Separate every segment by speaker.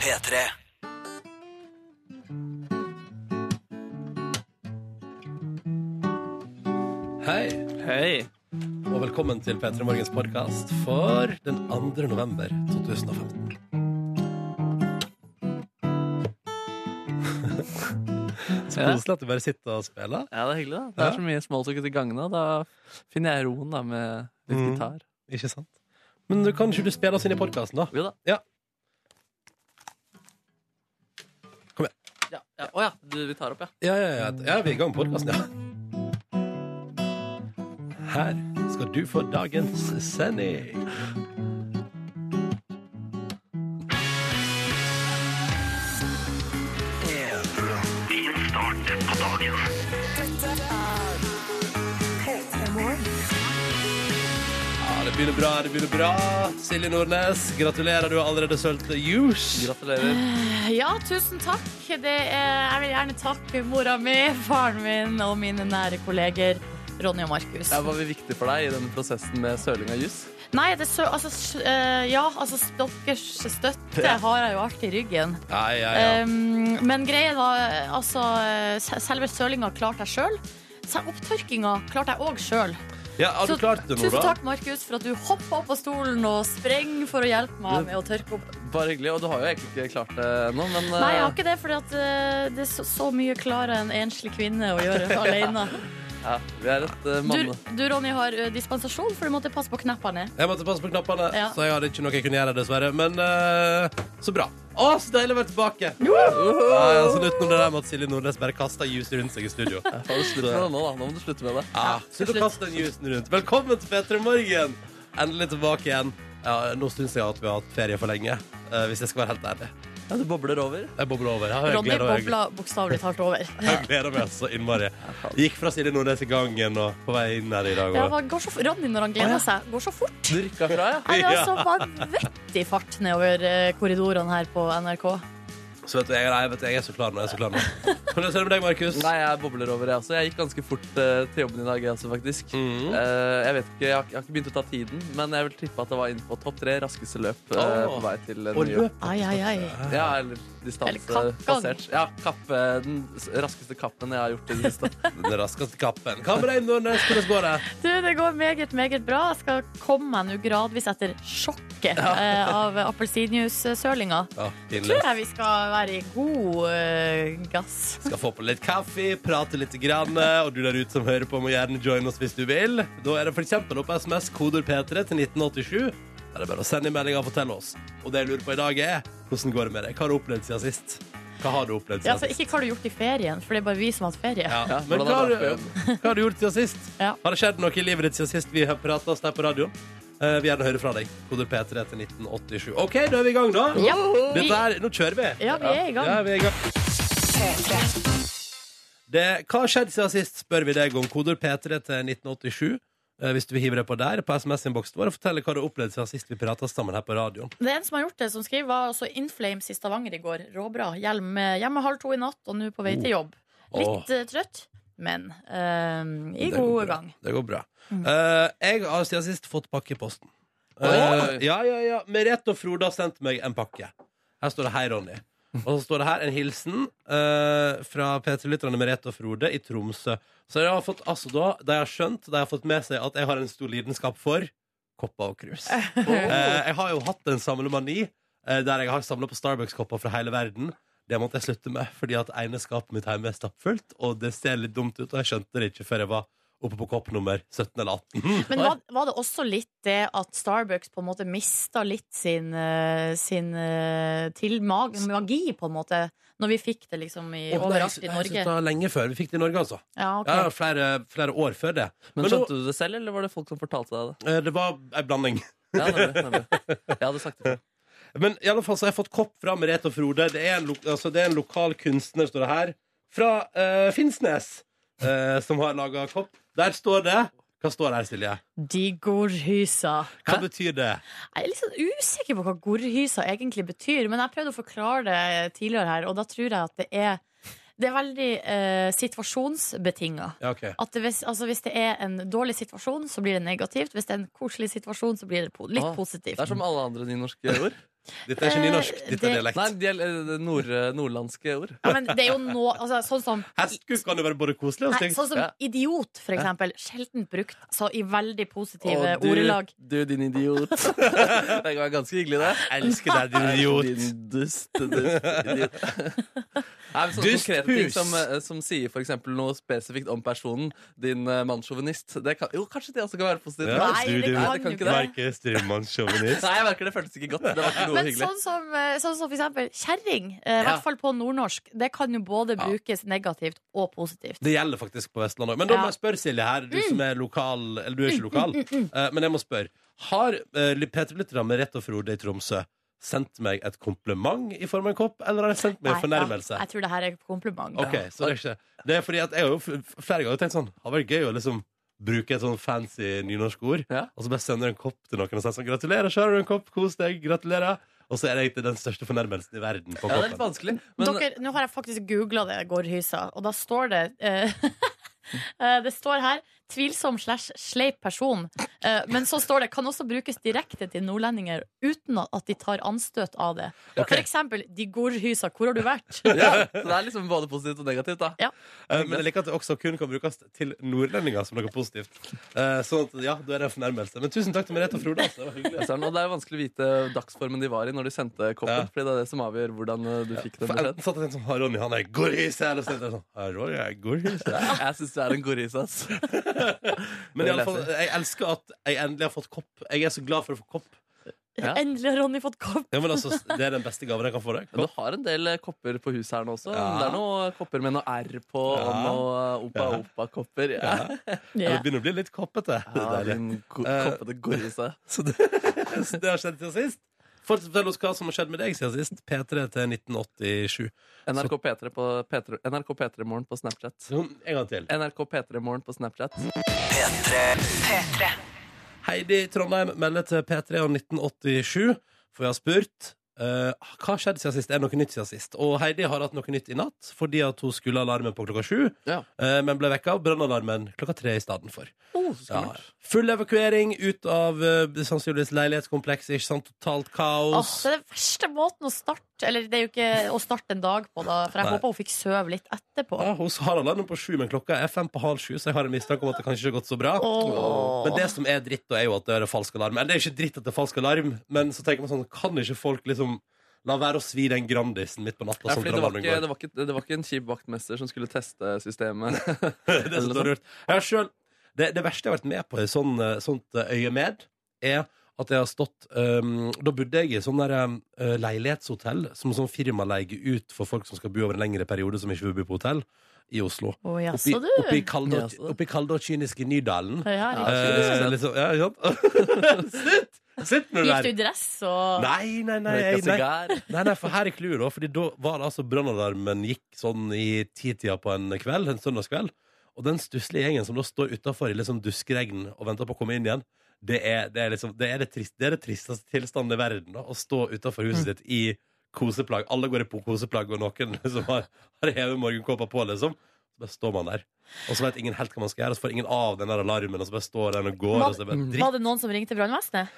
Speaker 1: P3.
Speaker 2: Hei,
Speaker 3: Hei.
Speaker 2: og velkommen til P3 Morgens podkast for den 2. november 2015. Så
Speaker 3: Ja.
Speaker 2: koselig at du bare sitter og spiller.
Speaker 3: Ja, det er hyggelig, da. Det
Speaker 2: Ja.
Speaker 3: er så mye smalltalk ute i gangene. og Da finner jeg roen da med litt
Speaker 2: Mm.
Speaker 3: gitar.
Speaker 2: Ikke sant? Men du kan ikke du spille oss inn i podkasten, da?
Speaker 3: Jo da.
Speaker 2: Ja. Kom igjen.
Speaker 3: Ja, ja. Å ja, du, vi tar opp, ja.
Speaker 2: Ja, ja, ja. ja vi er i gang med podkasten, ja. Her skal du få dagens sending. Ja, det begynner bra, det begynner bra. Silje Nordnes, gratulerer. Du har allerede sølt juice.
Speaker 3: Gratulerer.
Speaker 4: Ja, tusen takk. Det er, jeg vil gjerne takke mora mi, faren min og mine nære kolleger. Ronny og Markus.
Speaker 3: Ja, var vi viktig for deg i denne prosessen med søling av jus?
Speaker 4: Nei, det er så, altså, s- eh, ja, altså deres støtte har jeg jo alltid i ryggen.
Speaker 2: Ja, ja, ja.
Speaker 4: Um, men greia var eh, altså eh, s- Selve sølinga klarte jeg sjøl. Opptørkinga klarte jeg òg sjøl.
Speaker 2: ja har du
Speaker 4: så
Speaker 2: klart det nå,
Speaker 4: Tusen
Speaker 2: da?
Speaker 4: takk, Markus, for at du hoppa opp av stolen og spreng for å hjelpe meg med å tørke opp.
Speaker 3: Bare hyggelig. Og du har jo egentlig ikke klart det ennå, men
Speaker 4: Nei, jeg har
Speaker 3: eh,
Speaker 4: ikke det, for det er så, så mye klarer en enslig kvinne å gjøre alene.
Speaker 3: ja, vi er et eh,
Speaker 4: Du,
Speaker 3: mann...
Speaker 4: du, Ronny, har eh, dispensasjon, for du måtte passe på kneppene.
Speaker 2: Jeg måtte passe på knappene,
Speaker 4: Ja.
Speaker 2: så jeg hadde ikke noe jeg kunne gjøre, dessverre. Men eh, så bra. Å, så deilig å være tilbake! Ja, ja, så Slutt med det der med at Silje Nordnes bare kaster jusen rundt seg i studio.
Speaker 3: Ja, faen, Slutt med det nå, da. Nå må du slutte med det.
Speaker 2: Ja, slutt å
Speaker 4: slutt.
Speaker 2: kaste den jusen rundt. Velkommen til P3 Morgen! Endelig tilbake igjen. Ja, nå syns jeg at vi har hatt ferie for lenge, eh, hvis jeg skal være helt ærlig.
Speaker 3: Ja, du bobler over.
Speaker 2: Jeg bobler over. Ja, jeg
Speaker 4: Ronny
Speaker 2: gleder meg.
Speaker 4: bobla bokstavelig talt over.
Speaker 2: Jeg gleder meg så innmari. Gikk fra Silje Nordnes i gangen og på vei inn her i dag.
Speaker 4: Ja,
Speaker 2: Og.
Speaker 4: hva- går så, f- Ronny, når han gleder seg, går så fort.
Speaker 3: Du rykka fra, ja.
Speaker 4: Nei, Det er altså vanvittig fart nedover eh, korridorene her på NRK.
Speaker 2: Så vet du, jeg, nei, vet du, jeg er så klar nå. Jeg er så klar nå. Hvordan ser det med deg, Markus?
Speaker 3: Nei, jeg bobler over, jeg også. Jeg gikk ganske fort eh, til jobben i dag, jeg også, faktisk.
Speaker 2: Mhm.
Speaker 3: Eh, jeg vet ikke, jeg har, jeg har ikke begynt å ta tiden, men jeg vil tippe at det var inne på topp tre raskeste løp eh,
Speaker 2: Åh.
Speaker 3: på vei til eh,
Speaker 2: Og
Speaker 3: New York.
Speaker 2: løp.
Speaker 4: Ai, ai, ai.
Speaker 3: Ja, eller distanse
Speaker 4: Eller kappgang.
Speaker 3: passert. Ja, kappe, den s- raskeste kappen jeg har gjort i det siste.
Speaker 2: Den raskeste kappen. Hva med deg, Nordnes? Hvordan går det?
Speaker 4: Du, det går meget, meget bra. Jeg skal komme meg nå gradvis etter sjokket eh, av appelsinjuice-sølinga.
Speaker 2: Ja, pinlig.
Speaker 4: Tror jeg vi skal være i god eh, gass.
Speaker 2: Skal få på litt kaffe, prate litt, grann, og du der ute som hører på, må gjerne joine oss hvis du vil. Da er det f.eks. opp SMS, koder P3 til 1987. Da er det bare å sende inn melding og fortelle oss. Og det jeg lurer på i dag, er hvordan går det med deg? Hva har du opplevd siden sist? Hva har du opplevd
Speaker 4: Ja,
Speaker 2: siden
Speaker 4: altså,
Speaker 2: sist?
Speaker 4: ikke hva har du gjort i ferien, for det er bare vi som har hatt ferie.
Speaker 2: Ja.
Speaker 3: Ja,
Speaker 2: Men
Speaker 3: hvordan
Speaker 2: hva har,
Speaker 3: har det
Speaker 2: du,
Speaker 3: vært
Speaker 2: hva har du gjort siden sist?
Speaker 4: Ja.
Speaker 2: Har det skjedd noe i livet ditt siden sist vi har prata oss der på radioen? Eh, vi gjerne hører fra deg. Koder P3 til 1987. OK, da er vi i gang, da.
Speaker 4: Ja, vi,
Speaker 2: Dette her, nå kjører vi.
Speaker 4: ja, vi er i gang.
Speaker 2: Ja, vi er i gang. Det, hva har skjedd siden sist, spør vi deg om. Koder P3 til 1987. eh, Hvis du vil hive deg på der, på SMS-innboksen vår, og fortelle hva du opplevde siden sist vi prata sammen her på radioen.
Speaker 4: Det er en som har gjort det, som skriver var altså Inflames i Stavanger i går. Råbra. Hjelm eh, hjemme halv to i natt, og nå på vei
Speaker 2: Oh.
Speaker 4: til jobb. Litt eh, trøtt, men eh, i
Speaker 2: Det går
Speaker 4: god
Speaker 2: bra.
Speaker 4: gang. Mm.
Speaker 2: Det går bra. Eh, jeg har siden sist fått pakke i posten.
Speaker 3: Oi.
Speaker 2: Eh, ja, ja, ja. Merete og Frode har sendt meg en pakke. Her står det 'Hei, Ronny'. Og så står det her en hilsen eh, fra P3-lytterne Merete og Frode i Tromsø. Så jeg har fått, altså da, de har skjønt de har fått med seg at jeg har en stor lidenskap for kopper og krus.
Speaker 3: Oh.
Speaker 2: Eh, jeg har jo hatt en samlemani eh, der jeg har samla på Starbucks-kopper fra hele verden. Det måtte jeg slutte med, fordi at ene skapet mitt hjemme er stappfullt, og det ser litt dumt ut, og jeg skjønte det ikke før jeg var oppe på kopp nummer 17 eller 18.
Speaker 4: Men var, var det også litt det at Starbucks på en måte mista litt sin, eh, sin eh, til mag magi, på en måte, når vi fikk det liksom
Speaker 2: Å,
Speaker 4: i,
Speaker 2: nei, jeg
Speaker 4: overalt
Speaker 2: sy-
Speaker 4: i
Speaker 2: jeg synes
Speaker 4: Norge?
Speaker 2: det var lenge før vi fikk det i Norge, altså.
Speaker 4: Ja, ok.
Speaker 2: Ja, flere, flere år før det.
Speaker 3: Men
Speaker 2: Men
Speaker 3: skjønte du det selv, eller var det folk som fortalte deg det?
Speaker 2: Eh, Det var ei blanding.
Speaker 3: Ja, nemlig, nemlig. Jeg hadde sagt det.
Speaker 2: Men i alle fall så har jeg fått kopp fra Merete og Frode. Det er en, lo altså, det er en lokal kunstner, står det her, fra eh, Finnsnes, eh, som har laga kopp. Der står det Hva står det her, Silje?
Speaker 4: De gorhysa.
Speaker 2: Hva betyr det?
Speaker 4: Jeg er litt sånn usikker på hva gorrhysa egentlig betyr, men jeg prøvde å forklare det tidligere her, og da tror jeg at det er det er veldig eh, situasjonsbetinga.
Speaker 2: Ja, ok.
Speaker 4: At det, hvis, altså hvis det er en dårlig situasjon, så blir det negativt. Hvis det er en koselig situasjon, så blir det po litt
Speaker 3: Ah,
Speaker 4: positivt.
Speaker 3: Det er som alle andre nynorske ord.
Speaker 2: Dette er ikke nynorsk,
Speaker 4: Eh,
Speaker 2: dette er
Speaker 4: det-
Speaker 2: dialekt.
Speaker 3: Nei, de er eh, nord, nordlandske ord.
Speaker 4: Ja, men det er jo nå altså, Sånn som
Speaker 2: Hestkuk kan jo være både koselig og
Speaker 4: Nei,
Speaker 2: stygt.
Speaker 4: sånn som
Speaker 3: Ja.
Speaker 4: idiot, for eksempel. Sjelden brukt så i veldig positive
Speaker 3: Å, du,
Speaker 4: ordelag.
Speaker 3: Du, din idiot. det var ganske hyggelig, det.
Speaker 2: Jeg elsker deg, din idiot.
Speaker 3: Din dust, dust, idiot. Nei, men sånne
Speaker 2: Dust
Speaker 3: konkrete ting
Speaker 2: pus.
Speaker 3: som, eh, som sier for eksempel noe spesifikt om personen. Din uh, mannssjåvinist. Det kan- Jo, kanskje det også kan være positivt.
Speaker 2: Ja,
Speaker 4: Nei,
Speaker 2: du,
Speaker 4: det
Speaker 2: du.
Speaker 3: Nei, det
Speaker 4: kan
Speaker 3: kan
Speaker 4: jo
Speaker 3: ikke
Speaker 4: ikke det.
Speaker 2: Merke strimannssjåvinist.
Speaker 3: Nei, jeg merker det føltes ikke godt. Det var ikke noe
Speaker 4: Men
Speaker 3: hyggelig.
Speaker 4: sånn som, eh, sånn som for eksempel kjerring, eh,
Speaker 3: Ja.
Speaker 4: i hvert fall på nordnorsk, det kan jo både
Speaker 3: Ja.
Speaker 4: brukes negativt og positivt.
Speaker 2: Det gjelder faktisk på Vestlandet òg. Men da må
Speaker 4: Ja. Mm,
Speaker 2: jeg spørre Silje her, du som er lokal Eller du er ikke lokal, eh, men jeg må spørre. Har uh, P3-lytterne med Rett og Frode i Tromsø sendt meg et kompliment i form av en kopp, eller har de sendt meg en
Speaker 4: Nei,
Speaker 2: fornærmelse?
Speaker 4: Ja, jeg tror det her er kompliment.
Speaker 2: Ok, så det er ikke Det er fordi at jeg har jo f- flere ganger tenkt sånn Hadde vært gøy å liksom bruke et sånn fancy nynorsk ord
Speaker 3: Ja.
Speaker 2: Og så bare sender du en kopp til noen og sier sånn Gratulerer, så har du en kopp, kos deg, gratulerer Og så er det egentlig den største fornærmelsen i verden på
Speaker 3: Ja, det er litt
Speaker 2: koppen
Speaker 3: vanskelig. Men
Speaker 4: Dere, nå har jeg faktisk googla det, gårdhysa, og da står det eh, eh, Det står her 'tvilsom slash sleip person'. Eh, men så står det 'kan også brukes direkte til nordlendinger uten at de tar anstøt av det'.
Speaker 2: Ok.
Speaker 4: For eksempel 'de gårdhysa, hvor har du vært?'
Speaker 3: ja, så det er liksom både positivt og negativt, da.
Speaker 2: Eh, Men jeg liker at det også kun kan brukes til nordlendinger som noe positivt Eh, Sånn at, ja, da er det en fornærmelse Men tusen takk til Merete og Frode, altså, det var hyggelig
Speaker 3: Ja, Søren, Og det er jo vanskelig å vite dagsformen de var i når de sendte koppen.
Speaker 2: Ja.
Speaker 3: Fordi det er det som avgjør hvordan eh, du fikk den
Speaker 2: For
Speaker 3: beskjeden.
Speaker 2: enten satt jeg tenkt sånn, «Har Ronny, han er gorhys Eller så tenkte jeg sånn, «Har Ronny, er gorhys
Speaker 3: Jeg syns du er en goris, ass.
Speaker 2: Men i
Speaker 3: Det
Speaker 2: alle fall,
Speaker 3: leser
Speaker 2: jeg elsker at jeg endelig har fått kopp Jeg er så glad for å få kopp
Speaker 3: Ja.
Speaker 4: Endelig har Ronny fått kopp.
Speaker 2: Ja, men altså, det er den beste gaven jeg kan få deg
Speaker 3: Men du har en del eh, kopper på huset her nå også.
Speaker 2: Ja.
Speaker 3: Det er noen kopper med noe R på, og
Speaker 2: Ja.
Speaker 3: noe
Speaker 2: Ja.
Speaker 3: opa-opa-kopper. Ja.
Speaker 2: Ja,
Speaker 4: Ja.
Speaker 2: Det begynner å bli litt koppete. Det
Speaker 3: Ja,
Speaker 2: er deilig.
Speaker 3: din go
Speaker 2: Eh,
Speaker 3: koppete gorisa.
Speaker 2: Så det, så det har skjedd siden sist. Fortsett å fortelle oss hva som har skjedd med deg siden sist. P3 til 1987.
Speaker 3: NRK P3 på P3, NRK P3 Morgen på Snapchat.
Speaker 2: Sånn, En gang til.
Speaker 3: NRK P3 Morgen på Snapchat.
Speaker 2: Heidi Trondheim melder til P3 om 1987, for jeg har spurt eh, hva har skjedd siden sist. Er det noe nytt siden sist? Og Heidi har hatt noe nytt i natt, fordi at hun skulle ha alarmen på klokka sju,
Speaker 3: Ja.
Speaker 2: eh, men ble vekka av brannalarmen klokka tre i stedet for.
Speaker 3: Oh, så
Speaker 2: Ja.
Speaker 3: skummelt.
Speaker 2: Full evakuering ut av eh, sannsynligvis leilighetskomplekset, ikke sant? Totalt
Speaker 4: Åh,
Speaker 2: kaos.
Speaker 4: det er den verste måten å starte Eller det er jo ikke å starte en dag på, da. For jeg
Speaker 2: Nei.
Speaker 4: håper hun fikk sove litt etterpå.
Speaker 2: Ja, hun har alarmen på sju, men klokka er fem på halv sju, så jeg har en mistanke om at det kanskje ikke har gått så bra.
Speaker 4: Åh.
Speaker 2: Men det som er dritt, da, er jo at det er falsk alarm. Eller det er ikke dritt at det er falsk alarm, men så tenker man sånn, kan ikke folk liksom La være å svi den Grandisen midt på natta.
Speaker 3: Ja,
Speaker 2: som
Speaker 3: fordi det, var
Speaker 2: brannalarmen
Speaker 3: ikke,
Speaker 2: går.
Speaker 3: det, var ikke, det var ikke en kjip vaktmester som skulle teste systemet.
Speaker 2: Det er så dårlig gjort. Jeg har selv, det, det verste jeg har vært med på i sånn, eh, sånt eh, øyemed, er at jeg har stått um, Da bodde jeg i sånn der um, eh, leilighetshotell som sånn firma leier ut for folk som skal bo over en lengre periode, som ikke vil bo på hotell, i Oslo.
Speaker 4: Å,
Speaker 2: Oppi,
Speaker 4: jaså, du.
Speaker 2: oppi, kalde,
Speaker 3: Jaså.
Speaker 2: oppi kalde og kyniske Nydalen.
Speaker 4: Ja,
Speaker 3: Ja,
Speaker 4: riktig.
Speaker 3: kynisk,
Speaker 2: Eh,
Speaker 3: sant?
Speaker 2: liksom, ja, ikke sant? Slutt! Slutt med det
Speaker 4: Gikk du
Speaker 2: der!
Speaker 4: i dress og
Speaker 2: Nei, nei, nei.
Speaker 3: Røyka
Speaker 2: nei, nei.
Speaker 3: sigar.
Speaker 2: Nei, nei, for her er clouet, da. Fordi da var det altså brannalarmen gikk sånn i titida på en kveld, en søndagskveld. Og den stusslige gjengen som da står utafor i liksom duskregn og venter på å komme inn igjen, det er det, er liksom, det, er det, trist, det, er det tristeste tilstanden i verden. Da, å stå utafor huset ditt i koseplagg. Alle går i po- koseplagg, og noen som har, har hevet morgenkåpa på, liksom. Så bare står man der. Og så vet ingen helt hva man skal gjøre, og så får ingen av den der alarmen, og så bare står den og går,
Speaker 4: Var-
Speaker 2: og så er det bare dritt.
Speaker 4: Var det noen som ringte brannvesenet?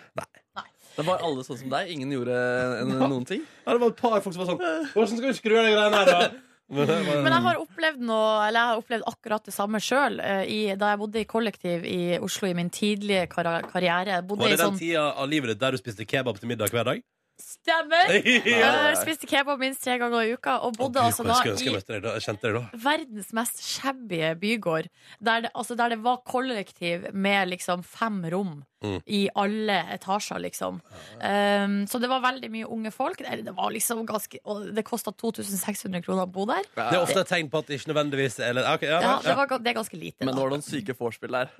Speaker 3: Det var alle sånn som deg. Ingen gjorde en, noen ting.
Speaker 2: Ja, det var et par folk som var sånn Hvordan skal vi skru av de greiene her, da? Men det var-
Speaker 4: Men jeg har opplevd noe, eller jeg har opplevd akkurat det samme sjøl da jeg bodde i kollektiv i Oslo i min tidlige kara- karriere.
Speaker 2: Var
Speaker 4: Jeg bodde
Speaker 2: det
Speaker 4: i
Speaker 2: den
Speaker 4: sånn
Speaker 2: tida av livet ditt der du spiste kebab til middag hver dag?
Speaker 4: Stemmer!
Speaker 2: ja.
Speaker 4: Jeg spiste kebab minst tre ganger i uka og bodde altså
Speaker 2: jeg
Speaker 4: da
Speaker 2: skulle ønske jeg
Speaker 4: i
Speaker 2: møtte deg da. Jeg kjente deg da.
Speaker 4: verdens mest shabby bygård. Der det, altså der det var kollektiv med liksom fem rom
Speaker 2: Mm.
Speaker 4: i alle etasjer, liksom. Um, så det var veldig mye unge folk. Det, det var liksom ganske Og det kosta 2600 kroner å bo der.
Speaker 2: Det er ofte et tegn på at det ikke nødvendigvis eller, ok, ja,
Speaker 4: Ja, det,
Speaker 2: ja.
Speaker 4: var, ga- det er ganske lite.
Speaker 3: Men
Speaker 4: da.
Speaker 3: det var noen syke vorspiel der.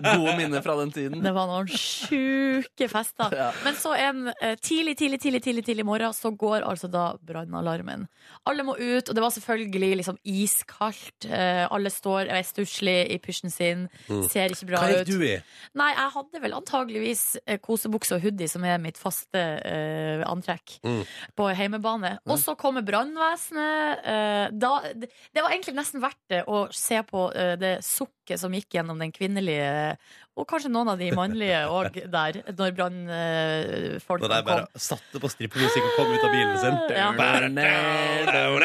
Speaker 3: Gode minner fra den tiden.
Speaker 4: Det var noen sjuke fester.
Speaker 3: Ja.
Speaker 4: Men så en eh, tidlig, tidlig, tidlig tidlig, tidlig morgen så går altså da brannalarmen. Alle må ut, og det var selvfølgelig liksom iskaldt. Eh, alle står og er stusslig i pysjen sin,
Speaker 2: Mm.
Speaker 4: ser ikke bra
Speaker 2: Hva gikk
Speaker 4: ut.
Speaker 2: du i?
Speaker 4: Nei, jeg hadde vel antageligvis eh, kosebukse og hoodie, som er mitt faste eh, antrekk
Speaker 2: Mm.
Speaker 4: på heimebane. Og så kommer brannvesenet. eh, da- det, det var egentlig nesten verdt det å se på eh, det sukket som gikk gjennom den kvinnelige, og kanskje noen av de mannlige òg der, når
Speaker 2: Når
Speaker 4: brannfolka
Speaker 2: de bare
Speaker 4: kom.
Speaker 2: satte på strippemusikk og kom ut av bilen sin.
Speaker 4: Ja.
Speaker 2: Bare,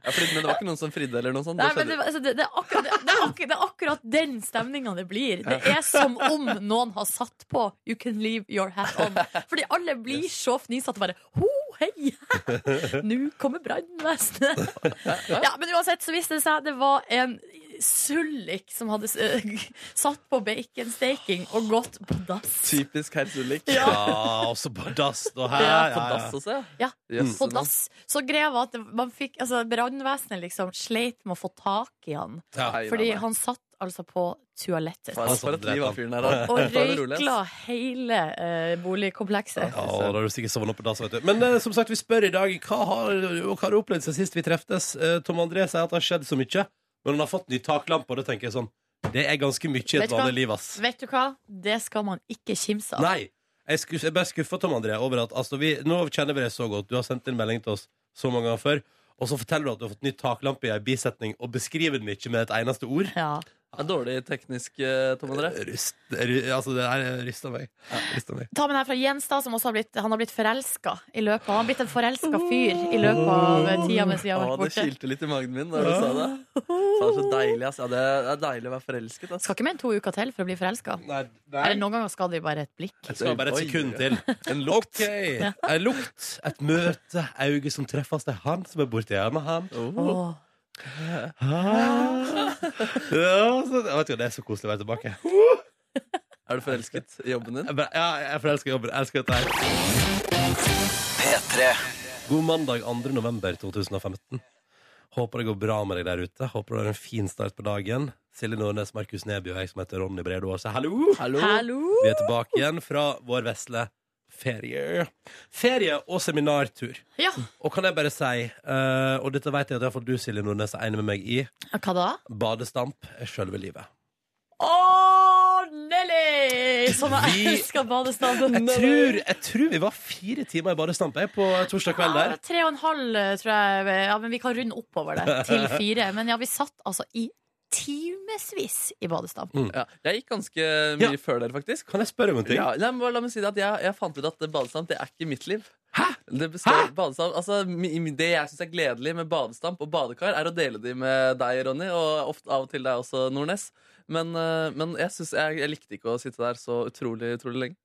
Speaker 3: Jeg flydde, men det var ikke noen som fridde eller noe sånt.
Speaker 4: Nei,
Speaker 3: Det
Speaker 4: men det,
Speaker 3: skjedde.
Speaker 4: altså, det, det, er akkurat, det, er akkurat, det er akkurat den stemninga det blir. Det er som om noen har satt på 'You can leave your hat on'. Fordi alle blir så fnisete og bare Ho, hei! Nå kommer brannvesenet. Ja, men uansett så viste det seg at det var en sullik som hadde eh, satt på baconstaking og gått på dass.
Speaker 3: Typisk herr Sullik.
Speaker 2: Ja, og så på dass og her.
Speaker 4: Ja,
Speaker 3: På dass også,
Speaker 4: Ja,
Speaker 3: Jøsse
Speaker 4: På
Speaker 3: navn.
Speaker 4: dass. Så greia var at det- man fikk Altså, brannvesenet liksom sleit med å få tak i han.
Speaker 2: Ja.
Speaker 3: Nei, nei,
Speaker 4: Fordi
Speaker 3: nei.
Speaker 4: han satt altså på toalettet.
Speaker 3: For for et liv av fyren her, da.
Speaker 4: Og
Speaker 3: For en rolighet.
Speaker 4: røykla hele eh, boligkomplekset.
Speaker 2: Ja, da har du sikkert sovnet på dass, vet du. Men eh, som sagt, vi spør i dag hva har, hva har du opplevd siden sist vi treftes. Eh, Tom André sier at det har skjedd så mye, men han har fått ny taklampe, og det tenker jeg sånn Det er ganske mye i
Speaker 4: Vet
Speaker 2: et
Speaker 4: du hva?
Speaker 2: vanlig liv, ass.
Speaker 4: Vet du hva? Det skal man ikke kimse av.
Speaker 2: Nei. Jeg, skuff, jeg ble skuffa, Tom André, over at altså, vi, nå kjenner vi deg så godt. Du har sendt inn melding til oss så mange ganger før. Og så forteller du at du har fått ny taklampe i ei bisetning, og beskriver den ikke med et eneste ord.
Speaker 4: Ja.
Speaker 3: Det er Dårlig teknisk, eh, Tom André.
Speaker 2: Ryst, ry, altså, det er rysta meg. Ja, rysta meg.
Speaker 4: Ta med den her fra Jens, da, som også har blitt, han har blitt forelska i løpet av Han har blitt en forelska fyr i løpet av tida mens vi
Speaker 3: Å,
Speaker 4: har
Speaker 3: det
Speaker 4: vært borte.
Speaker 3: kilte litt i magen min da du sa det. Så det er så deilig, ass. Ja, det det er deilig å være forelsket, ass.
Speaker 4: Skal ikke mer enn to uker til for å bli forelska.
Speaker 2: Nei,
Speaker 4: Eller
Speaker 2: nei.
Speaker 4: noen ganger skal det jo bare et blikk.
Speaker 2: Jeg skal bare et
Speaker 3: Oi,
Speaker 2: sekund
Speaker 3: oi,
Speaker 2: til.
Speaker 3: En lukt.
Speaker 2: Ok. Ei lukt, et møte, øyne som treffes. Det er han som er borti her med han.
Speaker 3: Oh.
Speaker 4: Åh.
Speaker 2: Ah. Ja, så, jeg vet ikke, det er så koselig å være tilbake.
Speaker 3: Er du forelsket i jobben din?
Speaker 2: Jeg, bare, ja, jeg forelsker jobben. Jeg elsker dette her. God mandag 2. november 2015. Håper det går bra med deg der ute. Håper du har en fin start på dagen. Silje Nordnes, Markus Neby og jeg som heter Ronny Brede Aase. Hallo!
Speaker 3: Hallo?
Speaker 4: Hallo!
Speaker 2: Vi er tilbake igjen fra vår vesle ferie. Ferie og seminartur.
Speaker 4: Ja,
Speaker 2: Og kan jeg bare si, eh, og dette vet jeg at iallfall du, Silje Nordnes, er enig med meg i,
Speaker 4: hva da?
Speaker 2: badestamp er sjølve livet.
Speaker 4: Å, Nelly! Som jeg
Speaker 2: Vi-
Speaker 4: elsker badestaden.
Speaker 2: Jeg tror, jeg tror vi var fire timer i badestamp jeg, på torsdag kveld der.
Speaker 4: Ja, tre og en halv, eh, tror jeg. Ja, men vi kan runde oppover det til fire. Men ja, vi satt altså i timevis i badestamp.
Speaker 3: Ja. Jeg gikk ganske
Speaker 2: Ja.
Speaker 3: mye før dere, faktisk.
Speaker 2: Kan jeg spørre om en ting?
Speaker 3: Ja, nei, men bare la meg si det at jeg, jeg fant ut at badestamp det er ikke mitt liv. Det, består, badestamp, altså, mi- mi- det jeg syns er gledelig med badestamp og badekar, er å dele de med deg, Ronny, og ofte av og til deg også, Nordnes. Men, eh, men jeg, synes, jeg, jeg likte ikke å sitte der så utrolig utrolig lenge.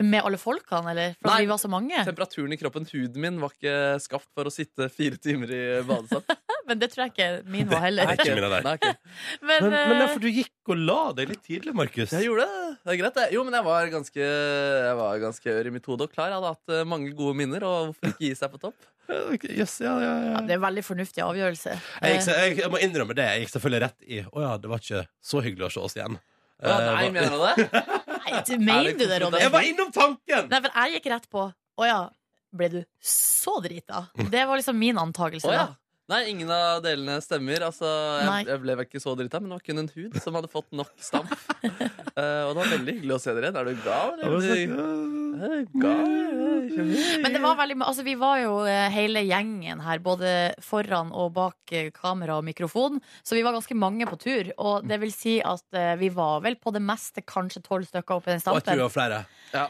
Speaker 2: Mm.
Speaker 4: Med alle folkene, eller? For
Speaker 3: Nei.
Speaker 4: vi var så mange.
Speaker 3: Temperaturen i kroppen, huden min, var ikke skapt for å sitte fire timer i badestamp.
Speaker 4: Men det tror jeg ikke min var heller.
Speaker 2: Nei, ikke min av deg.
Speaker 3: Nei, ok.
Speaker 4: Men,
Speaker 2: Men, men
Speaker 4: eh,
Speaker 2: derfor du gikk og la deg litt tidlig, Markus.
Speaker 3: Jeg gjorde det. Det er greit, det. Jo, men jeg var ganske Jeg var ganske ør i mitt hode og klar. Jeg hadde hatt eh, mange gode minner, og hvorfor ikke gi seg på topp?
Speaker 2: Ja, ok, Jøss, ja, ja,
Speaker 4: ja,
Speaker 2: ja.
Speaker 4: det er en veldig fornuftig avgjørelse.
Speaker 2: Jeg, gikk, jeg, jeg må innrømme det. Jeg gikk selvfølgelig rett i Å ja, det var ikke så hyggelig å se oss igjen.
Speaker 3: Ja,
Speaker 2: Eh,
Speaker 3: nei,
Speaker 2: hva-
Speaker 3: mener du det?
Speaker 4: Eh, Nei, du, mener
Speaker 3: Er det
Speaker 4: du det, Ronny?
Speaker 2: jeg var innom tanken!
Speaker 4: Nei, for jeg gikk rett på Å ja, ble du så drita?
Speaker 2: Mm.
Speaker 4: Det var liksom min antakelse.
Speaker 3: Å ja.
Speaker 4: da.
Speaker 3: Nei, ingen av delene stemmer. Altså,
Speaker 4: Nei.
Speaker 3: jeg, jeg ble vel ikke så drita, men det var kun en hud som hadde fått nok stamp. Eh, og det var veldig hyggelig å se dere igjen. Er du gal?
Speaker 2: Jeg var
Speaker 3: eller?
Speaker 2: sånn,
Speaker 3: Er du gal?
Speaker 4: Men det var veldig Altså, vi var jo eh, hele gjengen her, både foran og bak eh, kamera og mikrofon, så vi var ganske mange på tur. Og det vil si at eh, vi var vel på det meste kanskje tolv stykker oppi den
Speaker 2: Og jeg tror
Speaker 4: stampen.
Speaker 2: det var flere.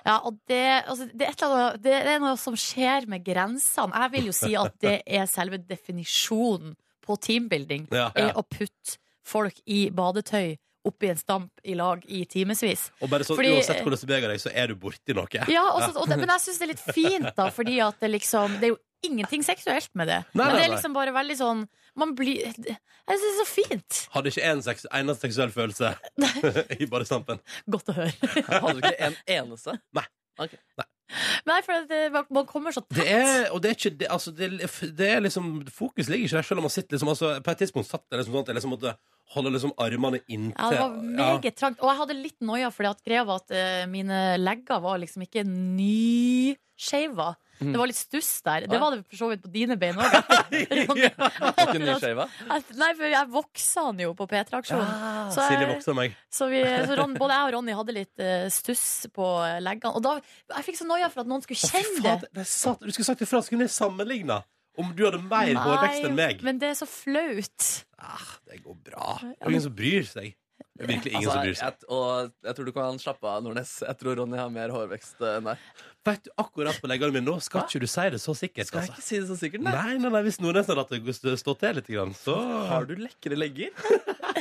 Speaker 4: Ja, og det, altså, det, er et eller annet, det er noe som skjer med grensene. Jeg vil jo si at det er selve definisjonen på teambuilding.
Speaker 2: Ja.
Speaker 4: Er å putte folk i badetøy oppi en stamp i lag i timevis.
Speaker 2: Og bare sånn,
Speaker 4: Fordi-
Speaker 2: uansett hvordan du beveger deg, så er du borti noe.
Speaker 4: Ja, og så- og det, men jeg syns det er litt fint, da, fordi at det liksom Det er jo ingenting seksuelt med det.
Speaker 2: Nei,
Speaker 4: men det
Speaker 2: nei,
Speaker 4: er
Speaker 2: nei.
Speaker 4: liksom bare veldig sånn Man blir Jeg syns det er så fint.
Speaker 2: Hadde ikke en seks, eneste seksuell følelse i badestampen.
Speaker 4: Godt å høre.
Speaker 3: Hadde du ikke en eneste?
Speaker 4: Nei, for det, man- man kommer så
Speaker 2: Det er, og det er ikke det, altså, det, det er liksom Fokus ligger ikke der, selv om man sitter liksom altså, På et tidspunkt satt jeg liksom sånn at jeg liksom måtte holde liksom armene inntil
Speaker 4: Ja, det var meget trangt. Og jeg hadde litt noia, fordi at greia var at eh, mine legger var liksom ikke nyskeiva.
Speaker 3: Mm.
Speaker 4: Det var litt stuss der.
Speaker 3: Ja.
Speaker 4: Det var det for så vidt på dine bein òg.
Speaker 3: Ikke nyskjeva.
Speaker 4: Nei, for jeg voksa han jo på P3-aksjonen. Så eh, jeg-
Speaker 2: Silje vokser meg.
Speaker 4: Så, vi, så Ron, både jeg og Ronny hadde litt eh, stuss på eh, leggene. Og da, jeg fikk så noia for at noen skulle
Speaker 2: Å, fy
Speaker 4: kjenne det.
Speaker 2: faen, det er sant. Du skulle sagt ifra, så kunne jeg sammenligna. Om du hadde mer
Speaker 4: Nei,
Speaker 2: hårvekst enn meg.
Speaker 4: Men det er så flaut.
Speaker 2: Ah, det går bra. Det er ingen som bryr seg. Det er virkelig ingen
Speaker 3: Altså,
Speaker 2: som bryr seg.
Speaker 3: jeg, og jeg tror du kan slappe av, Nordnes. Jeg tror Ronny har mer hårvekst eh, enn deg.
Speaker 2: Vet du akkurat på leggene mine nå, skal ikke du si det så sikkert.
Speaker 3: Skal jeg
Speaker 2: altså.
Speaker 3: ikke si det så sikkert, nei?
Speaker 2: Nei, nei, nei, hvis Nordnes hadde hatt det st- stått til litt, grann, så
Speaker 3: Har du lekre legger?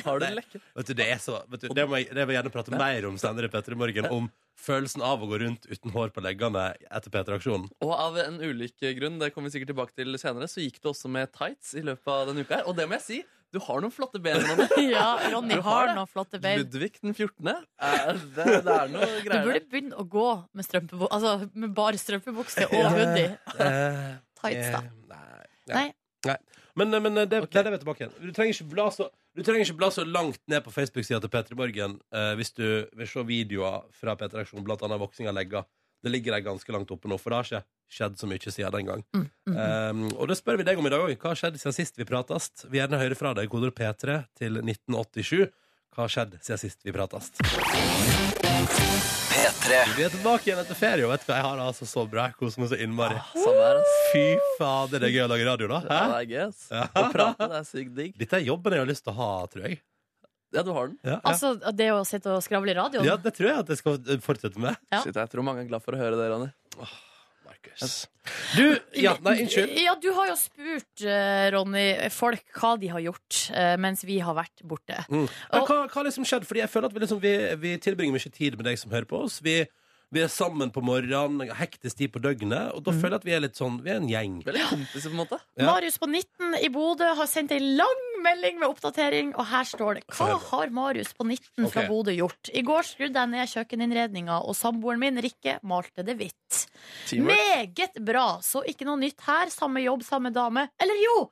Speaker 3: Har du
Speaker 2: Nei.
Speaker 3: lekre
Speaker 2: Vet du, det er så vet du, Det må jeg, det vil jeg gjerne prate mer om senere, Petter i morgen. Om følelsen av å gå rundt uten hår på leggene etter P3-aksjonen.
Speaker 3: Og av en ulik grunn, det kommer vi sikkert tilbake til senere, så gikk du også med tights i løpet av denne uka her. Og det må jeg si, du har noen flotte ben. Ronny.
Speaker 4: Ja, Ronny
Speaker 3: Du har
Speaker 4: har
Speaker 3: det.
Speaker 4: noen flotte bein.
Speaker 3: Ludvig den 14. Er det, det er noe
Speaker 4: Du
Speaker 3: greier
Speaker 4: burde
Speaker 3: der.
Speaker 4: begynne å gå med, strømpebuk altså, med bare strømpebukse og
Speaker 2: Ja.
Speaker 4: hoodie.
Speaker 2: Eh,
Speaker 4: Tights, da.
Speaker 2: eh, Nei.
Speaker 4: Nei.
Speaker 2: Nei. Men, eh, men det,
Speaker 3: Ok.
Speaker 2: det er det vi er tilbake igjen. Du trenger ikke bla så, du trenger ikke bla så langt ned på Facebook-sida til Petter i morgen eh, hvis du vil se videoer fra Peter Aksjon, blant annet voksing av legger. Det ligger de ganske langt oppe nå, for det har ikke skjedd så mye siden den gang.
Speaker 4: Mm, mm, mm.
Speaker 2: Um, og det spør vi deg om i dag òg. Hva har skjedd siden sist vi pratast? Vi gjerne hører fra deg, koder P3 til 1987. Hva har skjedd siden sist vi pratast? Vi er tilbake igjen etter ferie, og vet du hva, jeg har det altså så bra. Jeg koser meg så innmari.
Speaker 3: Samme her, ass.
Speaker 2: Fy fader, det er gøy å lage radio, da.
Speaker 3: Ja,
Speaker 2: Hæ?
Speaker 3: det er gøy, ass.
Speaker 2: Ja.
Speaker 3: Å prate, det er sykt digg.
Speaker 2: Dette er jobben jeg har lyst til å ha, tror jeg.
Speaker 3: Ja, du har den.
Speaker 2: Ja, ja.
Speaker 4: Altså, det å sitte og skravle i radioen
Speaker 2: ja det tror jeg at jeg skal eh, fortsette med.
Speaker 4: Ja.
Speaker 3: Shit, jeg tror mange er glad for å høre det, Ronny.
Speaker 2: Markus. Du Ja, nei, unnskyld.
Speaker 4: Ja, du har jo spurt, eh, Ronny, folk hva de har gjort eh, mens vi har vært borte.
Speaker 2: Mm. Men hva, hva har liksom skjedd? Fordi jeg føler at vi, liksom, vi, vi tilbringer mye tid med deg som hører på oss. Vi, vi er sammen på morgenen, hektisk tid på døgnet, og da
Speaker 4: Mm.
Speaker 2: føler jeg at vi er litt sånn Vi er en gjeng.
Speaker 3: Veldig kompiser, på en måte.
Speaker 2: Ja.
Speaker 4: Marius på 19 i Bodø har sendt ei lang melding med oppdatering, og her står det
Speaker 2: Få
Speaker 4: Hva
Speaker 2: høre.
Speaker 4: har Marius på 19 fra
Speaker 2: Ok.
Speaker 4: Bodø gjort? I går skrudde jeg ned kjøkkeninnredninga, og samboeren min, Rikke, malte det hvitt.
Speaker 3: Teamwork.
Speaker 4: Meget bra! Så ikke noe nytt her. Samme jobb, samme dame. Eller jo!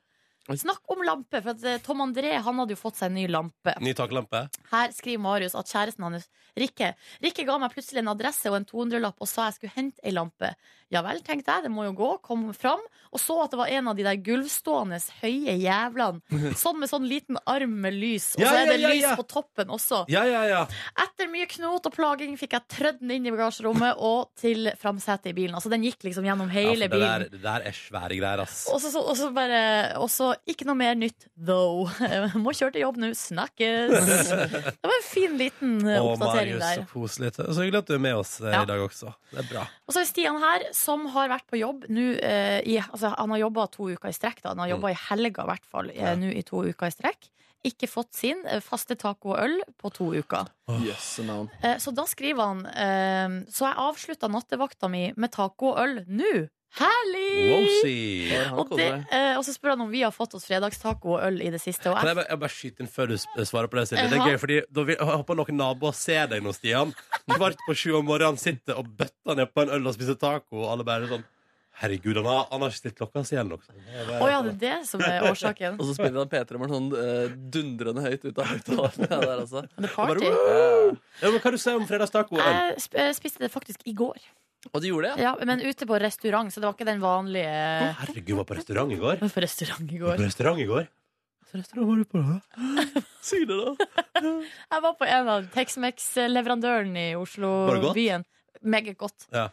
Speaker 3: Oi.
Speaker 4: Snakk om lampe, for at eh, Tom André han hadde jo fått seg en ny lampe.
Speaker 2: Ny taklampe.
Speaker 4: Her skriver Marius at kjæresten hans, Rikke, Rikke ga meg plutselig en adresse og en 200-lapp og sa jeg skulle hente ei lampe. Ja vel, tenkte jeg, det må jo gå. Kom fram. Og så at det var en av de der gulvstående høye jævlene. Sånn med sånn liten arm med lys. Og
Speaker 2: Ja, ja,
Speaker 4: så er det
Speaker 2: ja,
Speaker 4: lys
Speaker 2: ja.
Speaker 4: på toppen også.
Speaker 2: Ja, ja, ja.
Speaker 4: Etter mye knot og plaging fikk jeg trødd den inn i bagasjerommet og til framsetet i bilen. Altså den gikk liksom gjennom
Speaker 2: ja for
Speaker 4: hele
Speaker 2: det, der,
Speaker 4: bilen.
Speaker 2: det der er svære greier, ass.
Speaker 4: Og så- så og så bare Og så ikke noe mer nytt, though. Må kjøre til jobb nå. Snakkes. Det var en fin liten eh,
Speaker 2: Å,
Speaker 4: oppdatering
Speaker 2: Marius,
Speaker 4: der.
Speaker 2: så koselig. Så hyggelig at du er med oss eh,
Speaker 4: Ja.
Speaker 2: i dag også. Det er bra.
Speaker 4: Og så er Stian her, som har vært på jobb nå eh, i Altså, han har jobba to uker i strekk, da. Han har jobba i helga, i hvert fall,
Speaker 2: Mm.
Speaker 4: eh,
Speaker 2: Ja.
Speaker 4: nå i to uker i strekk. Ikke fått sin eh, faste taco og øl på to uker.
Speaker 3: Jøsse navn.
Speaker 4: Eh, så da skriver han eh, Så jeg avslutta nattevakta mi med taco og øl nå. Herlig!
Speaker 2: Wowsy.
Speaker 3: Bare han
Speaker 4: Og, det,
Speaker 3: koser deg.
Speaker 4: eh, og så spør han om vi har fått oss fredagstaco og øl i det siste. Og
Speaker 2: Kan
Speaker 4: jeg,
Speaker 2: jeg bare, jeg bare skyte inn før du sp- svarer på det, Silje? Det
Speaker 4: Ja.
Speaker 2: er gøy, fordi da vil, jeg håper noen naboer ser deg nå, Stian. Kvart på sju om morgenen sitter og bøtter ned på en øl og spiser taco, og alle bare sånn Herregud, han har, han har ikke stilt klokka si ennå. liksom. Det er
Speaker 4: å
Speaker 2: bare-
Speaker 4: ja, det er det som er årsaken.
Speaker 3: Og så spiller han P3-morgen sånn eh, dundrende høyt ut av høyttalerne der, altså.
Speaker 4: Det er party.
Speaker 2: Ja, men Hva du sier du om fredagstaco og øl?
Speaker 4: Jeg sp- eh, spiste det faktisk i går,
Speaker 3: Og du gjorde det, ja?
Speaker 4: ja, men ute på restaurant, så det var ikke den vanlige
Speaker 2: Herregud, var på restaurant i går.
Speaker 4: Jeg var på restaurant i
Speaker 2: Var
Speaker 4: går.
Speaker 2: På restaurant i går. Så restaurant var du på, da?
Speaker 3: Si det, da.
Speaker 4: Jeg var på en av Tex-Mex-leverandøren i
Speaker 2: Var det godt?
Speaker 4: Oslo-byen. Meget godt.
Speaker 2: Ja.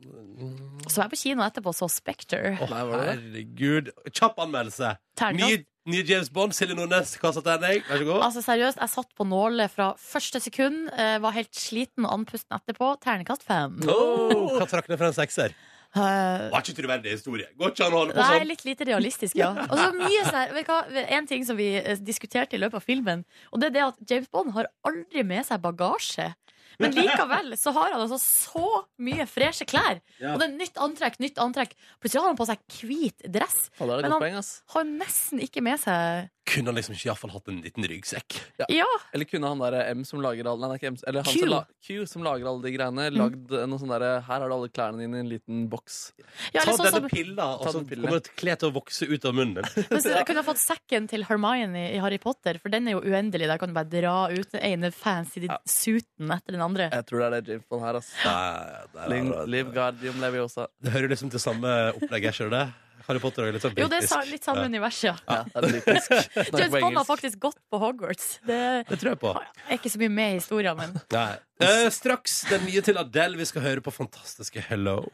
Speaker 4: Og så var jeg på kino etterpå og så Spekter.
Speaker 2: Å,
Speaker 3: Nei, var det
Speaker 2: herregud. Kjapp anmeldelse.
Speaker 4: Terningkast.
Speaker 2: Ny, ny James Bond, Silje Nordnes, kassa terning. Vær så god.
Speaker 4: Altså Seriøst, jeg satt på nåle fra første sekund. eh, Var helt sliten og andpusten etterpå. Ternekast fem.
Speaker 2: Oh, hva trakk ned for en sekser?
Speaker 4: Eh,
Speaker 2: Var ikke troverdig historie. Går ikke an å holde på
Speaker 4: Nei,
Speaker 2: sånn.
Speaker 4: litt lite realistisk, ja. Og så mye sånn her, vet du hva, En ting som vi eh, diskuterte i løpet av filmen, og det er det at James Bond har aldri med seg bagasje. Men likevel så har han altså så mye freshe klær.
Speaker 2: Ja.
Speaker 4: Og det er nytt antrekk, nytt antrekk. Plutselig har han på seg hvit dress.
Speaker 3: Faen, det er et godt
Speaker 4: Men han-
Speaker 3: poeng, ass.
Speaker 4: har nesten ikke med seg
Speaker 2: kunne han liksom ikke iallfall hatt en liten ryggsekk?
Speaker 4: Ja,
Speaker 3: Eller kunne han derre M som lager alle Nei, det er ikke M, eller han
Speaker 4: Q. Mm.
Speaker 3: Som la, Q som lager alle de greiene, lagd eh, noe sånn derre Her har du alle klærne dine i en liten boks.
Speaker 4: ja
Speaker 2: Ta
Speaker 4: eller sånn
Speaker 2: denne
Speaker 4: som
Speaker 2: pilla, og
Speaker 3: Ta
Speaker 2: så
Speaker 3: den pillen.
Speaker 2: kommer et kle til å vokse ut av munnen din.
Speaker 4: Men så jeg kunne ha fått sekken til Hermione i Harry Potter, for den er jo uendelig. Der kan du bare dra ut den ene fancy
Speaker 3: Ja.
Speaker 4: suiten etter den andre.
Speaker 3: Jeg tror det er det James Bond her, ass.
Speaker 2: Nei, det, er,
Speaker 3: Ling-
Speaker 2: det,
Speaker 3: Liv Guardium Leviosa.
Speaker 2: hører liksom til samme opplegg, ikke det? Harry Potter er litt sånn
Speaker 4: Jo, det er
Speaker 2: britisk.
Speaker 4: sa- litt samme univers, ja.
Speaker 3: Ja, det er britisk. Snakker på
Speaker 4: James Bond har
Speaker 3: engelsk.
Speaker 4: faktisk gått på Hogwarts. Det
Speaker 2: Det tror jeg på.
Speaker 4: er ikke så mye med i historien, men
Speaker 2: Nei. Eh, straks den nye til Adele. Vi skal høre på fantastiske Hello.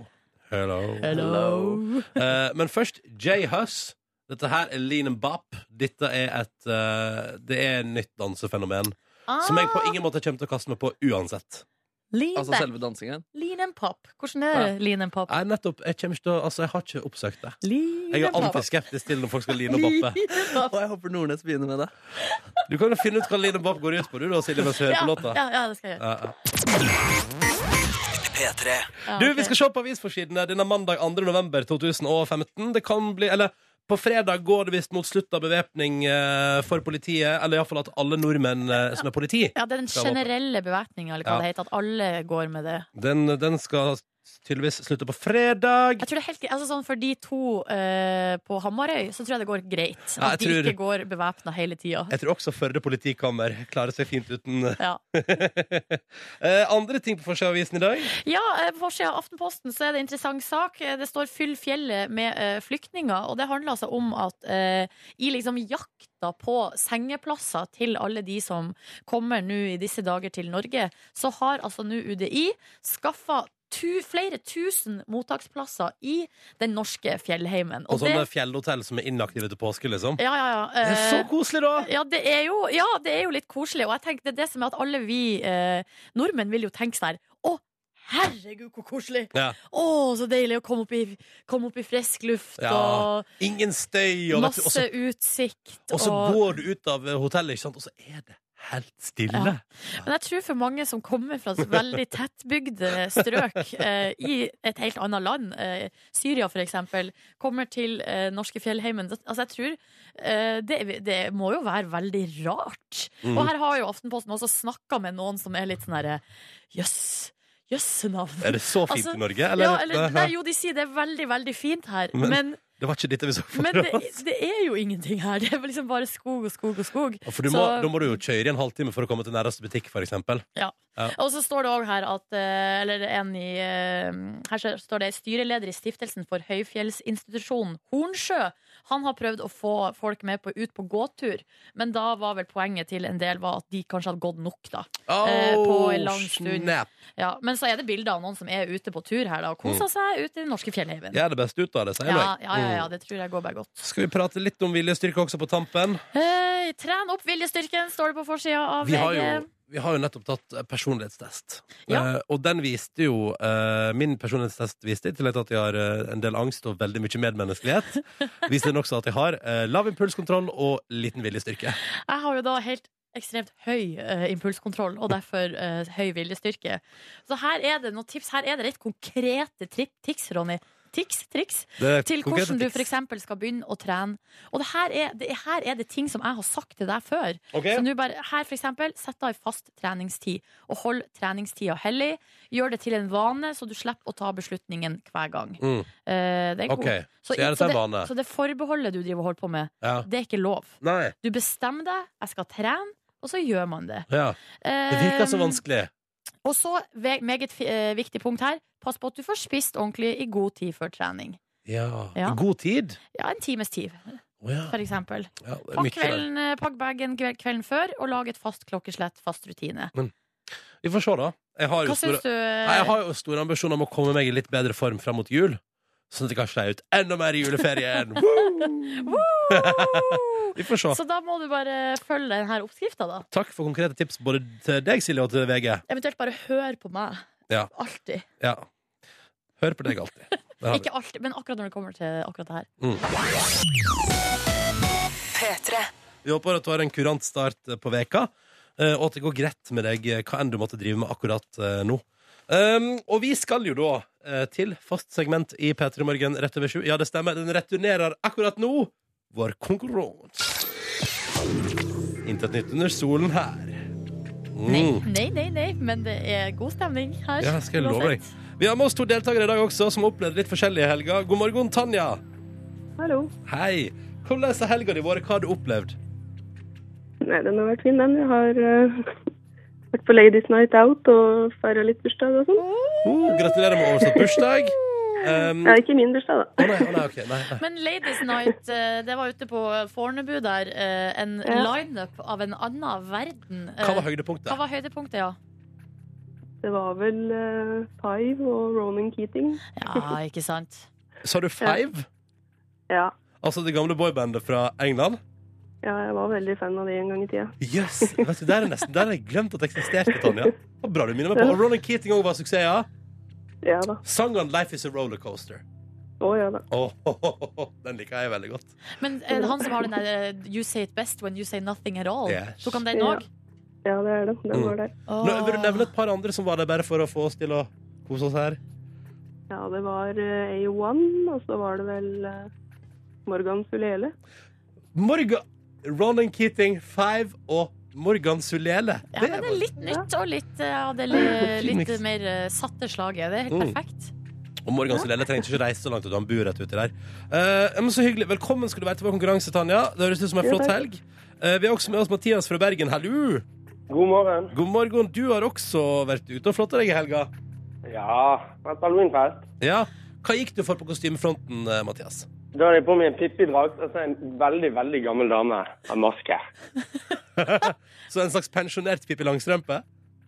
Speaker 2: Hello.
Speaker 3: Hello.
Speaker 2: Eh, men først Jay Huss. Dette her er Lean and Bop. Dette er et eh, Det er et nytt dansefenomen.
Speaker 4: Ah,
Speaker 2: Som jeg på ingen måte kommer til å kaste meg på uansett.
Speaker 4: lean,
Speaker 3: Altså
Speaker 4: back.
Speaker 3: selve dansingen?
Speaker 4: lean and pop. Hvordan er
Speaker 3: Ja.
Speaker 4: lean and pop?
Speaker 2: Jeg, nettopp, jeg, kommer ikke til å, altså, jeg har ikke oppsøkt det.
Speaker 4: Lean
Speaker 2: Jeg er
Speaker 4: and pop.
Speaker 2: antiskeptisk til når folk skal line og boppe.
Speaker 3: Å, jeg håper Nordnes begynner med det.
Speaker 2: Du kan jo finne ut hva line og bopp går ut på, du da, Silje, mens vi hører
Speaker 4: Ja,
Speaker 2: på låta.
Speaker 4: ja, ja, det skal jeg gjøre.
Speaker 2: Ja, ja.
Speaker 4: Ja,
Speaker 2: Du,
Speaker 4: ok.
Speaker 2: vi skal se på avisforsidene denne mandag 2. november 2015. Det kan bli, eller på fredag går det visst mot slutt av bevæpning eh, for politiet, eller iallfall at alle nordmenn eh, som er politi,
Speaker 4: ja, det er den generelle bevæpninga, eller hva
Speaker 2: Ja.
Speaker 4: det heter. At alle går med det.
Speaker 2: den, den skal tydeligvis slutte på fredag.
Speaker 4: Jeg tror det er helt greit. Altså, sånn, for de to eh, på Hamarøy, så tror jeg det går greit.
Speaker 2: Ja,
Speaker 4: At
Speaker 2: jeg tror-
Speaker 4: de ikke går bevæpna hele tida.
Speaker 2: Jeg tror også Førde politikammer klarer seg fint uten
Speaker 4: Ja.
Speaker 2: Eh, Andre ting på forsida-avisen i dag.
Speaker 4: Ja, eh, På forsida av Aftenposten så er det en interessant sak. Eh, Det står 'Fyll fjellet med eh, flyktninger'. Og det handler altså om at eh, i liksom jakta på sengeplasser til alle de som kommer nå i disse dager til Norge, så har altså nå UDI skaffa tu, flere tusen mottaksplasser i den norske fjellheimen.
Speaker 2: Og sånne fjellhotell som er inaktive til påske, liksom.
Speaker 4: ja, ja, ja.
Speaker 2: Det er
Speaker 4: eh,
Speaker 2: så koselig, da!
Speaker 4: ja det, er jo, ja, det er jo litt koselig. Og jeg tenker det er det som er at alle vi eh, nordmenn vil jo tenke sånn her Å, herregud, hvor koselig!
Speaker 2: Ja.
Speaker 4: Å, så deilig å komme opp i, komme opp i frisk luft
Speaker 2: Ja, Ingen støy,
Speaker 4: og
Speaker 2: og, vet du, og
Speaker 4: masse
Speaker 2: så-
Speaker 4: utsikt.
Speaker 2: og så
Speaker 4: og-
Speaker 2: går du ut av eh, hotellet, ikke sant, og så er det helt stille.
Speaker 4: Ja. Men jeg tror for mange som kommer fra et veldig tettbygde strøk eh, i et helt annet land, eh, Syria for eksempel, kommer til eh, norske fjellheimen Altså jeg tror eh, det, det må jo være veldig rart.
Speaker 2: Mhm.
Speaker 4: Og her har jo Aftenposten også snakka med noen som er litt sånn herre Jøss. Jøssenavn.
Speaker 2: Er det så fint
Speaker 4: Altså,
Speaker 2: i Norge? Eller?
Speaker 4: Ja, eller, nei, jo, de sier det er veldig, veldig fint her,
Speaker 2: Men-
Speaker 4: men,
Speaker 2: Det var ikke dette vi så for
Speaker 4: men det,
Speaker 2: oss.
Speaker 4: det er jo ingenting her. Det er liksom bare skog og skog og skog.
Speaker 2: For du må,
Speaker 4: så-
Speaker 2: Da må du jo kjøre i en halvtime for å komme til nærmeste butikk, for eksempel.
Speaker 4: Og så står det også her at eh, Eller en i eh, Her så står det styreleder i stiftelsen for høyfjellsinstitusjonen Hornsjø. Han har prøvd å få folk med på, ut på gåtur, men da var vel poenget til en del var at de kanskje hadde gått nok, da. Eh, på en lang stund.
Speaker 2: snap.
Speaker 4: Ja, men så er det bilder av noen som er ute på tur her da og koser seg ute i den norske fjellheimen.
Speaker 2: Gjør Mm. det beste ut av det, sier
Speaker 4: Ja,
Speaker 2: jeg.
Speaker 4: ja, ja, ja,
Speaker 2: Mm.
Speaker 4: det tror jeg går bare godt.
Speaker 2: Skal vi prate litt om viljestyrke også på tampen?
Speaker 4: Hei, tren opp viljestyrken, står det på forsida av
Speaker 2: Vi har jo,
Speaker 4: VG.
Speaker 2: vi har jo nettopp tatt eh, personlighetstest.
Speaker 4: Ja.
Speaker 2: Eh, og den viste jo eh, Min personlighetstest viste i tillegg til at jeg har eh, en del angst og veldig mye medmenneskelighet, viste den også at jeg har eh, lav impulskontroll og liten viljestyrke.
Speaker 4: Jeg har jo da helt ekstremt høy eh, impulskontroll, og derfor eh, høy viljestyrke. Så her er det noen tips. Her er det litt konkrete tri tips, Ronny. Tiks, triks,
Speaker 2: Det er
Speaker 4: til
Speaker 2: konkrete
Speaker 4: hvordan du
Speaker 2: tips.
Speaker 4: f.eks. skal begynne å trene. Og det her, er, det her er det ting som jeg har sagt til deg før.
Speaker 2: Ok.
Speaker 4: Så nå bare, her for eksempel, Sett av en fast treningstid, og hold treningstida hellig. Gjør det til en vane, så du slipper å ta beslutningen hver gang.
Speaker 2: Mm.
Speaker 4: Eh, det er
Speaker 2: OK,
Speaker 4: god.
Speaker 2: så gjør det til en vane.
Speaker 4: så det forbeholdet du driver og holder på med,
Speaker 2: Ja.
Speaker 4: det er ikke lov.
Speaker 2: Nei.
Speaker 4: Du bestemmer deg, jeg skal trene, og så gjør man det.
Speaker 2: Ja. Det virker så vanskelig.
Speaker 4: Eh, Og så, ve- meget fi- eh, viktig punkt her, pass på at du får spist ordentlig i god tid før trening.
Speaker 2: Ja.
Speaker 4: Ja.
Speaker 2: I god tid?
Speaker 4: Ja, en times tid,
Speaker 2: Å ja.
Speaker 4: for eksempel.
Speaker 2: ja det er
Speaker 4: Pakk
Speaker 2: mye der.
Speaker 4: kvelden, eh, pakk bagen kve- kvelden før, og lag et fast klokkeslett, fast rutine.
Speaker 2: Vi får se, da. Jeg har, jo
Speaker 4: Hva
Speaker 2: store,
Speaker 4: syns du? eh,
Speaker 2: Nei, jeg har jo store ambisjoner om å komme meg i litt bedre form fram mot jul. Sånn at jeg kan slå ut enda mer i juleferien. Woo!
Speaker 4: Woo!
Speaker 2: Vi får se.
Speaker 4: Så da må du bare følge denne oppskrifta, da.
Speaker 2: Takk for konkrete tips både til deg, Silje, og til VG.
Speaker 4: Eventuelt bare hør på meg.
Speaker 2: Ja.
Speaker 4: Alltid.
Speaker 2: Ja. Hør på deg alltid. Der har vi.
Speaker 4: Ikke alltid, men akkurat når det kommer til akkurat det her.
Speaker 2: Vi håper at du har en kurant start eh, på veka, eh, og at det går greit med deg eh, hva enn du måtte drive med akkurat eh, nå. Um, og vi skal jo da eh, til fast segment i P3 Morgen rett over sju. Ja, det stemmer. Den returnerer akkurat nå. Vår konkurranse. Intet nytt under solen her. Mm.
Speaker 4: Nei, nei, nei, nei, men det er god stemning her.
Speaker 2: Ja, skal jeg love deg.
Speaker 4: uansett.
Speaker 2: Vi har med oss to deltakere i dag også, som opplevde litt forskjellig i helga. God morgen, Tanja.
Speaker 1: Hallo.
Speaker 2: Hei. Hvordan har helga di vært? Hva har du opplevd?
Speaker 1: Nei, den har vært fin, den. Jeg har eh, vært på Ladies Night Out og feira litt bursdag og sånn.
Speaker 2: Oh, gratulerer med overstått bursdag. Um,
Speaker 1: Ja, ikke min bursdag,
Speaker 2: å
Speaker 1: da.
Speaker 2: nei, å nei, ok, nei, nei.
Speaker 4: Men Ladies Night, eh, det var ute på Fornebu der. eh, En
Speaker 1: Ja.
Speaker 4: lineup av en annen verden. Eh,
Speaker 2: Hva var
Speaker 4: Hva
Speaker 2: høydepunktet?
Speaker 4: var høydepunktet, ja?
Speaker 1: Det var vel uh, Five og Ronan Keating.
Speaker 4: Ja, ikke sant?
Speaker 2: Sa du Five?
Speaker 1: Ja.
Speaker 2: Altså det gamle boybandet fra England?
Speaker 1: ja, jeg var veldig fan av de en gang i tida.
Speaker 2: Jøss! Yes, der er nesten Der har jeg glemt at det eksisterte, Tanja. Hva bra du minner meg på. Og Ronan Keating òg var suksess, ja.
Speaker 1: Ja da.
Speaker 2: Sangen 'Life Is A Rollercoaster'.
Speaker 1: Å ja da.
Speaker 2: Åh, Den liker jeg veldig godt.
Speaker 4: Men eh, han som har den der eh, You say it best when you say nothing at all.
Speaker 2: Yes.
Speaker 4: Tok han den
Speaker 1: Ja.
Speaker 4: òg?
Speaker 1: Ja, det er det. Den
Speaker 2: Mm.
Speaker 1: var der.
Speaker 2: Nå, vil du nevne et par andre som var der bare for å få oss til å kose oss her?
Speaker 1: Ja, det var eh, A1, og så var det vel eh, Morgan Sulele.
Speaker 2: Morgan Ronan Keating, Five og Morgan Sulele.
Speaker 4: Ja, men det er litt nytt og litt eh, av det li-
Speaker 2: Fin
Speaker 4: litt
Speaker 2: mix.
Speaker 4: mer eh, satte slaget. Det er helt
Speaker 2: Mm.
Speaker 4: perfekt.
Speaker 2: Og Morgan Sulele trengte ikke reise så langt ut, han bor rett uti der. Eh, ja, men så hyggelig. Velkommen skal du være til vår konkurranse, Tanja. Det høres ut som en
Speaker 1: Jo,
Speaker 2: flott
Speaker 1: takk.
Speaker 2: helg. Eh, vi har også med oss Mathias fra Bergen. Hallo!
Speaker 5: God morgen.
Speaker 2: God morgen. Du har også vært ute og flotta deg i helga.
Speaker 5: Ja, vært halloweenfest.
Speaker 2: Ja. Hva gikk du for på kostymefronten, eh, Mathias?
Speaker 5: Da hadde jeg på meg en Pippi-drakt og så en veldig, veldig gammel dame av maske.
Speaker 2: Så en slags pensjonert Pippi Langstrømpe?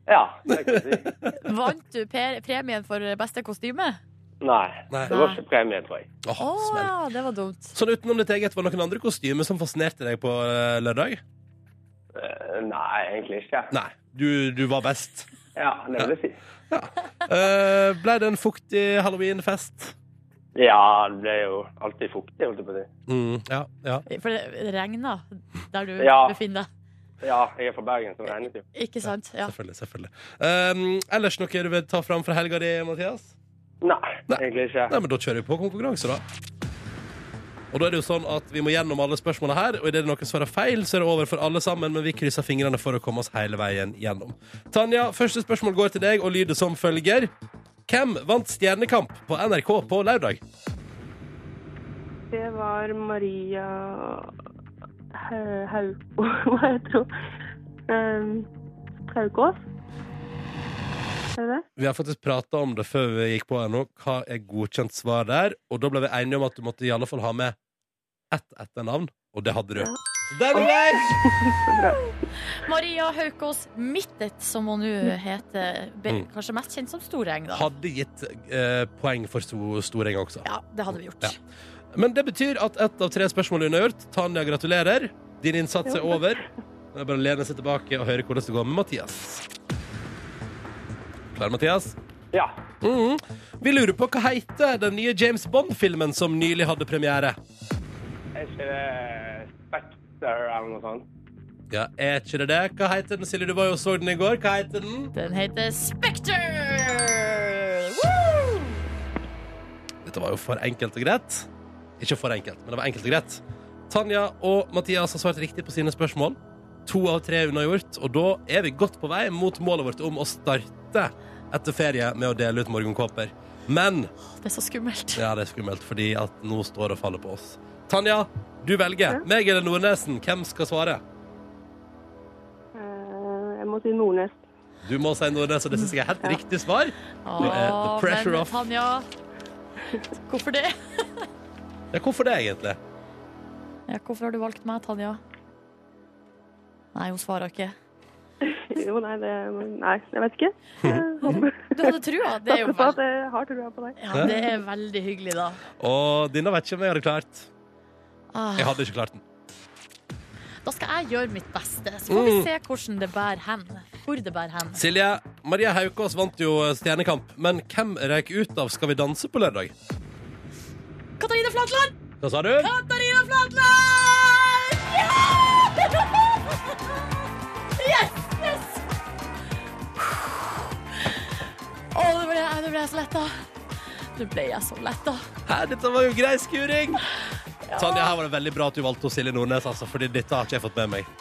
Speaker 5: Ja, det kan jeg si.
Speaker 4: Vant du per premien for beste kostyme?
Speaker 5: Nei,
Speaker 2: Nei.
Speaker 5: det var ikke premie, tror jeg.
Speaker 2: Åh,
Speaker 4: Å
Speaker 2: smell.
Speaker 4: ja, det var dumt.
Speaker 2: Sånn utenom ditt eget, var det noen andre kostymer som fascinerte deg på eh, lørdag?
Speaker 5: Eh, Nei, egentlig ikke.
Speaker 2: Nei. Du, du var best.
Speaker 5: Ja, det vil jeg si.
Speaker 2: Eh, ble det en fuktig halloweenfest?
Speaker 5: Ja, det ble jo alltid fuktig, holdt jeg på å si.
Speaker 2: Mm, ja, ja.
Speaker 4: For det regna der du
Speaker 5: Ja.
Speaker 4: befinner deg.
Speaker 5: Ja, jeg er fra Bergen, så det regnet jo.
Speaker 4: Ikke sant? Ja.
Speaker 2: Selvfølgelig. selvfølgelig. Um, ellers noe du vil ta fram fra helga di, Mathias?
Speaker 5: Nei,
Speaker 2: Nei.
Speaker 5: egentlig
Speaker 2: Nei,
Speaker 5: ikke.
Speaker 2: men Da kjører vi på konkurranse, da. Og da er det jo sånn at Vi må gjennom alle spørsmålene her, og idet noen svarer feil, så er det over for alle sammen, men vi krysser fingrene for å komme oss hele veien gjennom. Tanja, første spørsmål går til deg og lyder som følger. Hvem vant Stjernekamp på NRK på lørdag?
Speaker 1: Det var Maria Hau- Hau... Hva heter hun? Um, Haukås? Er det det?
Speaker 2: Vi har faktisk prata om det før vi gikk på ennå. Hva er godkjent svar der? Og da ble vi enige om at du måtte i alle fall ha med ett etternavn, og det hadde du. Så der er der!
Speaker 4: Maria Haukås Mittet, som hun nå heter. Be
Speaker 2: Mm.
Speaker 4: kanskje mest kjent som Storeng, da.
Speaker 2: hadde gitt eh, poeng for so Storeng også.
Speaker 4: Ja, det hadde vi gjort.
Speaker 2: Ja. Men det betyr at ett av tre spørsmål er unnagjort. Tanja, gratulerer. Din innsats er over. Det er bare å lene seg tilbake og høre hvordan det går med Mathias. Klar, Mathias?
Speaker 5: Ja.
Speaker 2: Mhm. Vi lurer på hva heter den nye James Bond-filmen som nylig hadde premiere?
Speaker 5: Er ikke det Spectre eller noe sånt?
Speaker 2: Ja, er ikke det det? Hva heter den, Silje? Du var jo og så den i går. Hva heter den?
Speaker 4: Den heter Spekter! Woo!
Speaker 2: Dette var jo for enkelt og greit. Ikke for enkelt, men det var enkelt og greit. Tanja og Mathias har svart riktig på sine spørsmål. To av tre er unnagjort, og da er vi godt på vei mot målet vårt om å starte etter ferie med å dele ut morgenkåper. Men
Speaker 4: Det er så skummelt.
Speaker 2: ja, det er skummelt, fordi at nå står det og faller på oss. Tanja, du velger. Meg eller Nordnesen, hvem skal svare?
Speaker 1: Eh, jeg må si Nordnes.
Speaker 2: Du må si Nordnes, og det syns jeg er helt riktig svar. Nå er the pressure
Speaker 4: men
Speaker 2: off.
Speaker 4: Tanja, hvorfor det?
Speaker 2: Ja, hvorfor det, egentlig?
Speaker 4: Ja, hvorfor har du valgt meg, Tanja? Nei, hun svarer ikke.
Speaker 1: Jo, nei, det Nei, jeg vet ikke. Jeg håper
Speaker 4: Du hadde trua. Det er jo
Speaker 1: satser på at
Speaker 4: veld...
Speaker 1: jeg har trua på deg.
Speaker 4: ja, det er veldig hyggelig, da.
Speaker 2: Og denne vet ikke om jeg hadde klart.
Speaker 4: Ah,
Speaker 2: Jeg hadde ikke klart den.
Speaker 4: da skal jeg gjøre mitt beste. Så får vi
Speaker 2: Mm.
Speaker 4: se hvordan det bærer hen. Hvor det bærer hen.
Speaker 2: Silje, Maria Haukås vant jo Stjernekamp, men hvem røyk ut av Skal vi danse på lørdag?
Speaker 4: Katarina Flatland!
Speaker 2: Hva sa du?
Speaker 4: Katarina Flatland! Ja! Yes! Yes! Å, nå ble jeg, nå ble jeg så letta. Nå ble jeg så letta.
Speaker 2: Hæ, dette var jo grei skuring! Tanja, her var det veldig bra at du valgte hos Silje Nordnes, altså, fordi dette har ikke jeg fått med meg.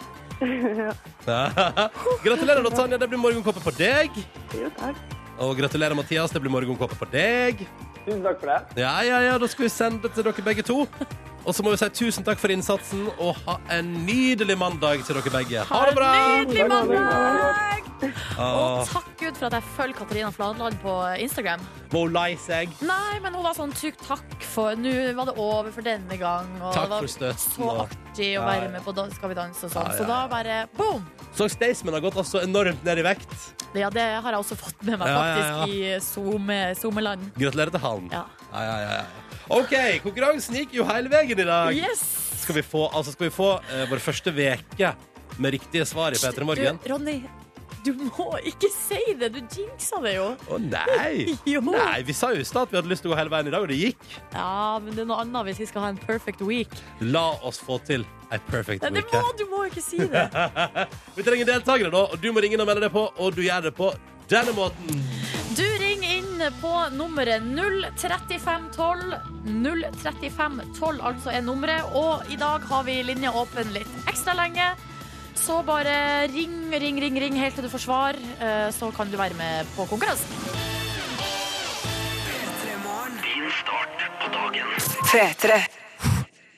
Speaker 2: gratulerer, da, Tanja. Det blir morgenkåpe på deg.
Speaker 1: Jo, takk.
Speaker 2: Og gratulerer, Mathias. Det blir morgenkåpe på deg.
Speaker 5: Tusen takk for det.
Speaker 2: Ja, ja, ja, da skal vi sende det til dere begge to. Og så må vi si tusen takk for innsatsen, og ha en nydelig mandag til dere begge. Ha det bra!
Speaker 4: En nydelig mandag! Og
Speaker 2: Åh,
Speaker 4: takk Gud for at jeg følger Katarina Fladland på Instagram.
Speaker 2: Må hun lei seg?
Speaker 4: Nei, men hun var sånn trykk takk for Nå var det over for denne gang. Og
Speaker 2: Takk
Speaker 4: det var
Speaker 2: for støtten,
Speaker 4: Så
Speaker 2: og-
Speaker 4: artig
Speaker 2: Ja, ja.
Speaker 4: å være med på Dan- Skal vi danse og sånn.
Speaker 2: Ja, ja,
Speaker 4: Så da bare boom!
Speaker 2: Så Staysman har gått altså enormt ned i vekt.
Speaker 4: Ja, det har jeg også fått med meg,
Speaker 2: Ja, ja,
Speaker 4: faktisk, i Zoom- Zoom-land.
Speaker 2: Gratulerer til han.
Speaker 4: Ja.
Speaker 2: Ja, ja, ja, ja. OK, konkurransen gikk jo hele veien i dag.
Speaker 4: Yes!
Speaker 2: Skal vi få, altså skal vi få eh, vår første veke med riktige svar i P3 Morgen?
Speaker 4: Du, Ronny, du må ikke si det! Du jinxa det jo.
Speaker 2: Å nei!
Speaker 4: Jo.
Speaker 2: Nei, Vi sa jo i stad at vi hadde lyst til å gå hele veien i dag, og det gikk.
Speaker 4: Ja, men det er noe annet hvis vi skal ha en perfect week.
Speaker 2: La oss få til ei perfect
Speaker 4: Nei, det
Speaker 2: week.
Speaker 4: må, du må ikke si det.
Speaker 2: Vi trenger deltakere, da, og du må ringe inn og melde deg på, og du gjør det på denne måten.
Speaker 4: Du ringer inn på nummeret 03512. 03512 altså er nummeret, og i dag har vi linja åpen litt ekstra lenge. Så bare ring, ring, ring, ring helt til du får svar, eh, så kan du være med på konkurransen.
Speaker 6: P3.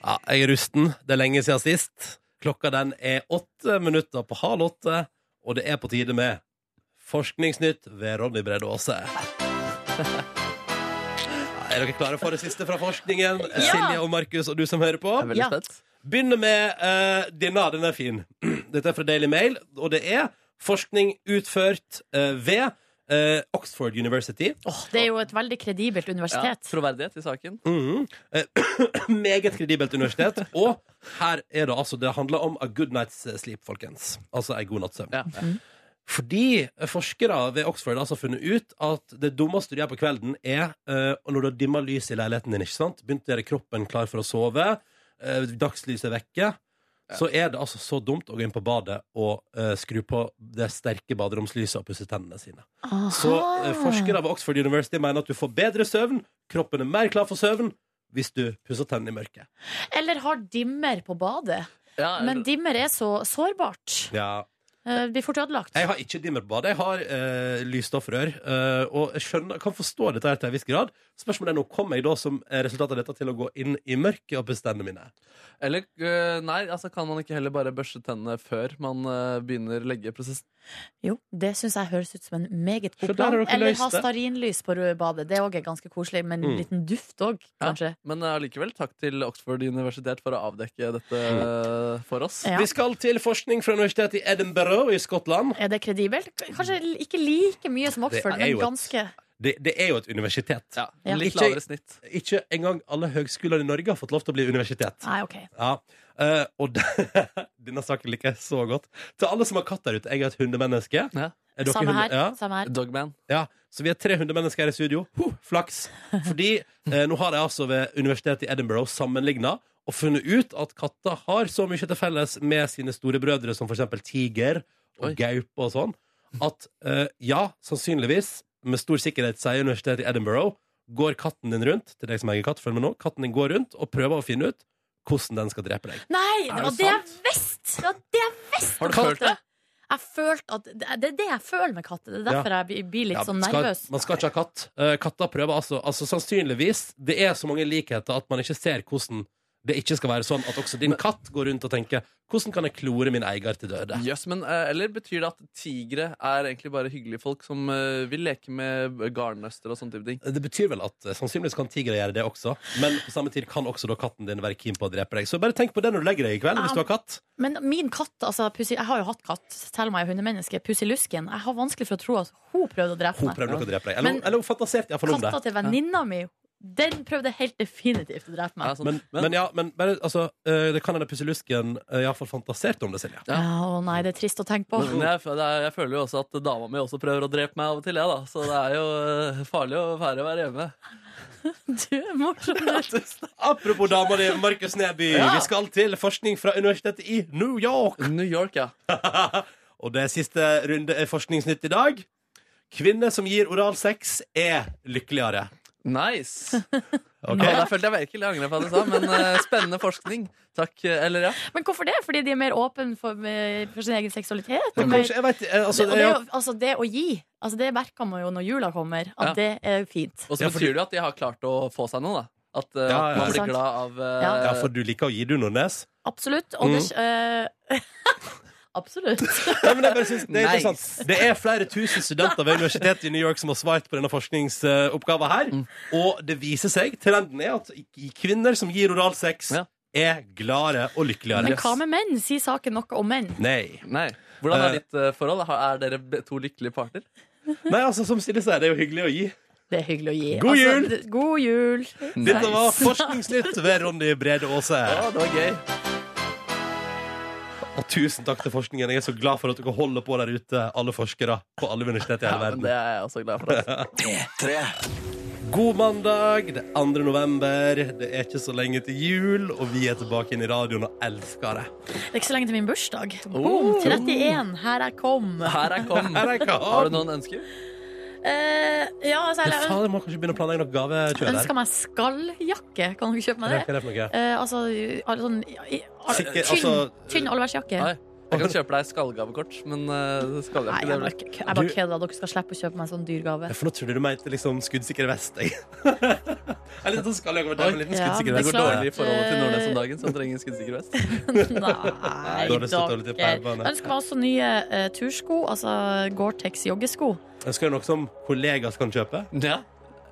Speaker 2: Ja, jeg er rusten. Det er lenge siden sist. Klokka den er åtte minutter på halv åtte, og det er på tide med Forskningsnytt ved Ronny Brede Aase. Ja, Er dere klare for det siste fra forskningen?
Speaker 4: Ja!
Speaker 2: Silje og Markus og du som hører på.
Speaker 3: Jeg er veldig
Speaker 4: Ja.
Speaker 3: spent.
Speaker 2: Begynner med eh, denne. Den er fin. Dette er fra Daily Mail, og det er forskning utført eh, ved eh, Oxford University.
Speaker 4: Det er jo et veldig kredibelt
Speaker 3: Ja,
Speaker 4: universitet.
Speaker 3: troverdighet i saken.
Speaker 4: Mm.
Speaker 2: Mhm. Eh, meget kredibelt universitet. Og her er det altså Det handler om a good night's sleep, folkens. Altså ei god natts søvn.
Speaker 3: Ja.
Speaker 4: Mm.
Speaker 2: Fordi eh, forskere ved Oxford har altså funnet ut at det dummeste du gjør på kvelden, er eh, når du har dimma lyset i leiligheten din, ikke sant? begynt å gjøre kroppen klar for å sove, eh, dagslyset er vekke, så er det altså så dumt å gå inn på badet og eh, skru på det sterke baderomslyset og pusse tennene sine. Så eh, forskere ved Oxford University mener at du får bedre søvn, kroppen er mer klar for søvn, hvis du pusser tennene i mørket.
Speaker 4: Eller har dimmer på badet.
Speaker 3: Ja,
Speaker 4: Men dimmer er så sårbart.
Speaker 2: Ja.
Speaker 4: Eh, Det blir fort ødelagt.
Speaker 2: Jeg har ikke dimmer på badet. Jeg har eh, lysstoffrør. eh, og jeg skjønner, kan forstå dette her til en viss grad. Spørsmålet er nå kommer jeg da som eh, resultat av dette til å gå inn i mørket og pusse tennene mine.
Speaker 3: Eller øh, nei, altså kan man ikke heller bare børste tennene før man øh, begynner leggeprosessen?
Speaker 4: Jo, det syns jeg høres ut som en meget
Speaker 2: Se,
Speaker 4: god
Speaker 2: der har
Speaker 4: plan.
Speaker 2: dere
Speaker 4: Eller
Speaker 2: løst
Speaker 4: ha
Speaker 2: det.
Speaker 4: stearinlys på røde badet. Det òg er ganske koselig, med en
Speaker 2: Mm.
Speaker 4: liten duft òg, kanskje.
Speaker 3: Men øh, allikevel, takk til Oxford Universitet for å avdekke dette øh, for oss.
Speaker 4: Ja.
Speaker 2: Vi skal til forskning fra Universitetet i Edinburgh i Skottland.
Speaker 4: Er det kredibelt? Kanskje ikke like mye
Speaker 2: Mm.
Speaker 4: som
Speaker 2: Det
Speaker 4: Oxford,
Speaker 2: er
Speaker 4: men
Speaker 2: jo et-
Speaker 4: ganske.
Speaker 2: Det, det er jo et universitet.
Speaker 3: Ja,
Speaker 4: Ja.
Speaker 3: Litt
Speaker 2: Ikke-
Speaker 3: lavere snitt.
Speaker 2: Ikke engang alle høgskolene i Norge har fått lov til å bli universitet.
Speaker 4: Nei, OK.
Speaker 2: Ja, eh, og denne saken liker jeg så godt. Til alle som har katt der ute, jeg er et hundemenneske.
Speaker 3: Ja.
Speaker 2: Er dere
Speaker 4: Samme
Speaker 2: hunde-
Speaker 4: her.
Speaker 2: Ja,
Speaker 4: Samme her.
Speaker 3: Dogman.
Speaker 2: ja. Så vi er tre hundemennesker her i studio. Huh, flaks! Fordi eh, nå har de altså ved Universitetet i Edinburgh sammenligna og funnet ut at katter har så mye til felles med sine storebrødre som for eksempel tiger
Speaker 3: Oi.
Speaker 2: og gaupe og sånn, at eh, ja, sannsynligvis, med stor sikkerhet, sier Universitetet i Edinburgh, går katten din rundt, til deg som eier katt, følg med nå, katten din går rundt og prøver å finne ut hvordan den skal drepe deg.
Speaker 4: Nei, det
Speaker 3: Er
Speaker 4: var
Speaker 3: det
Speaker 4: det jeg visste! Det var det jeg visste!
Speaker 3: Har du
Speaker 4: om
Speaker 3: følt
Speaker 4: katter. Jeg følte at Det det er det jeg føler med katter. Det er
Speaker 2: Ja.
Speaker 4: derfor jeg blir- blir litt
Speaker 2: Ja,
Speaker 4: sånn
Speaker 2: man skal-
Speaker 4: nervøs.
Speaker 2: Man skal ikke ha katt. Eh, Katter prøver altså, altså Sannsynligvis det er så mange likheter at man ikke ser hvordan det ikke skal være sånn at også din katt går rundt og tenker 'Hvordan kan jeg klore min eier til døde?'
Speaker 3: Jøss, men øh, Eller betyr det at tigre er egentlig bare hyggelige folk som øh, vil leke med garnnøster og sånne type ting?
Speaker 2: Det betyr vel at eh, sannsynligvis kan tigre gjøre det også, men på samme tid kan også da katten din være keen på å drepe deg. Så bare tenk på det når du legger deg i kveld, hvis du har katt.
Speaker 4: Men min katt, altså Pussy, jeg har jo hatt katt, selv om jeg er hundemenneske, Pussy Lusken, jeg har vanskelig for å tro at hun prøvde å drepe
Speaker 2: Hun
Speaker 4: meg.
Speaker 2: prøver nok å drepe deg. Eller,
Speaker 4: Men-
Speaker 2: hun- eller hun fantaserte iallfall om det.
Speaker 4: Katta til venninna mi, den prøvde helt definitivt å drepe
Speaker 3: Ja,
Speaker 4: meg.
Speaker 3: sånn.
Speaker 2: Men, men ja, men bare, altså, eh, det kan hende eh, Pusselusken iallfall fantaserte om det, Silje.
Speaker 4: Ja, å nei, det er trist å tenke på.
Speaker 3: Men jeg, det er- jeg føler jo også at dama mi også prøver å drepe meg av og til, jeg, da. Så det er jo øh, farlig å være, være hjemme.
Speaker 4: Du er morsom. du.
Speaker 2: Apropos dama di, Markus Neby. Vi skal til forskning fra Universitetet i New York.
Speaker 3: New York, ja.
Speaker 2: Og det er siste eh, runde er forskningsnytt i dag. Kvinner som gir oralsex, er lykkeligere.
Speaker 3: Nice!
Speaker 2: Ok.
Speaker 3: Ja, der følte jeg virkelig jeg angret på det jeg sa, men eh, spennende forskning. Takk. eh, Eller ja.
Speaker 4: Men hvorfor det? Fordi de er mer åpne for, med- for sin egen seksualitet?
Speaker 2: Men
Speaker 4: og mer-
Speaker 2: kanskje, jeg vet, eh, altså,
Speaker 4: og det, er jo- altså, det å gi, altså, det merker man jo når jula kommer, at
Speaker 3: Ja.
Speaker 4: det er fint.
Speaker 3: Og så
Speaker 2: Ja,
Speaker 3: betyr
Speaker 2: fordi-
Speaker 3: det jo at de har klart å få seg noe, da. At eh,
Speaker 2: Ja, ja.
Speaker 3: man
Speaker 4: Sant.
Speaker 3: blir glad av eh,
Speaker 4: Ja.
Speaker 2: ja, for du liker å gi, du, Nordnes.
Speaker 4: Absolutt. Og det, eh, absolutt.
Speaker 2: Nei, men jeg bare synes, det, er
Speaker 3: Nice.
Speaker 2: interessant. det er flere tusen studenter ved universitetet i New York som har svart på denne forskningsoppgaven her.
Speaker 4: Mm.
Speaker 2: Og det viser seg, trenden er at i- kvinner som gir oralsex,
Speaker 3: Ja.
Speaker 2: er gladere og
Speaker 4: Men
Speaker 2: lykkeligere.
Speaker 4: hva med menn? Sier saken noe om menn?
Speaker 2: Nei.
Speaker 3: Nei. Hvordan
Speaker 2: Eh.
Speaker 3: er ditt eh, forhold? Har- Er dere be- to lykkelige parter?
Speaker 2: Nei, altså, som Silje sier, det er jo hyggelig å gi.
Speaker 4: Det er hyggelig å gi.
Speaker 2: God jul!
Speaker 4: Altså, d- god jul.
Speaker 2: Dette var Forskningsnytt ved Ronny Brede Aase.
Speaker 3: Ja, det var gøy.
Speaker 2: Og tusen takk til forskningen. Jeg er så glad for at dere holder på der ute, alle forskere på alle universiteter i
Speaker 3: Ja,
Speaker 2: hele
Speaker 3: men
Speaker 2: verden.
Speaker 3: det er jeg også glad for. Altså.
Speaker 2: God mandag, det er 2. november. Det er ikke så lenge til jul, og vi er tilbake inn i radioen og elsker det.
Speaker 4: Det er ikke så lenge til min bursdag. Boom!
Speaker 3: Oh.
Speaker 4: 31. Her jeg kom.
Speaker 3: Her er kom.
Speaker 2: Her er kom.
Speaker 3: Har du noen ønsker?
Speaker 4: Eh, ja, altså,
Speaker 2: Ja,
Speaker 4: jeg
Speaker 2: faen, jeg må kanskje begynne å planlegge noe gavekjør der.
Speaker 4: ønsker meg skalljakke. Kan dere kjøpe
Speaker 2: Hva
Speaker 4: meg
Speaker 2: er
Speaker 4: det?
Speaker 2: det for noe?
Speaker 4: Eh, altså al- sånn i- al-
Speaker 2: Sikker-
Speaker 4: Tynn,
Speaker 2: altså-
Speaker 4: tynn allværsjakke.
Speaker 3: Nei. Jeg kan kjøpe deg skallgavekort, men uh,
Speaker 4: Nei,
Speaker 3: skalljakke
Speaker 4: jeg
Speaker 3: det
Speaker 4: bare
Speaker 3: blir
Speaker 4: kø- jeg bare
Speaker 2: Du-
Speaker 4: kødder. Dere skal slippe å kjøpe meg en sånn dyr gave.
Speaker 2: Ja, For nå trodde du mente liksom skuddsikker vest. jeg. En liten skalljakke med en liten
Speaker 4: Ja,
Speaker 2: skuddsikker
Speaker 4: men
Speaker 2: vest.
Speaker 3: det går
Speaker 4: klart.
Speaker 2: da.
Speaker 3: dårlig i forholdet til Nordnes om dagen, som trenger en skuddsikker vest.
Speaker 4: Nei,
Speaker 2: Da er det så dårlig til
Speaker 4: dere.
Speaker 2: pærbane.
Speaker 4: Ønsker meg også nye eh, tursko, altså Gore-Tex joggesko.
Speaker 2: Ønsker du noe som kollegaer kan kjøpe?
Speaker 3: Ja.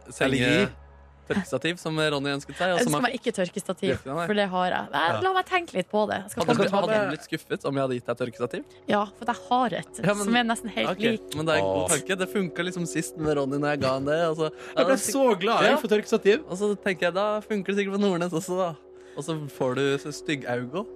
Speaker 2: Eller
Speaker 3: Senge tørkestativ, som Ronny ønsket
Speaker 2: Altså,
Speaker 3: seg. Og som
Speaker 4: Ønsker
Speaker 3: han-
Speaker 4: meg ikke tørkestativ,
Speaker 3: Virkelig, nei.
Speaker 4: for det har jeg. Nei, La meg tenke litt på det. Jeg skal
Speaker 3: hadde
Speaker 4: tenke
Speaker 3: du
Speaker 4: på
Speaker 3: hadde
Speaker 4: det.
Speaker 3: du blitt skuffet om jeg hadde gitt deg tørkestativ?
Speaker 4: Ja, for jeg har et
Speaker 3: Ja, men-
Speaker 4: som er nesten helt
Speaker 3: Ok,
Speaker 4: lik.
Speaker 3: Men det er en god
Speaker 2: Åh.
Speaker 3: tanke. Det funka liksom sist med Ronny når jeg ga han det. Og så, ja,
Speaker 2: Jeg ble
Speaker 3: da fikk-
Speaker 2: så glad jeg
Speaker 3: Ja.
Speaker 2: for tørkestativ.
Speaker 3: og så tenker jeg da funker det sikkert på Nordnes også, da. Og så får du så stygg-augo.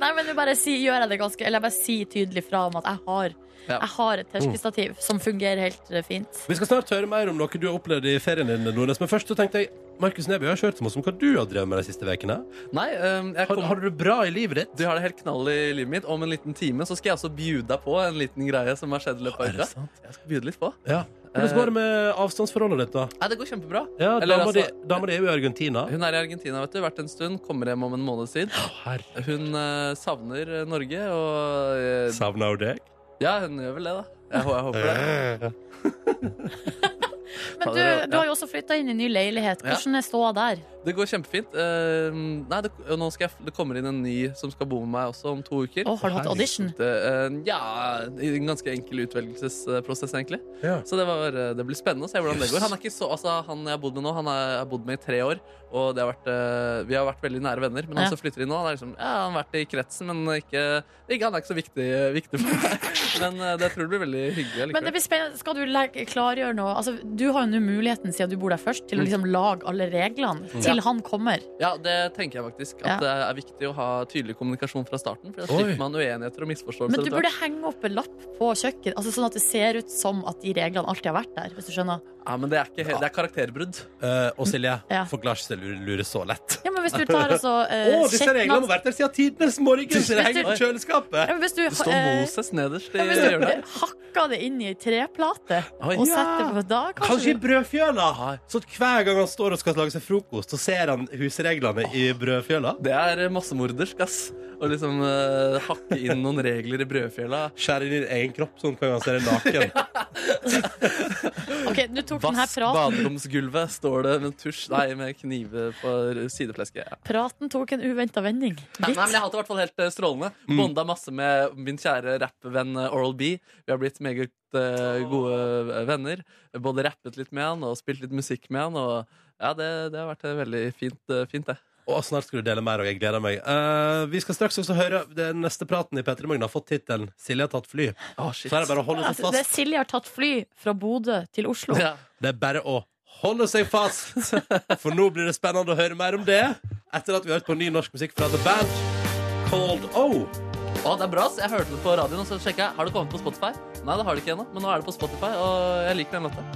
Speaker 4: Nei, men nå bare si, gjør jeg det ganske Eller jeg bare sier tydelig fra om at jeg har,
Speaker 3: Ja.
Speaker 4: jeg har et tørkestativ som fungerer helt eh, fint.
Speaker 2: Vi skal snart høre mer om noe du har opplevd i ferien din, Nordnes. Men først så tenkte jeg, Markus Neby, jeg har ikke hørt så mye om hva du har drevet med de siste ukene.
Speaker 3: Nei, um, jeg
Speaker 2: Har,
Speaker 3: kom,
Speaker 2: har du det bra i livet ditt?
Speaker 3: du har det helt knall i livet mitt. Om en liten time så skal jeg også bjude deg på en liten greie som har skjedd i løpet av
Speaker 2: Er det
Speaker 3: uka.
Speaker 2: sant?
Speaker 3: Jeg skal bjude litt på.
Speaker 2: Ja. Hvordan går det med avstandsforholdet ditt, da?
Speaker 3: Nei, det går kjempebra.
Speaker 2: Eh. Ja,
Speaker 3: Eller
Speaker 2: dama di-
Speaker 3: altså-
Speaker 2: Dama di er jo i Argentina.
Speaker 3: Hun er i Argentina vet du, hvert en stund, kommer hjem om en måneds tid.
Speaker 2: Herre.
Speaker 3: Hun eh, savner eh, Norge, og eh,
Speaker 2: Savner hun deg?
Speaker 3: Ja, hun gjør vel det, da. Jeg, hå- jeg håper det.
Speaker 4: Men du,
Speaker 3: Fader,
Speaker 4: du har jo også flytta inn i ny leilighet.
Speaker 3: Ja.
Speaker 4: Hvordan er ståa der?
Speaker 3: Det går kjempefint. Eh, nei, det, og nå skal jeg, f- det kommer inn en ny som skal bo med meg også om to uker.
Speaker 4: Å, har du hatt audition?
Speaker 3: Det, eh, ja, i en ganske enkel utvelgelsesprosess, egentlig.
Speaker 2: Ja.
Speaker 3: Så det, var, eh, det blir spennende å se hvordan
Speaker 2: Yes.
Speaker 3: det går. Han er ikke så, altså, han jeg har bodd med nå, han er, jeg har bodd med i tre år, og det har vært, eh, vi har vært veldig nære venner. Men han
Speaker 4: Ja.
Speaker 3: som flytter inn nå, han, er liksom, ja, han har vært i kretsen, men ikke, ikke, han er ikke så viktig, viktig for meg. Men eh, det tror jeg blir veldig hyggelig.
Speaker 4: Men det
Speaker 3: allikevel.
Speaker 4: blir spennende. Skal du legge, klargjøre noe? Altså, du har jo nå muligheten, siden du bor der først, til å liksom lage alle reglene til han kommer.
Speaker 3: Ja, det tenker jeg faktisk. At
Speaker 4: Ja.
Speaker 3: det er viktig å ha tydelig kommunikasjon fra starten. For da
Speaker 2: Oi.
Speaker 3: slipper man uenigheter og misforståelser.
Speaker 4: Men du
Speaker 3: etter
Speaker 4: burde
Speaker 3: hvert.
Speaker 4: henge opp en lapp på kjøkken, altså sånn at det ser ut som at de reglene alltid har vært der. Hvis du skjønner
Speaker 3: Ja, men det er, ikke, he- det er karakterbrudd.
Speaker 2: Eh, og Silje,
Speaker 4: Ja.
Speaker 2: forklar ikke til å lure så lett.
Speaker 4: Ja, men Hvis du tar altså
Speaker 2: Å,
Speaker 4: eh,
Speaker 2: disse
Speaker 4: Shetlands-
Speaker 2: reglene har vært der siden tidenes morgen! Så det henger på
Speaker 4: ja,
Speaker 2: kjøleskapet!
Speaker 4: men Hvis du,
Speaker 3: Det står
Speaker 4: eh,
Speaker 3: Moses nederst i
Speaker 4: ja, hvis du
Speaker 3: hjørnet.
Speaker 4: hakker det inn i ei treplate
Speaker 3: Oi.
Speaker 4: og setter på da,
Speaker 2: Kanskje
Speaker 4: kanskje
Speaker 2: i brødfjøla? Så at hver gang han står og skal lage seg frokost, så ser han husreglene i brødfjøla?
Speaker 3: Det er massemordersk, ass. Å liksom eh, hakke inn noen regler i brødfjella.
Speaker 2: Skjærer inn din egen kropp sånn hver gang han ser deg naken.
Speaker 4: Ok, nå tok denne
Speaker 3: Vask
Speaker 4: praten,
Speaker 3: baderomsgulvet, står det med tusj. Nei, med knive på sideflesket. Ja.
Speaker 4: praten tok en uventa vending.
Speaker 3: Nei, men
Speaker 4: Litt.
Speaker 3: Jeg har hatt det i hvert fall helt eh, strålende. Bonda masse med min kjære rappvenn eh, Oral B. Vi har blitt meget eh, gode eh, venner. Både rappet litt med han og spilt litt musikk med han. Og ja, det, det har vært eh, veldig fint, eh, fint det.
Speaker 2: Og snart skal du dele mer, og jeg gleder meg. Eh, vi skal straks også høre den neste praten i P3 Morgen har fått tittelen 'Silje har tatt fly'.
Speaker 3: Å, shit.
Speaker 2: Så er det bare å holde seg
Speaker 4: Altså, det er
Speaker 2: fast.
Speaker 4: Silje har tatt fly fra Bodø til Oslo.
Speaker 3: Ja.
Speaker 2: Det er bare å holde seg fast, for nå blir det spennende å høre mer om det etter at vi har hørt på ny norsk musikk fra The Band Called O.
Speaker 3: Å, det er bra. ass. Jeg hørte det på radioen, og så sjekka jeg. Har det kommet på Spotify? Nei, det har det ikke ennå, men nå er det på Spotify, og jeg liker den låta.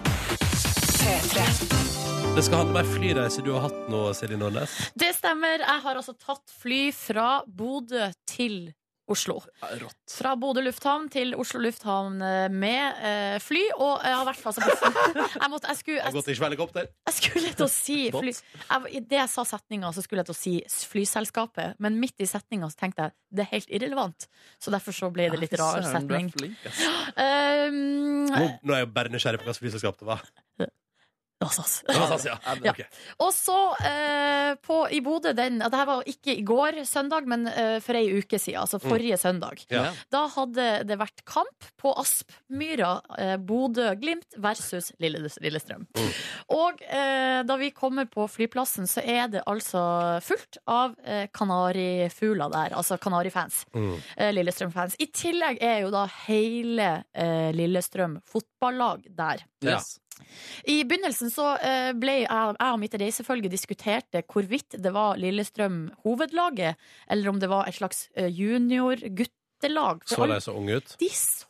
Speaker 2: Det skal handle om ei flyreise du har hatt nå, Silje Nordnes.
Speaker 4: Det stemmer. Jeg har altså tatt fly fra Bodø til Oslo.
Speaker 3: Rått.
Speaker 4: Fra Bodø lufthavn til Oslo lufthavn eh, med eh, fly. Og jeg har vært altså på jeg, måtte, jeg, skulle,
Speaker 2: Har
Speaker 4: jeg,
Speaker 2: gått ikke med helikopter.
Speaker 4: jeg skulle til å si fly, jeg, I det jeg sa setninga, så skulle jeg til å si s- flyselskapet. Men midt i setninga så tenkte jeg det er helt irrelevant. Så derfor så ble det litt rar
Speaker 3: Søren, du er
Speaker 4: setning.
Speaker 3: flink, ass.
Speaker 4: Um,
Speaker 2: Nå, nå er jeg bare nysgjerrig på hva slags flyselskap det var.
Speaker 4: Assas.
Speaker 2: Det var SAS, ja.
Speaker 3: Ja.
Speaker 2: Ok.
Speaker 4: Og så eh, på, i Bodø den ja, Det her var ikke i går søndag, men eh, for ei uke siden. Altså
Speaker 3: Mm.
Speaker 4: forrige søndag.
Speaker 2: Ja.
Speaker 4: Da hadde det vært kamp på Aspmyra. Eh, Bodø-Glimt versus Lille, Lillestrøm. Og eh, da vi kommer på flyplassen, så er det altså fullt av eh, kanarifugler der. Altså kanarifans.
Speaker 2: Mm.
Speaker 4: Eh, Lillestrøm-fans. I tillegg er jo da hele eh, Lillestrøm fotballag der.
Speaker 2: Ja.
Speaker 3: Yes.
Speaker 4: I begynnelsen så eh, ble jeg, jeg og mitt reisefølge diskuterte hvorvidt det var Lillestrøm hovedlaget, eller om det var et slags eh, junior-guttelag. For
Speaker 2: Så
Speaker 4: alle-
Speaker 2: de så unge ut?
Speaker 4: de så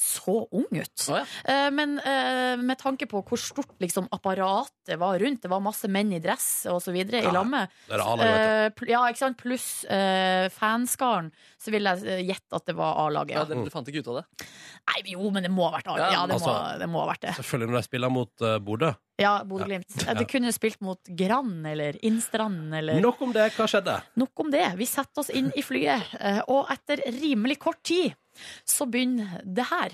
Speaker 4: så unge ut.
Speaker 3: Å,
Speaker 4: Eh, Men eh, med tanke på hvor stort liksom, apparatet var rundt, det var masse menn i dress og så videre
Speaker 2: Ja,
Speaker 4: i lammet,
Speaker 2: Det er alle, vet du.
Speaker 4: eh, pl- ja, ikke sant? pluss eh, fanskaren, så ville jeg eh, gjette at det var A-laget.
Speaker 3: Ja,
Speaker 4: Ja.
Speaker 3: dere, dere fant ikke ut av det?
Speaker 4: Nei, men jo, men det må ha vært A-laget.
Speaker 3: Ja,
Speaker 4: Ja, det,
Speaker 2: altså-
Speaker 4: må, det må ha vært det.
Speaker 2: Selvfølgelig når de spiller mot eh, Bodø.
Speaker 4: Ja, Bodø-Glimt.
Speaker 2: Ja.
Speaker 4: Det kunne spilt mot Grann eller Innstrand eller
Speaker 2: Nok om det. Hva skjedde?
Speaker 4: Nok om det. Vi setter oss inn i flyet, eh, og etter rimelig kort tid så begynner det her.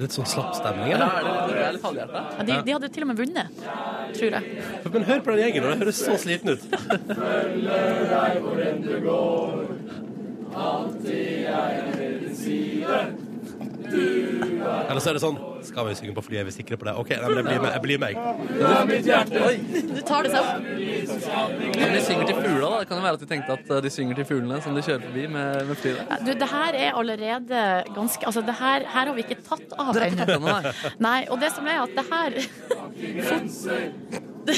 Speaker 2: Litt sånn slapp stemning,
Speaker 3: Ja,
Speaker 2: eller?
Speaker 3: er det, det er litt halvhjerta.
Speaker 4: Ja, de, de hadde til og med vunnet, tror jeg.
Speaker 2: Men hør på den gjengen, og de høres så sliten ut. Eller så er det sånn Skal vi synge på flyet? Er vi sikre på det? OK, nei, men jeg blir med. Jeg blir med. jeg.
Speaker 3: Oi,
Speaker 4: Du tar det selv.
Speaker 3: men de synger til fugla, da. Det kan jo være at de tenkte at eh, de synger til fuglene som de kjører forbi med, med flyet.
Speaker 4: Du, det her er allerede ganske Altså, det her, her har vi ikke tatt av
Speaker 3: Dere har ikke
Speaker 4: ennå.
Speaker 3: tatt den av, nei.
Speaker 4: Nei, og det som er at det her Det,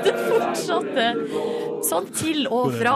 Speaker 4: det fortsatte sånn til og fra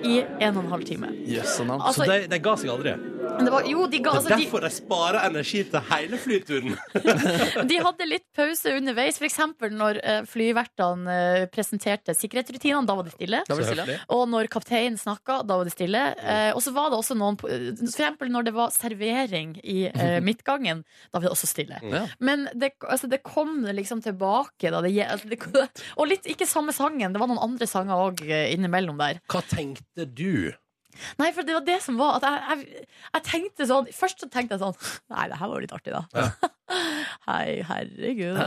Speaker 4: i en og en halv time.
Speaker 3: Jøss og navn.
Speaker 2: Så
Speaker 4: Altså,
Speaker 2: de, de ga seg aldri.
Speaker 4: det var, jo, de ga
Speaker 2: Det er
Speaker 4: altså, de,
Speaker 2: derfor de sparer energi til hele flyturen.
Speaker 4: De hadde litt pause underveis, f.eks. når eh, flyvertene eh, presenterte sikkerhetsrutinene. Da var det stille.
Speaker 3: Da blir det stille.
Speaker 4: Og når kapteinen snakka, da var det stille. Eh, og så var det også noen på- eh, For eksempel når det var servering i eh, midtgangen, da var det også stille.
Speaker 3: Ja.
Speaker 4: Men det, altså, det kom liksom tilbake, da. Det, gje- altså, det, og litt ikke samme sangen. Det var noen andre sanger òg innimellom der.
Speaker 2: Hva tenkte du?
Speaker 4: Nei, for det var det som var at jeg, jeg, jeg tenkte sånn Først så tenkte jeg sånn Nei, det her var jo litt artig, da. Hei, herregud.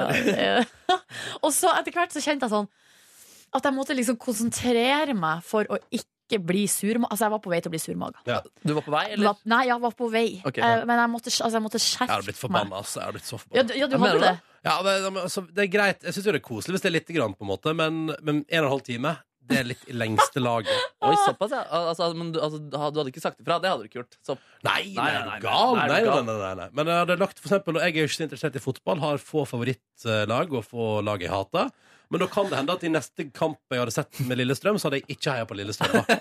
Speaker 4: da. og så etter hvert så kjente jeg sånn at jeg måtte liksom konsentrere meg for å ikke bli surmaga. Altså, jeg var på vei til å bli surmaga.
Speaker 3: Du var på vei, eller?
Speaker 4: Var- Nei, jeg var på vei,
Speaker 3: Ok.
Speaker 4: Eh, men jeg måtte, altså, jeg måtte
Speaker 2: Jeg hadde
Speaker 4: skjerpe
Speaker 2: blitt forbanna, altså. Jeg hadde blitt så forbanna.
Speaker 4: Ja, du, ja, du
Speaker 3: Jeg
Speaker 4: hadde
Speaker 3: mener
Speaker 4: det.
Speaker 3: det.
Speaker 2: Ja, men, men, altså, det er greit. Jeg syns jo det er koselig hvis det er lite grann, på en måte, men, men en og en halv time, det er litt i lengste laget.
Speaker 3: Oi, såpass, ja. Al- Altså, men du, altså, du hadde ikke sagt ifra. Det hadde du ikke gjort. Så,
Speaker 2: Nei, nei,
Speaker 3: Nei,
Speaker 2: er
Speaker 3: nei,
Speaker 2: du gal?
Speaker 3: nei,
Speaker 2: Nei,
Speaker 3: er du
Speaker 2: nei, nei,
Speaker 3: gal?
Speaker 2: nei, nei. Men jeg hadde lagt for eksempel, og jeg er jo ikke så interessert i fotball, har få favorittlag og få lag jeg hater. Men da kan det hende at i neste kamp jeg hadde sett med Lillestrøm, så hadde jeg ikke heia på Lillestrøm. Da.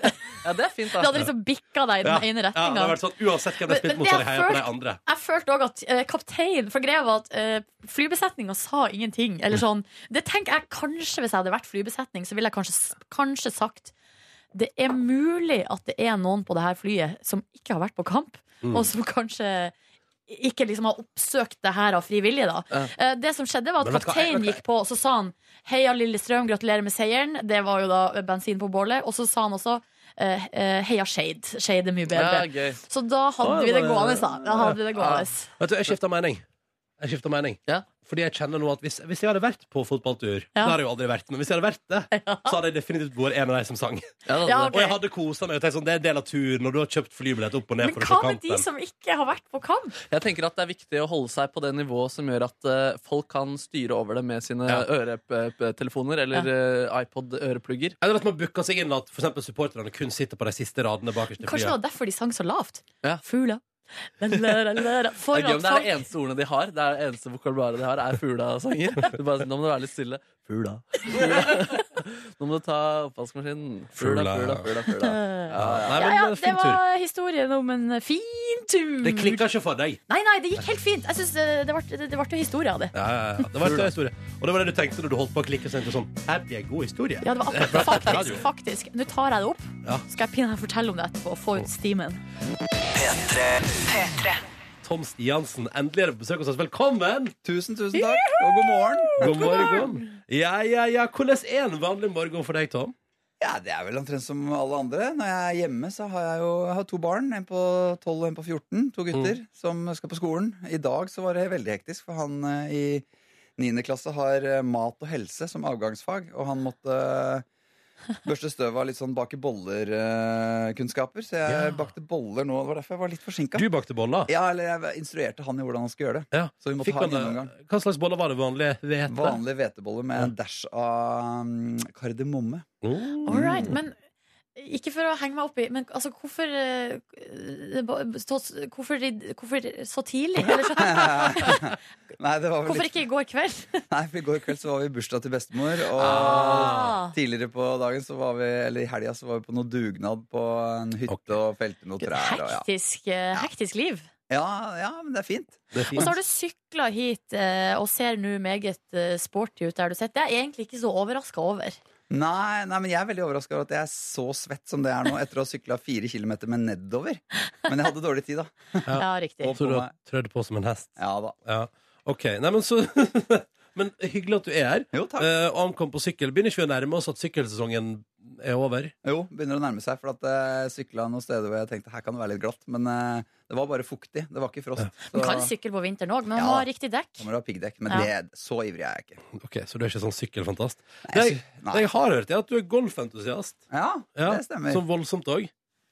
Speaker 3: ja, det er fint,
Speaker 4: Det
Speaker 3: da.
Speaker 4: hadde liksom bikka deg i
Speaker 2: Ja,
Speaker 4: den
Speaker 2: ja,
Speaker 4: ene
Speaker 2: det
Speaker 4: retninga.
Speaker 2: hadde vært sånn, Uansett hvem
Speaker 4: Men-
Speaker 2: jeg spilte
Speaker 4: men
Speaker 2: mot,
Speaker 4: det
Speaker 2: så
Speaker 4: jeg
Speaker 2: hadde jeg heia på de
Speaker 4: følte-
Speaker 2: andre.
Speaker 4: Jeg følte òg at eh, kapteinen For greia var at eh, flybesetninga sa ingenting. Eller sånn Det tenker jeg kanskje Hvis jeg hadde vært flybesetning, så ville jeg kanskje, s- kanskje sagt det er mulig at det er noen på det her flyet som ikke har vært på kamp,
Speaker 2: Mm.
Speaker 4: og som kanskje ikke liksom har oppsøkt det her av fri vilje, da.
Speaker 3: Ja.
Speaker 4: Eh, Det som skjedde, var at
Speaker 2: Men vet du hva, jeg-
Speaker 4: kapteinen gikk på, og så sa han 'Heia Lillestrøm, gratulerer med seieren'. Det var jo da bensin på bålet. Og så sa han også eh, eh, 'Heia Shade'. Shade er mye bedre.
Speaker 3: Ja, gøy.
Speaker 4: Så da hadde
Speaker 2: Å,
Speaker 4: vi det
Speaker 2: Ah, bare-
Speaker 4: gående, da. Da hadde vi det gående.
Speaker 2: Vet du, jeg skifta mening. Jeg skifter mening.
Speaker 3: Ja.
Speaker 2: Fordi jeg kjenner nå at hvis, hvis jeg hadde vært på fotballtur Det
Speaker 4: Ja.
Speaker 2: har jeg jo aldri vært, men hvis jeg hadde vært det, så hadde jeg definitivt vært en av de som sang.
Speaker 3: Ja, det,
Speaker 4: Ja,
Speaker 3: hadde
Speaker 4: ok.
Speaker 2: Og jeg hadde kosa meg. og tenkt Sånn, det er en del av turen, og du har kjøpt flybillett opp og ned
Speaker 4: Men
Speaker 2: for å
Speaker 4: hva
Speaker 2: se
Speaker 4: med de
Speaker 2: kampen.
Speaker 4: som ikke har vært på kamp?
Speaker 3: det. Jeg tenker at det er viktig å holde seg på det nivået som gjør at eh, folk kan styre over det med sine
Speaker 2: Ja.
Speaker 3: øretelefoner eller eh, iPod-øreplugger.
Speaker 2: Eller at man booker seg inn at for eksempel supporterne kun sitter på de siste radene bakerst i
Speaker 4: Kanskje det
Speaker 2: flyet.
Speaker 4: var derfor de sang så lavt?
Speaker 3: Ja.
Speaker 4: Fugla. La, la, la, la, la. For
Speaker 3: Det er, gøy, men
Speaker 4: at
Speaker 3: det er det
Speaker 4: folk
Speaker 3: eneste ordene de har. Det er det eneste vokabularet de har, er fugla-sanger. Du bare sier, Nå må du være litt stille. Fugla. Fugla. Nå må du ta oppvaskmaskinen. Fugla,
Speaker 2: Fugla.
Speaker 3: fugla, fugla. fugla.
Speaker 2: Nei,
Speaker 4: ja,
Speaker 2: men
Speaker 4: ja,
Speaker 2: eh,
Speaker 4: det
Speaker 2: fin tur.
Speaker 4: var historien om en fin tur.
Speaker 2: Det klikka ikke for deg.
Speaker 4: Nei, nei, det gikk helt fint. Jeg synes eh, Det ble, det ble jo historie av det.
Speaker 2: Ja, ja, ja. Det var en større historie. Og det var det du tenkte når du holdt på å klikke og tenkte sånn Her blir en god historie.
Speaker 4: Ja, det var akkurat faktisk, faktisk. Nå tar jeg det opp.
Speaker 2: Ja.
Speaker 4: Skal jeg pinne fortelle om det etterpå og få ut steamen.
Speaker 2: Tom Stiansen, endelig er du på besøk hos oss. Velkommen!
Speaker 6: Tusen, tusen takk, og god morgen.
Speaker 2: God morgen. Ja, ja, ja. Hvordan er en vanlig morgen for deg, Tom?
Speaker 6: Ja, Det er vel omtrent som alle andre. Når jeg er hjemme, så har jeg jo jeg har to barn. En på 12 og en på 14. To gutter
Speaker 2: Mm.
Speaker 6: som skal på skolen. I dag så var det veldig hektisk, for han eh, i 9. klasse har eh, mat og helse som avgangsfag, og han måtte eh, Børste støv av litt sånn bake boller-kunnskaper. Så jeg
Speaker 2: Ja.
Speaker 6: bakte boller nå. Det var derfor jeg var litt forsinka.
Speaker 2: Du bakte boller.
Speaker 6: Ja, eller jeg instruerte han i hvordan han skulle gjøre det.
Speaker 2: Ja.
Speaker 6: Så vi måtte
Speaker 2: Fikk
Speaker 6: ha
Speaker 2: man eh,
Speaker 6: en gjennomgang.
Speaker 2: det? Hva slags boller var det vanlige hvete?
Speaker 6: Vanlig hvetebolle med en dash av mm, kardemomme.
Speaker 2: Mm.
Speaker 4: All right, men ikke for å henge meg opp i, men altså, hvorfor, eh, ba- så, hvorfor, i- hvorfor så tidlig? Eller så,
Speaker 6: Nei, det var vel
Speaker 4: hvorfor
Speaker 6: litt...
Speaker 4: ikke i går kveld?
Speaker 6: Nei, for i går kveld så var vi i bursdag til bestemor, og
Speaker 4: Ah.
Speaker 6: tidligere på dagen så var vi, eller i helga så var vi på noe dugnad på en hytte
Speaker 2: Ok.
Speaker 6: og felte noen trær. Og ja.
Speaker 4: Hektisk, eh, hektisk liv.
Speaker 6: Ja, ja, men det er fint.
Speaker 2: Det er
Speaker 4: Og så
Speaker 2: fint.
Speaker 4: har du sykla hit eh, og ser nå meget eh, sporty ut der du sitter. Det er jeg egentlig ikke så overraska over.
Speaker 6: Nei, nei, men jeg er veldig overraska over at jeg er så svett som det er nå, etter å ha sykla fire kilometer med nedover. Men jeg hadde dårlig tid, da.
Speaker 4: Ja,
Speaker 2: Ja.
Speaker 4: riktig.
Speaker 6: Og-
Speaker 2: Så du har trødd på som en hest?
Speaker 6: Ja da.
Speaker 2: Ja. OK. Nei, men så Men hyggelig at du er her.
Speaker 6: Jo, takk.
Speaker 2: Eh, og ankom på sykkel. Begynner ikke vi å nærme oss at sykkelsesongen er over?
Speaker 6: Jo, begynner å nærme seg, for at eh, jeg sykla noen steder hvor jeg tenkte her kan det være litt glatt, men eh, det var bare fuktig. Det var ikke frost. Så
Speaker 4: Man kan sykle på vinteren òg, men man
Speaker 6: Ja.
Speaker 4: må ha riktig dekk.
Speaker 6: kommer det å ha piggdekk. Men det, så ivrig er jeg ikke.
Speaker 2: Ok, Så du er ikke sånn sykkelfantast?
Speaker 6: Nei,
Speaker 2: Det
Speaker 6: jeg
Speaker 2: jeg,
Speaker 6: sy-
Speaker 2: det jeg har hørt, er at du er golfentusiast.
Speaker 6: Ja,
Speaker 2: Ja,
Speaker 6: det stemmer.
Speaker 2: Som voldsomt òg.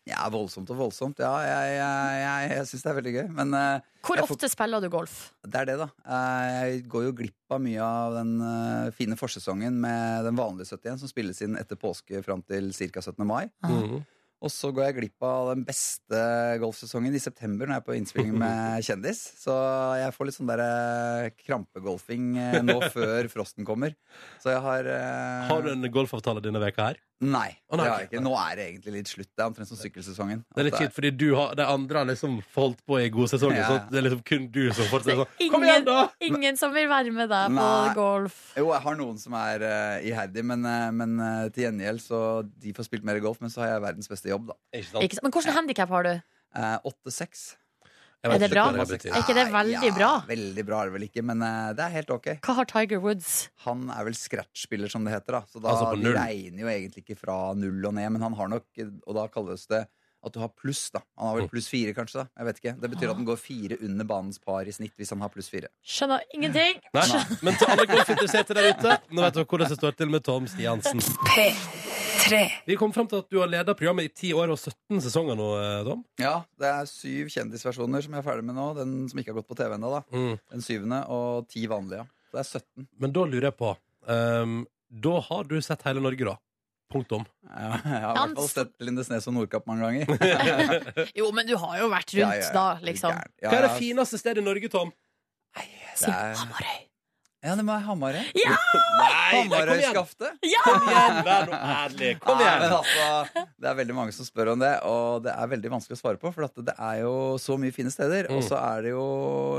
Speaker 6: Ja, voldsomt og voldsomt. Ja, jeg, jeg, jeg, jeg syns det er veldig gøy. Men eh,
Speaker 4: Hvor
Speaker 6: Jeg får-
Speaker 4: ofte spiller du golf?
Speaker 6: det er det, da. Eh, jeg går jo glipp av mye av den eh, fine forsesongen med den vanlige 71, som spilles inn etter påske fram til ca. 17. mai.
Speaker 2: Mhm.
Speaker 6: Og så går jeg glipp av den beste golfsesongen i september når jeg er på innspilling med kjendis. Så jeg får litt sånn der eh, krampegolfing eh, nå før frosten kommer. Så jeg har eh,
Speaker 2: Har du en golfavtale denne veka her?
Speaker 6: Nei.
Speaker 2: Å, nei,
Speaker 6: det har jeg
Speaker 2: ok.
Speaker 6: ikke. Nå er det egentlig litt slutt. Det er omtrent som sykkelsesongen.
Speaker 2: Det er litt
Speaker 6: At eh,
Speaker 2: kjipt, fordi du har, de andre har liksom holdt på i god sesong.
Speaker 6: Ja.
Speaker 2: Så det er liksom kun du som fortsetter sånn. Kom igjen,
Speaker 4: Ingen,
Speaker 2: da!
Speaker 4: ingen som vil være med deg på
Speaker 6: Nei.
Speaker 4: golf.
Speaker 6: Jo, jeg har noen som er eh, iherdige, men, eh, men eh, til gjengjeld så de får spilt mer golf, men så har jeg verdens beste jobb, da.
Speaker 2: Ikke sant?
Speaker 4: Ikke, sant? men hvilket handikap har du?
Speaker 6: Eh, 8-6.
Speaker 2: Jeg vet
Speaker 4: Er det
Speaker 2: ikke hva
Speaker 4: bra?
Speaker 2: betyr.
Speaker 4: Er ikke det
Speaker 6: Ah,
Speaker 4: veldig bra?
Speaker 6: Veldig bra er det vel ikke, men eh, det er helt ok.
Speaker 4: Hva har Tiger Woods?
Speaker 6: Han er vel scratch-spiller, som det heter, da. Så da
Speaker 2: Altså på null.
Speaker 6: de regner jo egentlig ikke fra null og ned, men han har nok Og da kalles det at du har pluss, da. Han har vel
Speaker 2: Mm.
Speaker 6: pluss fire, kanskje, da. Jeg vet ikke. Det betyr at han går fire under banens par i snitt hvis han har pluss fire.
Speaker 4: Skjønner ingenting.
Speaker 2: Nei, men til alle golfinteresserte der ute, nå vet dere hvordan det står til med Tom Stiansen. Vi kom fram til at du har leda programmet i 10 år og 17 sesonger nå, eh, Tom.
Speaker 6: Ja, det er syv kjendisversjoner som jeg er ferdig med nå. Den som ikke har gått på TV ennå, da.
Speaker 2: Mm.
Speaker 6: Den syvende, og ti vanlige. ja. Det er 17.
Speaker 2: Men da lurer jeg på ehm, Da har du sett hele Norge, da. Punktum.
Speaker 6: Ja, jeg har i
Speaker 4: Han
Speaker 6: hvert fall
Speaker 4: s-
Speaker 6: sett Lindesnes og Nordkapp mange ganger.
Speaker 4: Jo, men du har jo vært rundt
Speaker 6: Ja, ja, ja.
Speaker 4: da, liksom.
Speaker 6: Gæren. Ja,
Speaker 2: Hva er det
Speaker 6: ja.
Speaker 2: fineste stedet i Norge, Tom?
Speaker 6: Det er-
Speaker 4: Hamarøy.
Speaker 6: Ja, det må være Hamarøy.
Speaker 4: Ja!
Speaker 2: Nei, nei, kom igjen!
Speaker 6: Hamarøy-skaftet.
Speaker 2: Kom igjen, vær nå ærlig. Kom
Speaker 6: Nei,
Speaker 2: igjen.
Speaker 6: men altså, det er veldig mange som spør om det, og det er veldig vanskelig å svare på. For at det er jo så mye fine steder. Og
Speaker 2: Mm.
Speaker 6: så er det jo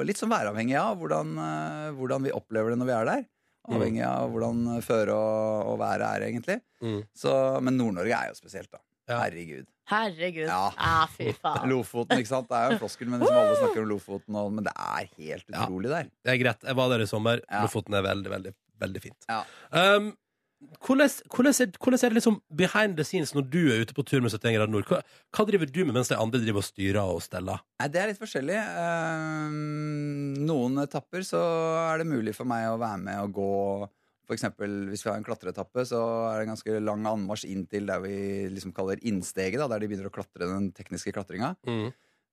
Speaker 6: litt sånn væravhengig av hvordan, eh, hvordan vi opplever det når vi er der. Avhengig av hvordan føret og, og været er, egentlig.
Speaker 2: Mm.
Speaker 6: Så, men Nord-Norge er jo spesielt, da.
Speaker 2: Ja.
Speaker 6: Herregud.
Speaker 4: Herregud. Ja,
Speaker 6: Ja.
Speaker 4: ah, fy faen.
Speaker 6: Lofoten, ikke sant. Det er jo en floskel, men liksom alle snakker om Lofoten, og, men det er helt
Speaker 2: Ja.
Speaker 6: utrolig der.
Speaker 2: Det er greit. Jeg var der i sommer.
Speaker 6: Ja.
Speaker 2: Lofoten er veldig, veldig, veldig fint.
Speaker 6: Ja.
Speaker 2: Um, hvordan, hvordan, er, hvordan er det liksom behind the scenes når du er ute på tur med 71 grader nord? Hva, hva driver du med mens de andre driver og styrer og steller?
Speaker 6: Nei, Det er litt forskjellig. Ehm, noen etapper så er det mulig for meg å være med og gå For eksempel hvis vi har en klatreetappe, så er det en ganske lang anmarsj inn til der vi liksom kaller innsteget, da, der de begynner å klatre den tekniske klatringa.
Speaker 2: Mm,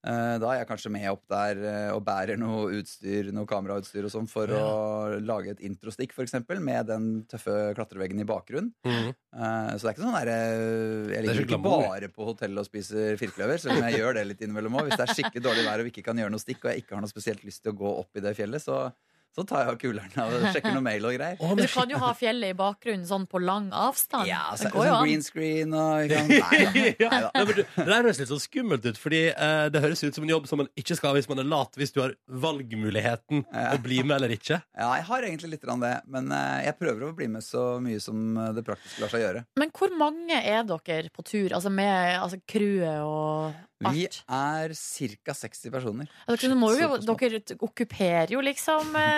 Speaker 6: Eh, Da er jeg kanskje med opp der eh, og bærer noe utstyr, noe kamerautstyr og sånn for å lage et introstikk, for eksempel, med den tøffe klatreveggen i bakgrunnen.
Speaker 2: mm.
Speaker 6: Eh, Så det er ikke sånn der eh, Jeg
Speaker 2: Det er
Speaker 6: ligger
Speaker 2: ikke
Speaker 6: ikke
Speaker 2: glamour.
Speaker 6: bare på hotellet og spiser firkløver, selv om jeg gjør det litt innimellom òg. Hvis det er skikkelig dårlig vær og vi ikke kan gjøre noe stikk, og jeg ikke har noe spesielt lyst til å gå opp i det fjellet, så, så tar jeg av kuleren og sjekker noe mail og greier.
Speaker 2: Å,
Speaker 4: Men
Speaker 2: men
Speaker 4: du kan jo ha fjellet i bakgrunnen sånn på lang avstand.
Speaker 6: Ja, så,
Speaker 4: det går jo
Speaker 6: sånn
Speaker 4: an.
Speaker 6: green screen og ikke sant? Nei, da.
Speaker 2: ja. Nei, men du, det der høres litt sånn skummelt ut, Fordi eh, det høres ut som en jobb som man ikke skal ha hvis man er lat, hvis du har valgmuligheten
Speaker 6: Ja.
Speaker 2: å bli med eller ikke.
Speaker 6: Ja, jeg har egentlig litt grann det, men eh, jeg prøver å bli med så mye som eh, det praktiske lar seg gjøre.
Speaker 4: Men hvor mange er dere på tur? Altså med altså crewet og
Speaker 6: Vi
Speaker 4: alt?
Speaker 6: er ca. 60 personer.
Speaker 4: Ja, Dere, må jo,
Speaker 6: Såpass mange.
Speaker 4: dere okkuperer jo liksom eh,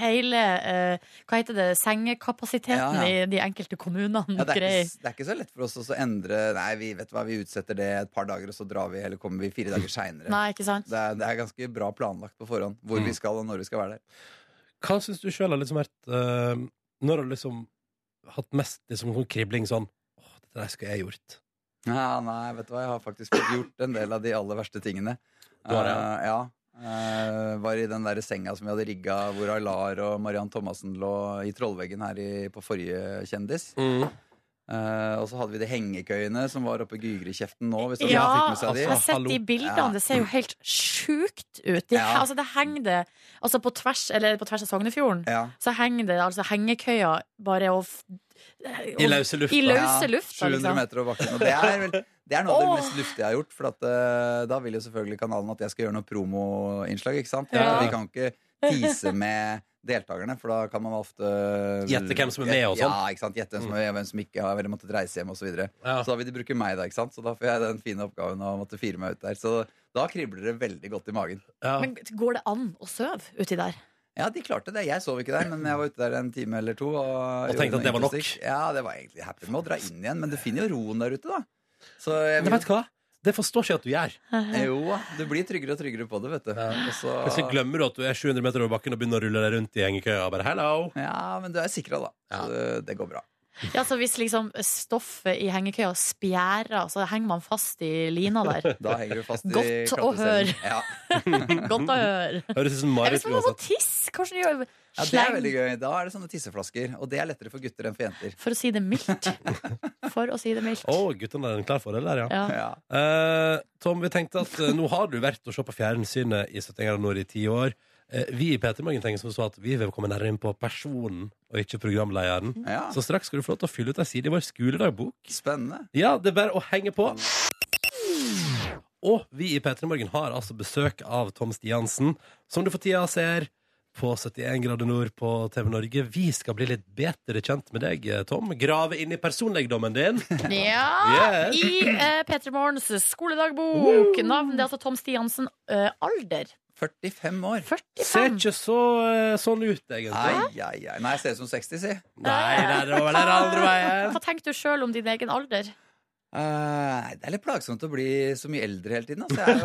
Speaker 4: hele eh, Hva heter det? Sengekapasiteten
Speaker 6: Ja, ja.
Speaker 4: i de enkelte kommunene.
Speaker 6: Ja, det, er
Speaker 4: dere er i.
Speaker 6: ikke, det er ikke så lett for oss også å endre Nei, vi vet hva, vi utsetter det et par dager, og så drar vi, eller kommer vi fire dager seinere.
Speaker 4: Nei, ikke sant?
Speaker 6: Det, er- det er ganske bra planlagt på forhånd hvor
Speaker 2: Mm.
Speaker 6: vi skal og når vi skal være der.
Speaker 2: Hva syns du sjøl har liksom vært eh, Når har du liksom hatt mest liksom, sånn kribling sånn Åh, dette der skulle jeg gjort.
Speaker 6: Ja, nei, vet du hva, jeg har faktisk fått gjort en del av de aller verste tingene.
Speaker 2: Du har det,
Speaker 6: Eh, ja. Eh, var i den der senga som vi hadde rigga, hvor Aylar og Mariann Thomassen lå i trollveggen her i, på forrige Kjendis.
Speaker 2: Mm.
Speaker 6: Eh, og så hadde vi de hengekøyene som var oppe i Gygrikjeften nå. Hvis dere
Speaker 4: Ja,
Speaker 6: fikk med seg de.
Speaker 4: jeg
Speaker 2: Altså.
Speaker 4: har sett de bildene.
Speaker 6: Ja.
Speaker 4: Det ser jo helt sjukt ut. De,
Speaker 6: Ja.
Speaker 4: altså, det henger det altså på, tvers, eller på tvers av Sognefjorden.
Speaker 6: Ja.
Speaker 4: Så henger det altså hengekøya bare og, f- og
Speaker 2: I løse lufta.
Speaker 4: I løse
Speaker 6: Ja,
Speaker 4: lufta,
Speaker 6: 700
Speaker 4: liksom.
Speaker 6: meter over bakken. Og det er, vel, det er noe av det
Speaker 4: Åh.
Speaker 6: mest luftige jeg har gjort. For at, eh, da vil jo selvfølgelig kanalen at jeg skal gjøre noe promoinnslag, ikke sant?
Speaker 4: Ja.
Speaker 6: Vi kan ikke tease med deltakerne, for da kan man ofte
Speaker 2: Gjette hvem som er med og sånn.
Speaker 6: Ja, ikke sant? Gjette hvem som er med, hvem som ikke har eller måttet reise hjem, osv. videre
Speaker 2: Ja.
Speaker 6: Så da vil de bruke meg, da, ikke sant? Så da får jeg den fine oppgaven å måtte fire meg ut der. Så da kribler det veldig godt i magen.
Speaker 2: Ja.
Speaker 4: Men går det an å sove uti der?
Speaker 6: Ja, de klarte det. Jeg sov ikke der, men jeg var ute der en time eller to. Og, gjorde
Speaker 2: tenkte at
Speaker 6: noe
Speaker 2: det var nok.
Speaker 6: interessant. Ja, det var egentlig happy med å dra inn igjen, men du finner jo roen der ute, da. Så jeg
Speaker 2: Men vet du hva? Det forstår ikke jeg at du gjør.
Speaker 6: jo, du blir tryggere og tryggere på det, vet du. Og så,
Speaker 2: Hvis du glemmer du at du er 700 meter over bakken og begynner å rulle deg rundt i hengekøya. og Bare, hello
Speaker 6: ja, men du er sikra, da.
Speaker 2: Ja.
Speaker 6: Så det- det går bra.
Speaker 4: Ja, så Hvis liksom stoffet i hengekøya spjærer, så henger man fast i lina der.
Speaker 6: Da henger du fast i
Speaker 4: Godt å
Speaker 6: klattecellen.
Speaker 4: høre.
Speaker 6: Ja.
Speaker 4: Godt å høre.
Speaker 2: Høres ut som
Speaker 4: Eller
Speaker 2: Marit
Speaker 4: så må man
Speaker 2: uansett.
Speaker 4: tisse! Kanskje gjør
Speaker 6: ja, det er veldig gøy. Da er det sånne tisseflasker, og det er lettere for gutter enn for jenter.
Speaker 4: For å si det mildt. For å si det mildt.
Speaker 2: Å, guttene er en klar fordel der, ja.
Speaker 4: Ja.
Speaker 6: Ja.
Speaker 2: Eh, Tom, vi tenkte at eh, nå har du vært og sett på fjernsynet i 17 grader nord i ti år. Eh, vi i P3 Morgen tenker som så at vi vil komme nærmere inn på personen og ikke programlederen.
Speaker 6: Ja.
Speaker 2: Så straks skal du få lov til å fylle ut ei side i vår skoledagbok.
Speaker 6: Spennende.
Speaker 2: Ja, det er bare å henge på. Og vi i P3 Morgen har altså besøk av Tom Stiansen, som du for tida ser på 71 grader nord på TV Norge. Vi skal bli litt bedre kjent med deg, eh, Tom. Grave inn i personligdommen din.
Speaker 4: Ja!
Speaker 2: Yes.
Speaker 4: I eh, P3 Morgens skoledagbok. Navn det er altså Tom Stiansen. Eh, alder
Speaker 6: 45 år.
Speaker 4: 45.
Speaker 2: Ser ikke så eh, sånn ut, egentlig.
Speaker 6: Nei, nei, nei. nei, jeg ser ut som 60, si.
Speaker 2: Nei, nei, det var den andre veien.
Speaker 4: Hva tenker du sjøl om din egen alder?
Speaker 6: Eh, nei, det er litt plagsomt å bli så mye eldre hele tiden. Altså. Jeg er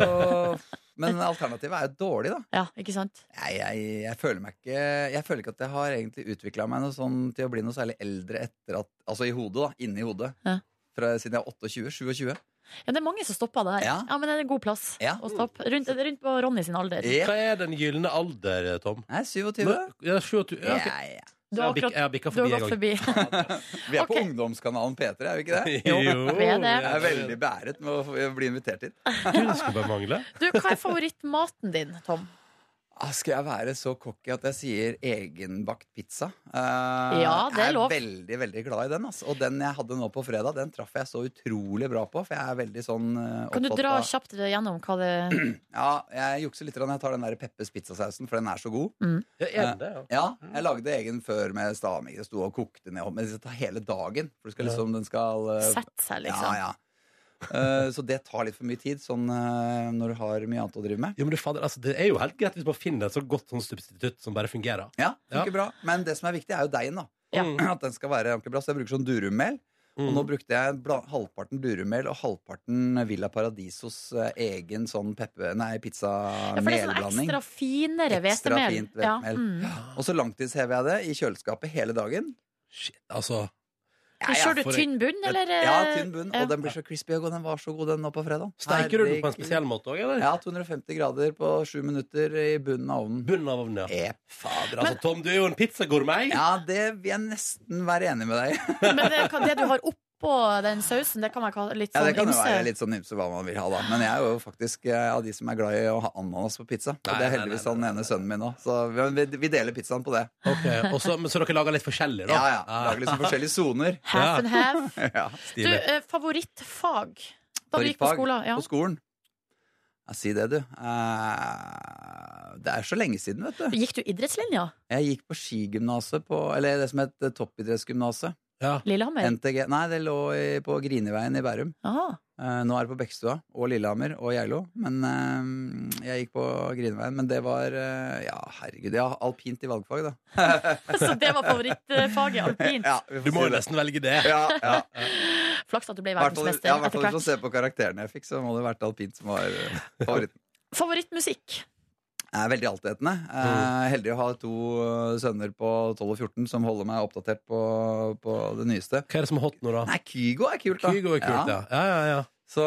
Speaker 6: jo... Men alternativet er jo dårlig, da.
Speaker 4: Ja, ikke sant?
Speaker 6: Jeg, jeg, jeg, føler, meg ikke, jeg føler ikke at jeg har egentlig utvikla meg noe sånn til å bli noe særlig eldre etter at Altså i hodet, da. Inni hodet.
Speaker 4: Ja.
Speaker 6: Fra, siden jeg er 28. 27.
Speaker 4: Ja, Det er mange som stopper der. Ja,
Speaker 6: Ja.
Speaker 4: Men det er en god plass
Speaker 6: Ja.
Speaker 4: å stoppe. Rundt, rundt på Ronny sin alder.
Speaker 6: Ja.
Speaker 2: Hva er den gylne alder, eh, Tom?
Speaker 6: Nei, 27.
Speaker 2: Nå- Ja, 27. Ja, ok.
Speaker 6: Ja, ja.
Speaker 4: Du
Speaker 2: Jeg har
Speaker 4: har
Speaker 2: bikk-
Speaker 4: akkurat
Speaker 2: jeg har bikka
Speaker 4: du har
Speaker 2: forbi en
Speaker 4: gått
Speaker 2: gang.
Speaker 4: forbi.
Speaker 6: Vi er på
Speaker 4: Ok.
Speaker 6: ungdomskanalen P3, er vi ikke det?
Speaker 2: Jo,
Speaker 4: vi er det.
Speaker 6: Jeg er veldig beæret med å få- bli invitert hit.
Speaker 2: Det skulle bare mangle.
Speaker 4: Du, Hva er favorittmaten din, Tom?
Speaker 6: Ah, Skal jeg være så cocky at jeg sier egenbakt pizza? Eh,
Speaker 4: Ja, det er lov.
Speaker 6: Jeg er veldig veldig glad i den. ass. Og den jeg hadde nå på fredag, den traff jeg så utrolig bra på. For jeg er veldig sånn eh,
Speaker 4: Kan du
Speaker 6: opptatt
Speaker 4: dra
Speaker 6: av-
Speaker 4: kjapt gjennom hva det
Speaker 6: Ja, Jeg jukser litt. grann. Jeg tar den der Peppers pizzasausen, for den er så god.
Speaker 2: Ja, er den det, ja.
Speaker 6: Ja, Jeg lagde egen før med stavmikser. Jeg Sto og kokte ned. Men det tar hele dagen. For du skal liksom, den skal eh,
Speaker 4: setter seg, liksom?
Speaker 6: Ja, ja. Eh, så det tar litt for mye tid sånn, eh, når du har mye annet å drive med.
Speaker 2: Jo, men du, fader, altså, det er jo helt greit hvis man finner et så godt sånn substitutt som bare fungerer. Ja.
Speaker 6: Ja,
Speaker 2: Mm.
Speaker 6: funker bra. Men det som er viktig, er jo deigen. da
Speaker 4: Ja.
Speaker 6: At den skal være ordentlig bra. Så jeg bruker sånn durumel. Og nå brukte jeg bla- halvparten durumel og halvparten Villa Paradisos eh, egen sånn peppe, nei,
Speaker 4: Ja, for det er sånn
Speaker 6: pizza-melblanding.
Speaker 4: ekstra finere
Speaker 6: Ekstra
Speaker 4: hvetemel.
Speaker 6: fint hvetemel.
Speaker 4: mm.
Speaker 6: og så langtidshever jeg det i kjøleskapet hele dagen.
Speaker 2: Shit, altså.
Speaker 4: Men Kjører du
Speaker 2: for-
Speaker 4: tynn bunn, eller? eh,
Speaker 6: Ja, tynn bunn.
Speaker 4: ja.
Speaker 6: Og den blir så crispy og god. Den var så god, den nå på fredag.
Speaker 2: Steiker du den på en
Speaker 6: Herregud.
Speaker 2: spesiell måte òg, eller?
Speaker 6: Ja, 250 grader på sju minutter i bunnen av ovnen. E,
Speaker 2: Bunnen av ovnen, ja.
Speaker 6: Jep.
Speaker 2: Fader, altså, Tom, du er jo en pizzagourmet.
Speaker 6: Ja, det vil jeg nesten være enig med deg i.
Speaker 4: Men eh, det, kan- det du har oppå oppå den sausen. Det kan være ka- litt
Speaker 6: Ja,
Speaker 4: sånn
Speaker 6: Det kan jo
Speaker 4: ymse.
Speaker 6: være litt sånn ymse hva man vil ha, da. Men jeg er jo faktisk eh, av de som er glad i å ha ananas på pizza. Og
Speaker 2: Nei,
Speaker 6: det er
Speaker 2: nei,
Speaker 6: heldigvis
Speaker 2: nei,
Speaker 6: han ene sønnen min òg, så vi, vi- vi deler pizzaen på det.
Speaker 2: Ok, og så, men, så dere lager litt forskjellig, da? Ah,
Speaker 6: Ja, ja. Lager liksom forskjellige soner.
Speaker 4: Half and half.
Speaker 6: Ja.
Speaker 4: Du,
Speaker 2: Stilig.
Speaker 4: eh, favorittfag? Da du gikk på
Speaker 6: Favorittfag
Speaker 4: skolen? Ja.
Speaker 6: På skolen. Ja, si det, du. Eh, det er så lenge siden, vet du.
Speaker 4: Gikk du idrettslinja?
Speaker 6: Jeg gikk på skigymnaset på Eller det som het eh, toppidrettsgymnaset.
Speaker 2: Ja.
Speaker 4: Lillehammer?
Speaker 6: NTG. Nei, det lå i, på Griniveien i Bærum.
Speaker 4: Ah.
Speaker 6: Eh, nå er det på Bekkestua og Lillehammer og Geilo. Men eh, jeg gikk på Griniveien. Men det var eh, Ja, herregud. Ja, alpint i valgfag, da.
Speaker 4: Så det var favorittfaget alpint?
Speaker 6: Ja, vi får
Speaker 2: Du må
Speaker 6: si
Speaker 2: jo
Speaker 6: det.
Speaker 2: nesten velge det.
Speaker 6: Ja, ja.
Speaker 4: Flaks at du ble
Speaker 6: Hvertfall-
Speaker 4: verdensmester
Speaker 6: ja, hvertfall
Speaker 4: etter
Speaker 6: hvis man
Speaker 4: hvert.
Speaker 6: ser på karakterene jeg fikk, så må det ha vært alpint som var eh, favoritten.
Speaker 4: Favorittmusikk?
Speaker 6: Jeg er veldig altetende. Eh, heldig å ha to eh, sønner på 12 og 14 som holder meg oppdatert på, på det nyeste.
Speaker 2: Hva er det som er hot nå, da?
Speaker 6: Nei, Kygo er kult, da.
Speaker 2: Kygo er kult, ja. Ja, ja, ja.
Speaker 6: Så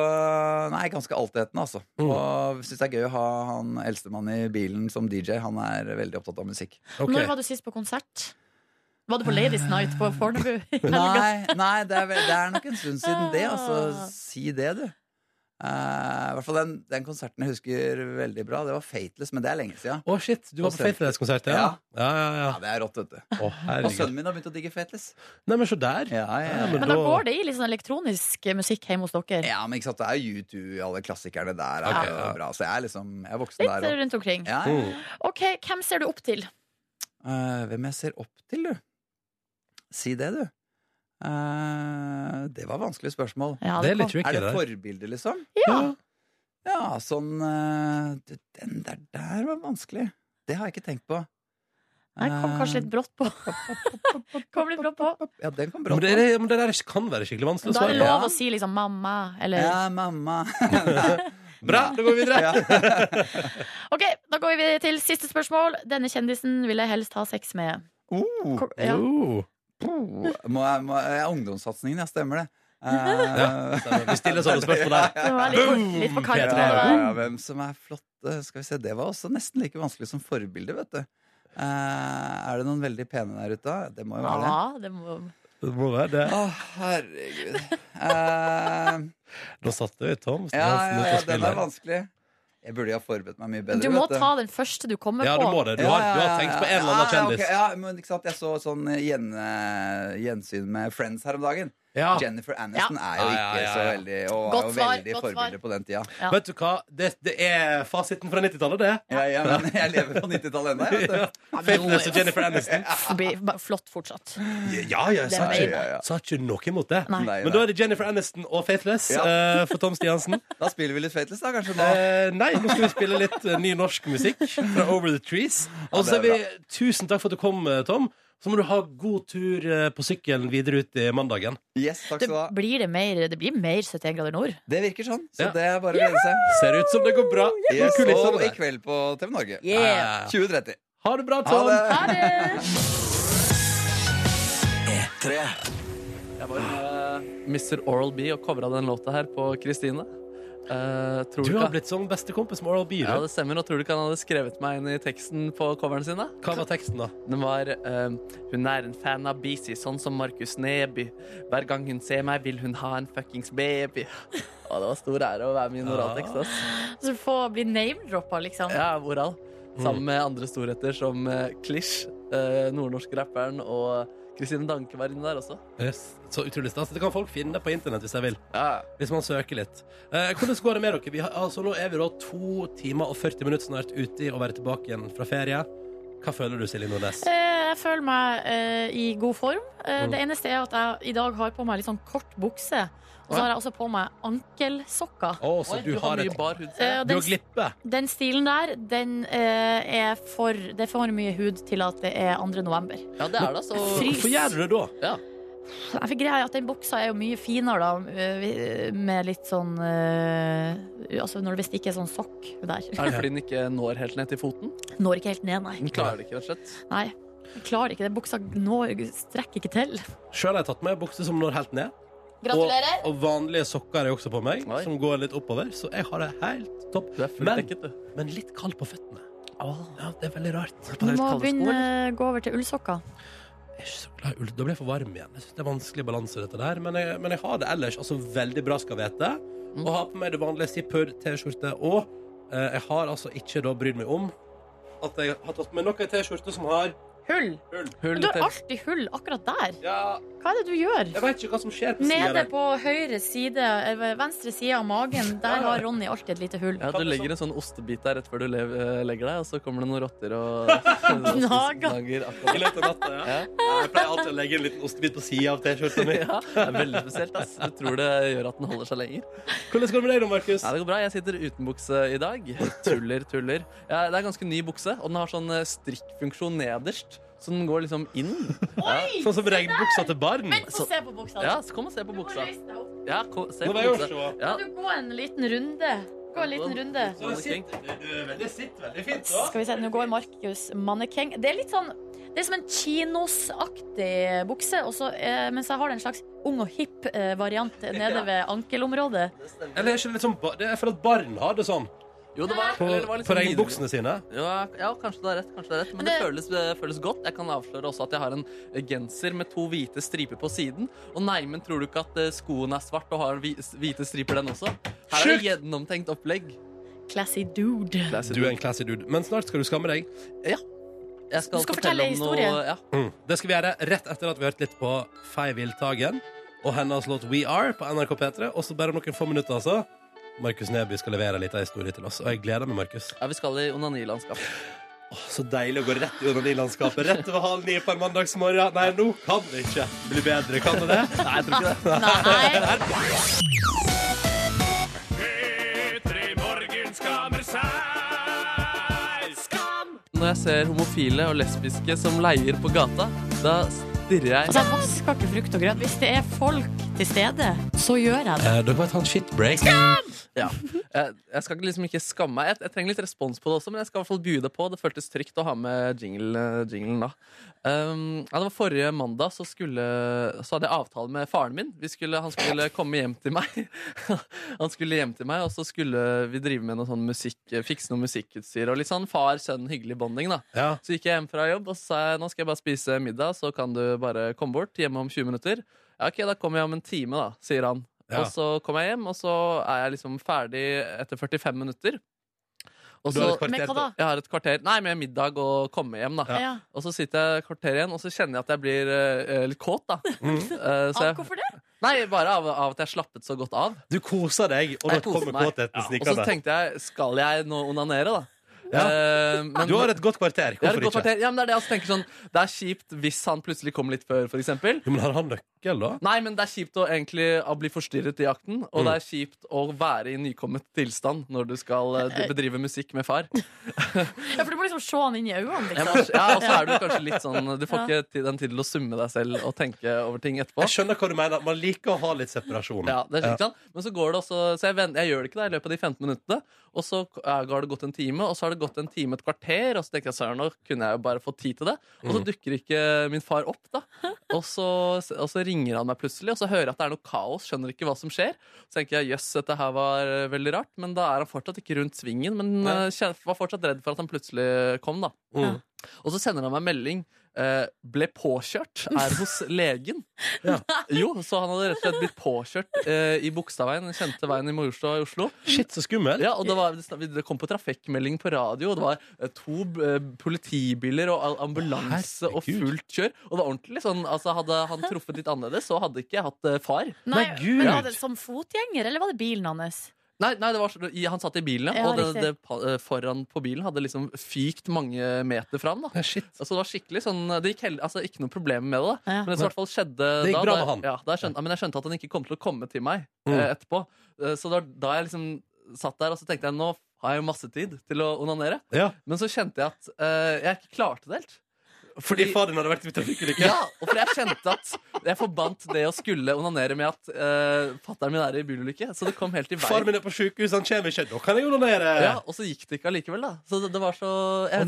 Speaker 6: nei, ganske altetende, altså.
Speaker 2: Mm.
Speaker 6: Og syns det er gøy å ha han eldstemann i bilen som DJ. Han er veldig opptatt av musikk.
Speaker 2: Ok.
Speaker 4: Når var du sist på konsert? Var du på Ladies Night på Fornebu? i helga?
Speaker 6: Nei, nei det, er, vel- det er nok en stund siden det,
Speaker 2: Ah.
Speaker 6: altså. Si det, du. Eh, I hvert fall den, den konserten jeg husker veldig bra. Det var Fateless, men det er lenge siden.
Speaker 2: Å, shit. Du var på Faithfulness-konsert, ja? Ja, ja,
Speaker 6: Ja,
Speaker 2: ja.
Speaker 6: det er rått, vet du.
Speaker 2: Å,
Speaker 6: Og
Speaker 2: herregud.
Speaker 6: sønnen min har begynt å digge Fateless.
Speaker 2: Nei, men så der.
Speaker 6: Ja,
Speaker 2: Ja, men
Speaker 4: Men da
Speaker 2: da-
Speaker 4: går det i litt sånn elektronisk musikk hjemme hos dere.
Speaker 6: Ja, men ikke sant, det er jo U2, alle klassikerne der er
Speaker 2: Ok,
Speaker 6: jo
Speaker 2: ja.
Speaker 6: bra. Så jeg er liksom, jeg er voksen
Speaker 4: Litt
Speaker 6: der òg.
Speaker 4: rundt omkring.
Speaker 6: Ja, ja.
Speaker 2: Mm.
Speaker 4: Ok, hvem ser du opp til?
Speaker 6: Eh, hvem jeg ser opp til, du? Si det, du. Eh, det var vanskelig spørsmål.
Speaker 4: Ja,
Speaker 2: Det er litt
Speaker 4: kom-
Speaker 2: tricky,
Speaker 6: Er det
Speaker 2: det.
Speaker 6: forbilder, liksom?
Speaker 4: Ja.
Speaker 6: Ja, sånn eh, du, Den der der var vanskelig. Det har jeg ikke tenkt på.
Speaker 4: Jeg kom kanskje litt brått på.
Speaker 6: Eh,
Speaker 4: Kom litt brått på.
Speaker 6: Ja, den kom bra
Speaker 2: Men, det,
Speaker 6: på.
Speaker 2: er- men det der kan være skikkelig vanskelig å
Speaker 4: Da er det
Speaker 2: svare på.
Speaker 4: lov å si liksom mamma, eller
Speaker 6: Ja, mamma.
Speaker 2: Bra, da går vi videre.
Speaker 6: Ja.
Speaker 4: Ok, da går vi til siste spørsmål. Denne kjendisen vil jeg helst ha sex med.
Speaker 6: Oh,
Speaker 4: Ko- Ja.
Speaker 2: Oh.
Speaker 6: må jeg, må, ja, ungdomssatsingen, ja, stemmer det. Eh,
Speaker 2: stemmer. Vi stiller sånne spørsmål der.
Speaker 6: Ja, ja, ja.
Speaker 4: Den var litt på, litt på
Speaker 6: Ja,
Speaker 4: kanten.
Speaker 2: Petra.
Speaker 6: ja,
Speaker 4: det
Speaker 6: ja, hvem som er flotte Skal vi se, Det var også nesten like vanskelig som forbilde, vet du. Eh, er det noen veldig pene der ute? da? Det må jo
Speaker 4: var.
Speaker 6: være det.
Speaker 4: Ja, det må...
Speaker 2: Det må være det.
Speaker 6: Å, herregud. Eh,
Speaker 2: Nå satt du i Tom
Speaker 6: ja,
Speaker 2: Hansen
Speaker 6: ja,
Speaker 2: ute og
Speaker 6: ja, den er
Speaker 2: spiller.
Speaker 6: vanskelig. Jeg burde jo ha forberedt meg mye bedre.
Speaker 4: Du må
Speaker 6: vet
Speaker 4: ta den første du kommer
Speaker 2: Ja, du må
Speaker 4: på.
Speaker 2: det. Du har, du har tenkt på en eller annen
Speaker 6: Ja, ja, ok,
Speaker 2: kjendis.
Speaker 6: Ja, men ikke sant, Jeg så sånn gjen, eh, gjensyn med Friends her om dagen.
Speaker 2: Ja.
Speaker 6: Jennifer Aniston er jo
Speaker 2: Ja, ja,
Speaker 6: ikke
Speaker 2: ja,
Speaker 6: så
Speaker 2: ja.
Speaker 6: veldig Og
Speaker 4: Godt
Speaker 6: var jo
Speaker 4: svar,
Speaker 6: veldig
Speaker 4: godt svar.
Speaker 6: forbilde på den tida.
Speaker 4: Ja.
Speaker 2: Vet du hva? Det, det er fasiten fra 90-tallet, det.
Speaker 6: Ja, ja, men jeg lever på 90-tallet ennå, jeg.
Speaker 2: Ja.
Speaker 6: Vet du.
Speaker 2: Faithless og Jennifer Aniston.
Speaker 4: Blir ba- Flott fortsatt.
Speaker 2: Ja, ja,
Speaker 4: Det
Speaker 2: sa
Speaker 4: var
Speaker 2: ikke,
Speaker 6: Ja, ja.
Speaker 2: sa ikke noe imot det.
Speaker 4: Nei.
Speaker 6: Nei,
Speaker 2: Men da er det Jennifer Aniston og Faithless
Speaker 6: Ja.
Speaker 2: eh, for Tom Stiansen.
Speaker 6: Da spiller vi litt Fateless, da, kanskje? nå
Speaker 2: Eh, nei, nå skal vi spille litt eh, ny norsk musikk fra Over the Trees. Og så sier
Speaker 6: Ja, det
Speaker 2: vi
Speaker 6: er
Speaker 2: tusen takk for at du kom, eh, Tom. Så må du ha god tur eh, på sykkelen videre ut i mandagen.
Speaker 6: Yes, takk
Speaker 4: Det
Speaker 6: skal du ha.
Speaker 4: blir, det mer, det blir mer 71 grader nord.
Speaker 6: Det virker sånn, så
Speaker 2: Ja.
Speaker 6: det er bare å glede seg.
Speaker 2: Ser ut som det går bra.
Speaker 6: Yes,
Speaker 2: Noen kulisser
Speaker 3: Sånn
Speaker 6: og i
Speaker 2: der.
Speaker 6: kveld på TV Norge.
Speaker 2: Yeah. Sånn.
Speaker 6: 20.30.
Speaker 2: Ha det bra,
Speaker 6: Ha
Speaker 2: Tom.
Speaker 6: det!
Speaker 4: Ha det!
Speaker 3: Jeg var Mr. Oral B og covra den låta her på Kristine. Eh, tror
Speaker 2: Du
Speaker 3: du
Speaker 2: har
Speaker 3: ikke-
Speaker 2: blitt som bestekompis med Oral B.
Speaker 3: Ja,
Speaker 2: du.
Speaker 3: det stemmer. Og tror du ikke han hadde skrevet meg inn i teksten på coveren sin? da?
Speaker 2: Hva var teksten, da?
Speaker 3: Den var eh, Hun er en fan av Beezy, sånn som Markus Neby. Hver gang hun ser meg, vil hun ha en fuckings baby. Å, det var stor ære å være med i en oraltekst. ass.
Speaker 4: Så du får Altså, bli name-droppa, liksom.
Speaker 3: Ja, oral. Sammen
Speaker 2: Mm.
Speaker 3: med andre storheter som eh, Klish, eh, nordnorsk rapperen, og Kristine Danke var inne der også.
Speaker 2: Yes. Så utrolig stas. Det kan folk finne på internett hvis de vil.
Speaker 3: Ja,
Speaker 2: Hvis man søker litt. Eh, hvordan går det med dere? Vi har, altså, nå er vi da to timer og 40 minutter snart ute i å være tilbake igjen fra ferie. Hva føler du, Silje Nordnes?
Speaker 4: Eh, Jeg føler meg eh, i god form. Eh,
Speaker 2: Mm.
Speaker 4: Det eneste er at jeg i dag har på meg litt sånn kort bukse. Og så har jeg også på meg ankelsokker.
Speaker 2: Å, så
Speaker 3: Oi,
Speaker 2: altså, du, har et
Speaker 3: mye bar hud.
Speaker 4: Eh, og
Speaker 2: Du
Speaker 4: den,
Speaker 2: har glippe.
Speaker 4: den stilen der, den eh, er for Det er for mye hud til at det er 2. november.
Speaker 3: Ja, det er det, altså.
Speaker 4: Frys.
Speaker 2: Hvorfor gjør du det da?
Speaker 4: Jeg fikk greia er at den buksa er jo mye finere, da, eh, med litt sånn eh, Altså når det visst ikke er sånn sokk der.
Speaker 3: Er det fordi den ikke når helt ned til foten?
Speaker 4: Når ikke helt ned, nei.
Speaker 3: Den klarer det ikke, rett og slett.
Speaker 4: nei. Jeg klarer ikke det. Buksa når, strekker ikke til.
Speaker 2: Sjøl har jeg tatt med bukse som når helt ned. Og, og vanlige sokker er jo også på meg,
Speaker 3: Oi.
Speaker 2: som går litt oppover. Så jeg har det helt topp.
Speaker 3: Du er fullt
Speaker 2: Men-
Speaker 3: dekket, du.
Speaker 2: Men litt kald på føttene. Ja, det er veldig rart.
Speaker 4: Du må
Speaker 3: kalde sko,
Speaker 4: begynne å gå over til ullsokker.
Speaker 2: Jeg er ikke så glad i ull. Da blir jeg for varm igjen. Jeg synes Det er vanskelig balanse, dette der. Men jeg, men jeg har det ellers. Altså veldig bra skal vete.
Speaker 3: Mm.
Speaker 2: Og har på meg det vanlige zipper, T-skjorte og eh, Jeg har altså ikke da brydd meg om at jeg har tatt på meg nok av T-skjorte som har
Speaker 4: Hull.
Speaker 2: hull.
Speaker 3: Hull
Speaker 4: Men du
Speaker 3: til-
Speaker 4: har alltid hull akkurat der.
Speaker 2: Ja,
Speaker 4: Hva er det du gjør?
Speaker 2: jeg veit ikke hva som skjer på sida
Speaker 4: Nede
Speaker 2: der.
Speaker 4: på høyre side, eh, venstre side av magen, der har Ronny alltid et lite hull.
Speaker 3: Ja, Du legger en sånn ostebit der rett før du lev, eh, legger deg, og så kommer det noen rotter og og
Speaker 4: Gnager.
Speaker 3: gnager akkurat.
Speaker 2: I løpet av natta, ja.
Speaker 3: Ja.
Speaker 2: Ja, Jeg pleier alltid å legge en liten ostebit på sida av T-skjorta mi.
Speaker 3: Ja, det er veldig spesielt. ass Du tror det gjør at den holder seg lenger.
Speaker 2: Hvordan går det med deg, da, Markus?
Speaker 3: Ja, det går bra. Jeg sitter uten bukse i dag. Tuller, tuller. Ja, det er ganske ny bukse, og den har sånn eh, strikkfunksjon nederst. Så den går liksom inn.
Speaker 4: Oi!
Speaker 2: Sånn som regnbuksa til barn.
Speaker 4: Vent, få
Speaker 3: Så-
Speaker 4: se på buksa.
Speaker 3: Ja, så kom og se på
Speaker 4: Du må
Speaker 3: buksa.
Speaker 4: reise deg opp.
Speaker 3: Ja, kom, se
Speaker 2: Nå
Speaker 3: på
Speaker 2: må jeg jo
Speaker 3: buksa.
Speaker 2: se.
Speaker 3: Ja.
Speaker 4: Kan du gå en liten runde? Gå en liten runde.
Speaker 2: Så det sitter, det, det, det sitter veldig fint, da.
Speaker 4: Skal vi se, nå går Markus mannekeng. Det er litt sånn det er som en chinosaktig bukse, og så, eh, mens jeg har en slags ung og hipp eh, variant nede ved ankelområdet.
Speaker 2: Eller er ikke det litt sånn ba- det er for at barn har det sånn?
Speaker 3: Jo, det var,
Speaker 2: På,
Speaker 3: eller det var litt
Speaker 2: på
Speaker 3: sånn
Speaker 2: regnbuksene sine?
Speaker 3: Ja, ja, kanskje det er rett. kanskje det er rett Men det,
Speaker 4: Men
Speaker 3: føles, det føles godt. Jeg kan avsløre også at jeg har en eh, genser med to hvite striper på siden. Og neimen, tror du ikke at eh, skoen er svart og har hvi- hvite striper, den også? Her er det gjennomtenkt opplegg.
Speaker 4: Classy dude.
Speaker 2: Du er en classy dude. Men snart skal du skamme deg.
Speaker 3: Jeg
Speaker 4: Du skal fortelle
Speaker 3: om noe-
Speaker 4: historie.
Speaker 3: ja.
Speaker 2: Det skal vi gjøre rett etter at vi har hørt litt på Fei Wiltagen og hennes låt We Are på NRK P3. Og så bare om noen få minutter, altså. Markus Neby skal levere litt av historie til oss. Og jeg gleder meg, Markus.
Speaker 3: ja, vi skal i onanilandskap.
Speaker 2: Åh, så deilig å gå rett i onanilandskapet. Rett over halv ni på en mandagsmorgen. Nei, nå kan det ikke bli bedre. Kan det det? Nei, jeg tror ikke det.
Speaker 4: Nei,
Speaker 3: Når jeg ser homofile og lesbiske som leier på gata, da stirrer jeg
Speaker 4: altså jeg vasker ikke frukt og grønt. Hvis det er folk til stede, så gjør jeg det.
Speaker 2: Eh, dere må ta en shitbreak.
Speaker 3: ja. jeg, jeg skal liksom ikke skamme meg. Jeg, jeg trenger litt respons på det også, men jeg skal i hvert fall by det på. Det føltes trygt å ha med jingle, eh, jinglen da. Um, ja, det var forrige mandag, så, skulle, så hadde jeg avtale med faren min. Vi skulle, han skulle komme hjem til meg. han skulle hjem til meg, og så skulle vi drive med noe sånn musikk, fikse noe musikkutstyr. Og litt sånn far-sønn hyggelig bonding, da.
Speaker 2: Ja.
Speaker 3: Så gikk jeg hjem fra jobb og så sa jeg, nå skal jeg bare spise middag, så kan du bare komme bort hjemme om 20 minutter. Ja, ok, da kommer jeg om en time, da, sier han.
Speaker 2: Ja.
Speaker 3: Og så kommer jeg hjem, og så er jeg liksom ferdig etter 45 minutter. Og
Speaker 2: Du
Speaker 3: så,
Speaker 2: har et kvarter
Speaker 4: Men hva
Speaker 2: til.
Speaker 4: da?
Speaker 3: jeg har et kvarter, nei, med middag og komme hjem, da.
Speaker 2: Ja.
Speaker 4: Ja.
Speaker 3: Og så sitter jeg et kvarter igjen, og så kjenner jeg at jeg blir eh, litt kåt, da.
Speaker 2: Mhm.
Speaker 3: Eh, så
Speaker 4: Ah,
Speaker 3: jeg,
Speaker 4: hvorfor det?
Speaker 3: nei, bare av, av at jeg slappet så godt av.
Speaker 2: Du koser deg, og da
Speaker 3: Jeg koser
Speaker 2: kommer
Speaker 3: meg.
Speaker 2: kåtheten
Speaker 3: Og så
Speaker 2: snikende.
Speaker 3: tenkte jeg, skal jeg nå onanere, da?
Speaker 2: Ja.
Speaker 3: Eh, men-
Speaker 2: Du har et godt kvarter.
Speaker 3: Jeg har et
Speaker 2: Hvorfor
Speaker 3: godt
Speaker 2: ikke?
Speaker 3: kvarter. Ja, men det er det jeg også tenker sånn Det er kjipt hvis han plutselig kommer litt før, for eksempel.
Speaker 2: Jo, men har han nøkkel, da?
Speaker 3: Nei, men det er kjipt å egentlig å bli forstyrret i akten, og
Speaker 2: Mm.
Speaker 3: det er kjipt å være i nykommet tilstand når du skal eh, bedrive musikk med far.
Speaker 4: Ja, for du må liksom se han inn i øynene,
Speaker 3: Ja,
Speaker 4: liksom.
Speaker 3: men- ja, og så er du kanskje litt sånn Du får
Speaker 4: Ja.
Speaker 3: ikke ti- den tid til å summe deg selv og tenke over ting etterpå.
Speaker 2: Jeg skjønner hva du mener. Man liker å ha litt separasjon.
Speaker 3: Ja, det er slik, sant? Men så går det også Så jeg, vent- jeg gjør det ikke da, i løpet av de 15 minuttene. Og så k- eh, har det gått en time, og så har det gått en time, et kvarter, og så tenker jeg søren, nå kunne jeg jo bare fått tid til det. Og så dukker ikke min far opp, da. Og så, og så ringer han meg plutselig, og så hører jeg at det er noe kaos, skjønner ikke hva som skjer. Så tenker jeg jøss, dette her var eh, veldig rart, men da er han fortsatt ikke rundt svingen. Men eh, kjen- var fortsatt redd for at han plutselig kom, da.
Speaker 2: Mm.
Speaker 3: Og så sender han meg melding. eh, ble påkjørt, er hos legen.
Speaker 2: Ja.
Speaker 3: Jo, Så han hadde rett og slett blitt påkjørt eh, i Bogstadveien, den kjente veien i Majorstua i Oslo.
Speaker 2: Shit, så skummel.
Speaker 3: Ja, og det, var, det kom på trafikkmelding på radio, og det var eh, to eh, politibiler og al- ambulanse og
Speaker 2: Herregud.
Speaker 3: fullt kjør. Og det var ordentlig sånn, altså Hadde han truffet litt annerledes, så hadde ikke jeg hatt eh, far.
Speaker 4: Nei,
Speaker 2: Nei, Gud.
Speaker 4: men var det som fotgjenger, eller var det bilen hans?
Speaker 3: Nei, nei det var, så- i- han satt i bilen, ja,
Speaker 4: Ja,
Speaker 3: og det,
Speaker 4: riktig.
Speaker 3: det, pa- eh, foran på bilen hadde liksom fykt mange meter fram. da
Speaker 2: Ja, shit.
Speaker 3: Altså, det var skikkelig sånn Det gikk hell- altså, ikke noe problem med det. da.
Speaker 4: Ja.
Speaker 3: Men det som i hvert fall skjedde
Speaker 2: Det gikk
Speaker 3: da,
Speaker 2: bra
Speaker 3: da-
Speaker 2: med han.
Speaker 3: Ja, da jeg skjønte, men jeg skjønte at han ikke kom til å komme til meg
Speaker 2: Mm.
Speaker 3: eh, etterpå. Eh, Så da, da jeg liksom satt der, og så tenkte jeg nå har jeg jo masse tid til å onanere.
Speaker 2: Ja.
Speaker 3: Men så kjente jeg at eh, jeg ikke klarte det helt.
Speaker 2: Fordi faren hadde vært i trafikkulykke?
Speaker 3: Ja, og for jeg kjente at jeg forbandt det å skulle onanere med at uh, fatteren min er i bilulykke. Så det kom helt i
Speaker 2: Faren
Speaker 3: veien.
Speaker 2: min er på sjukehus, han kommer ikke. Da kan jeg onanere!
Speaker 3: Ja, og så gikk det ikke allikevel, da. Så det, det var så Jeg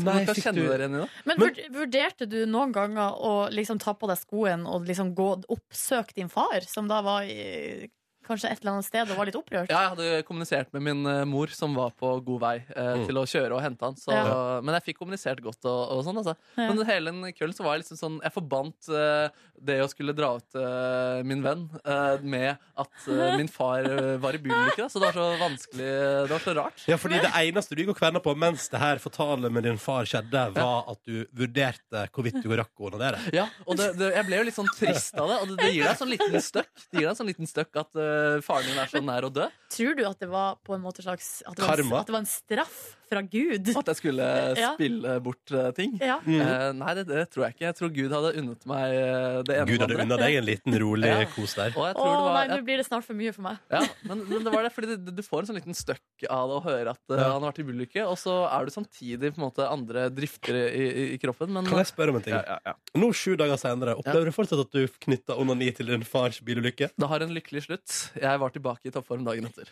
Speaker 2: Å
Speaker 3: vet ikke om
Speaker 2: nei,
Speaker 3: du
Speaker 2: fikk
Speaker 3: kan
Speaker 2: du-
Speaker 3: kjenne dere igjen i det.
Speaker 4: Men vurd- vurderte du noen ganger å liksom ta på deg skoen og liksom gå oppsøke din far, som da var i kanskje et eller annet sted og var litt opprørt?
Speaker 3: Ja, jeg hadde kommunisert med min eh, mor, som var på god vei eh,
Speaker 2: Mm.
Speaker 3: til å kjøre og hente han. Så,
Speaker 4: Ja.
Speaker 3: Men jeg fikk kommunisert godt og, og sånn, altså.
Speaker 4: Ja.
Speaker 3: Men hele den kvelden så var jeg liksom sånn Jeg forbandt eh, det å skulle dra ut eh, min venn eh, med at eh, min far eh, var i bilulykke, da. Så det var så vanskelig Det var så rart.
Speaker 2: Ja, fordi det eneste du gikk og kverna på mens det her fortalet med din far skjedde, var at du vurderte hvorvidt du rakk å onanere.
Speaker 3: Ja, og det, det, jeg ble jo litt sånn trist av det. Og det, det gir deg en sånn liten støkk. Det gir deg en sånn liten støkk at eh, faren din er så nær å dø.
Speaker 4: Tror du at det var på en måte slags At det var, en,
Speaker 2: Karma?
Speaker 4: at det var en straff fra Gud?
Speaker 3: At jeg skulle
Speaker 4: Ja.
Speaker 3: spille bort eh, ting.
Speaker 4: Ja.
Speaker 2: Mhm.
Speaker 3: Eh, nei, det, det tror jeg ikke. Jeg tror Gud hadde unnet meg eh, det ene
Speaker 2: Gud
Speaker 3: og det
Speaker 2: hadde
Speaker 3: andre.
Speaker 2: unna deg en liten rolig
Speaker 3: Ja.
Speaker 2: kos der.
Speaker 3: Og jeg
Speaker 4: Å
Speaker 3: tror det
Speaker 4: nei,
Speaker 3: var,
Speaker 4: nå blir det snart for mye for meg.
Speaker 3: ja, men, men det var det, fordi du, du får en sånn liten støkk av det å høre at eh,
Speaker 2: Ja.
Speaker 3: han har vært i bilulykke, og så er du samtidig på en måte andre drifter i, i, i kroppen. Men,
Speaker 2: Kan jeg spørre om en ting?
Speaker 3: ja, ja, ja.
Speaker 2: Nå, sju dager senere, opplever du fortsatt at du knytta onani til din fars bilulykke?
Speaker 3: Det har en lykkelig slutt. Jeg var tilbake i toppform dagen etter.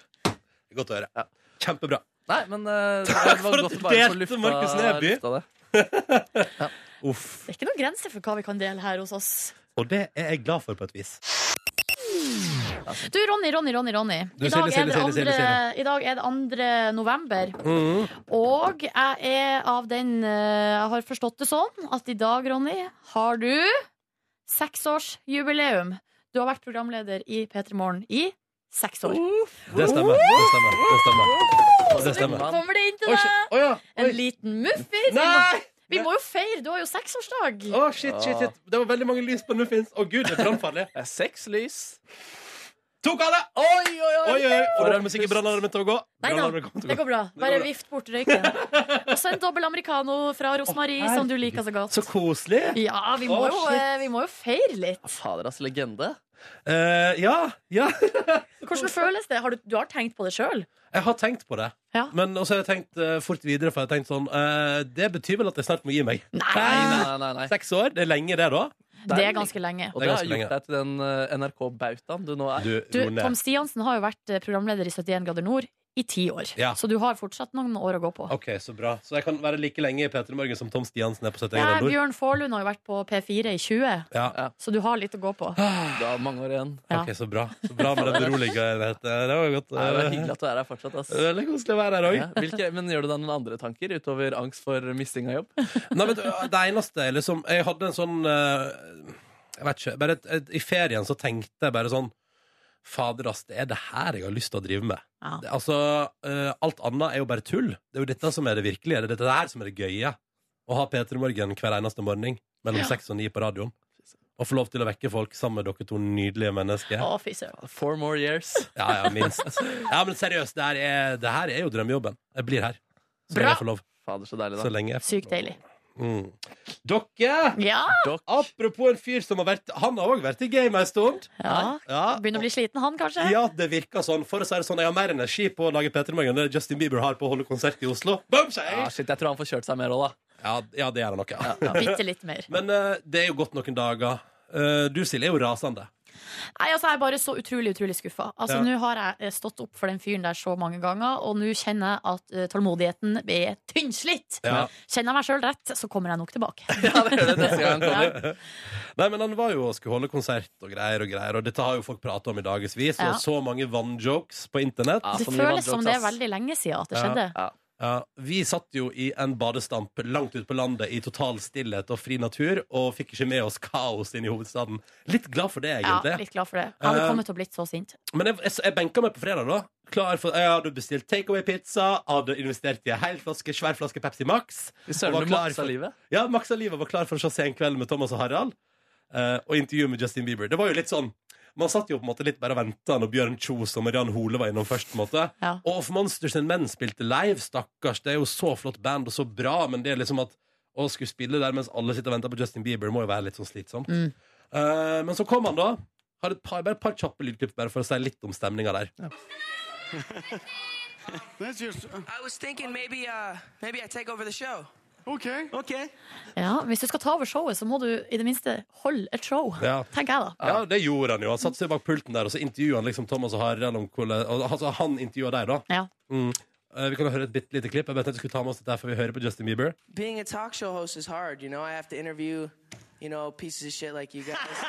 Speaker 2: Godt å høre.
Speaker 3: Ja.
Speaker 2: Kjempebra.
Speaker 3: Nei, men eh, det
Speaker 2: Takk for
Speaker 3: var
Speaker 2: at
Speaker 3: godt
Speaker 2: du
Speaker 3: å bare
Speaker 2: delte,
Speaker 3: få lufta,
Speaker 2: Markus Neby.
Speaker 3: lufta det.
Speaker 2: Uff.
Speaker 4: Det er ikke noen grenser for hva vi kan dele her hos oss.
Speaker 2: Og det er jeg glad for, på et vis.
Speaker 4: Du, Ronny, Ronny, Ronny. Ronny.
Speaker 2: Du,
Speaker 4: I, dag
Speaker 2: Silje,
Speaker 4: er det
Speaker 2: Silje, Silje,
Speaker 4: andre,
Speaker 2: Silje.
Speaker 4: I dag er det 2. november.
Speaker 3: Mm.
Speaker 2: Mhm.
Speaker 4: Og jeg er av den eh, Jeg har forstått det sånn at i dag, Ronny, har du seksårsjubileum. Du har vært programleder i P3 Morgen i seks år.
Speaker 2: Det stemmer. Det stemmer. Det stemmer. Det
Speaker 4: Nå
Speaker 2: stemmer.
Speaker 4: kommer det inn til
Speaker 2: Oi,
Speaker 4: deg
Speaker 2: shit. Å ja.
Speaker 4: en
Speaker 2: Oi.
Speaker 4: liten muffins. Vi må,
Speaker 2: Nei!
Speaker 4: vi må jo feire, du har jo seksårsdag.
Speaker 2: Å, shit, shit, shit. Det var veldig mange lys på muffins. Å, gud, det er brannfarlig.
Speaker 3: Det er Seks lys.
Speaker 2: Tok alle!
Speaker 3: Oi, oi, oi!
Speaker 2: Oi, oi. Og da må sikkert brannalarmen til å gå.
Speaker 4: Nei da,
Speaker 2: Brannalarmen kommer til å
Speaker 4: det
Speaker 2: gå.
Speaker 4: går bra. Bare vift bort røyken. Og så en dobbel americano fra Rosmarie, som du liker så godt.
Speaker 2: Så koselig.
Speaker 4: Ja, vi må,
Speaker 2: Å,
Speaker 4: jo,
Speaker 2: shit.
Speaker 4: eh, vi må jo feire litt.
Speaker 3: Fader, ass, legende.
Speaker 2: Eh, ja, ja.
Speaker 4: Hvordan føles det? Har du, du har tenkt på det sjøl?
Speaker 2: Jeg har tenkt på det.
Speaker 4: Ja.
Speaker 2: Men også har jeg tenkt eh, fort videre, for jeg har tenkt sånn eh, Det betyr vel at jeg snart må gi meg.
Speaker 3: Nei, nei, nei, nei.
Speaker 2: Seks år, det er lenge det, da.
Speaker 4: Det er ganske lenge.
Speaker 3: Og
Speaker 2: Det
Speaker 3: det
Speaker 2: er
Speaker 3: har
Speaker 2: ganske lenge.
Speaker 3: gjort deg til den eh, NRK-bautaen du nå er.
Speaker 2: Du,
Speaker 4: Du,
Speaker 2: Rune.
Speaker 4: Tom Stiansen har jo vært eh, programleder i 71 grader nord i ti år.
Speaker 2: Ja.
Speaker 4: Så du har fortsatt noen år å gå på.
Speaker 2: OK, så bra. Så jeg kan være like lenge i P3 Morgen som Tom Stiansen er på 71
Speaker 4: Nei,
Speaker 2: grader nord?
Speaker 4: Bjørn Forlund har jo vært på P4 i 20,
Speaker 2: Ja.
Speaker 4: så du har litt å gå på.
Speaker 2: Ah,
Speaker 3: Du har mange år igjen.
Speaker 4: Ja.
Speaker 2: OK, så bra. Så bra med den beroligenheten. Det var godt.
Speaker 3: Nei, Det er hyggelig at du er her fortsatt. Ass.
Speaker 2: Det er Veldig koselig å være her òg.
Speaker 3: Ja, Hvilke, men gjør du deg noen andre tanker utover angst for misting av jobb?
Speaker 2: Nei, men det eneste er liksom Jeg hadde en sånn eh, Jeg vet ikke bare et, et, I ferien så tenkte jeg bare sånn Fader ass, det er det her jeg har lyst til å drive med
Speaker 4: Ja.
Speaker 2: det, Altså, eh, alt annet er jo bare tull Det er jo dette som er det virkelige Det er dette her som er det gøye Å ha Peter Morgen hver eneste morgen Mellom
Speaker 4: Ja.
Speaker 2: 6 og 9 på radioen Og få lov til å vekke folk sammen med dere to nydelige mennesker
Speaker 4: Å, fy søren.
Speaker 3: Four more years.
Speaker 2: Ja, ja, minst Ja, men seriøst, det her er, det her er jo drømmejobben Jeg blir her Så
Speaker 4: Bra.
Speaker 2: lenge jeg får lov
Speaker 3: Fader, så deilig,
Speaker 2: Så
Speaker 3: da.
Speaker 2: lenge jeg får
Speaker 4: Sykt
Speaker 2: lov.
Speaker 4: deilig.
Speaker 2: mm. Dere
Speaker 4: Ja!
Speaker 3: Dokk.
Speaker 2: Apropos en fyr som har vært Han har òg vært i game ei stund.
Speaker 4: ja.
Speaker 2: Ja.
Speaker 4: Begynner å bli sliten, han kanskje?
Speaker 2: ja, det virker sånn. For å si det sånn, Jeg har mer energi på å lage P3 Morgen enn det Justin Bieber har på å holde konsert i Oslo. Boom,
Speaker 3: Ja,
Speaker 2: sier jeg.
Speaker 3: shit, jeg tror han får kjørt seg mer òg, da.
Speaker 2: ja, ja, det gjør han nok. Ja.
Speaker 4: Bitte litt mer.
Speaker 2: Men eh, det er jo gått noen dager. Eh, du, Silje, er jo rasende.
Speaker 4: Nei, altså, jeg er bare så utrolig, utrolig skuffa. Altså,
Speaker 2: Ja.
Speaker 4: nå har jeg eh, stått opp for den fyren der så mange ganger, og nå kjenner jeg at eh, tålmodigheten er tynnslitt.
Speaker 2: Ja.
Speaker 4: Kjenner jeg meg sjøl rett, så kommer jeg nok tilbake.
Speaker 3: Ja, det gjør det neste gang han kommer.
Speaker 2: Nei, men han var jo og skulle holde konsert og greier og greier, og dette har jo folk prata om i dagevis.
Speaker 4: Ja.
Speaker 2: Og så mange vannjokes på internett.
Speaker 3: Ja,
Speaker 4: Det
Speaker 3: så mye
Speaker 4: føles som
Speaker 3: vannjokes,
Speaker 4: det er
Speaker 3: ass.
Speaker 4: veldig lenge siden at det
Speaker 2: Ja.
Speaker 4: skjedde.
Speaker 2: Ja, vi satt jo i en badestamp langt ute på landet i total stillhet og fri natur, og fikk ikke med oss kaos inn i hovedstaden. Litt glad for det,
Speaker 4: Ja,
Speaker 2: egentlig.
Speaker 4: litt glad for det. Jeg hadde
Speaker 2: Eh,
Speaker 4: kommet til å blitt så sint.
Speaker 2: Men jeg, jeg, jeg benka meg på fredag, da. Klar for, jeg hadde bestilt takeaway-pizza, hadde investert i en hel flaske, svær flaske Pepsi Max.
Speaker 3: Fy
Speaker 2: Og var
Speaker 3: søren, du
Speaker 2: klar
Speaker 3: maksa
Speaker 2: for-
Speaker 3: livet.
Speaker 2: Ja, Max og Liva var klar for å se Senkveld med Thomas og Harald, eh, og intervju med Justin Bieber. Det var jo litt sånn man satt jo på en måte litt bare og venta når Bjørn Kjos og Mariann Hole var innom først. på en måte
Speaker 4: Ja.
Speaker 2: Og Of Monsters and Men spilte live, stakkars. Det er jo så flott band og så bra, men det er liksom at å skulle spille der mens alle sitter og venter på Justin Bieber, må jo være litt sånn slitsomt.
Speaker 4: Mm.
Speaker 2: Eh, men så kom han, da. Har et par, bare et par kjappe lydklipp bare for å si litt om stemninga der.
Speaker 7: That's just
Speaker 8: I was thinking maybe uh maybe I take over the show.
Speaker 7: okay.
Speaker 8: Okay.
Speaker 4: Ja, hvis du skal ta over showet, så må du i det minste holde et show.
Speaker 2: Ja.
Speaker 4: Tenker jeg, da.
Speaker 2: Ja, det gjorde han jo. Han satte seg bak pulten der, og så intervjuet han liksom Thomas og Harald om hvordan og, Altså, han intervjua deg, da.
Speaker 4: Ja.
Speaker 2: Mm. Eh, vi kan jo høre et bitte lite klipp. Jeg bare tenkte jeg skulle ta med oss dette her før vi hører på Justin Bieber.
Speaker 8: Being a talk show host is hard, you know. I have to interview, you know, pieces of shit like you guys.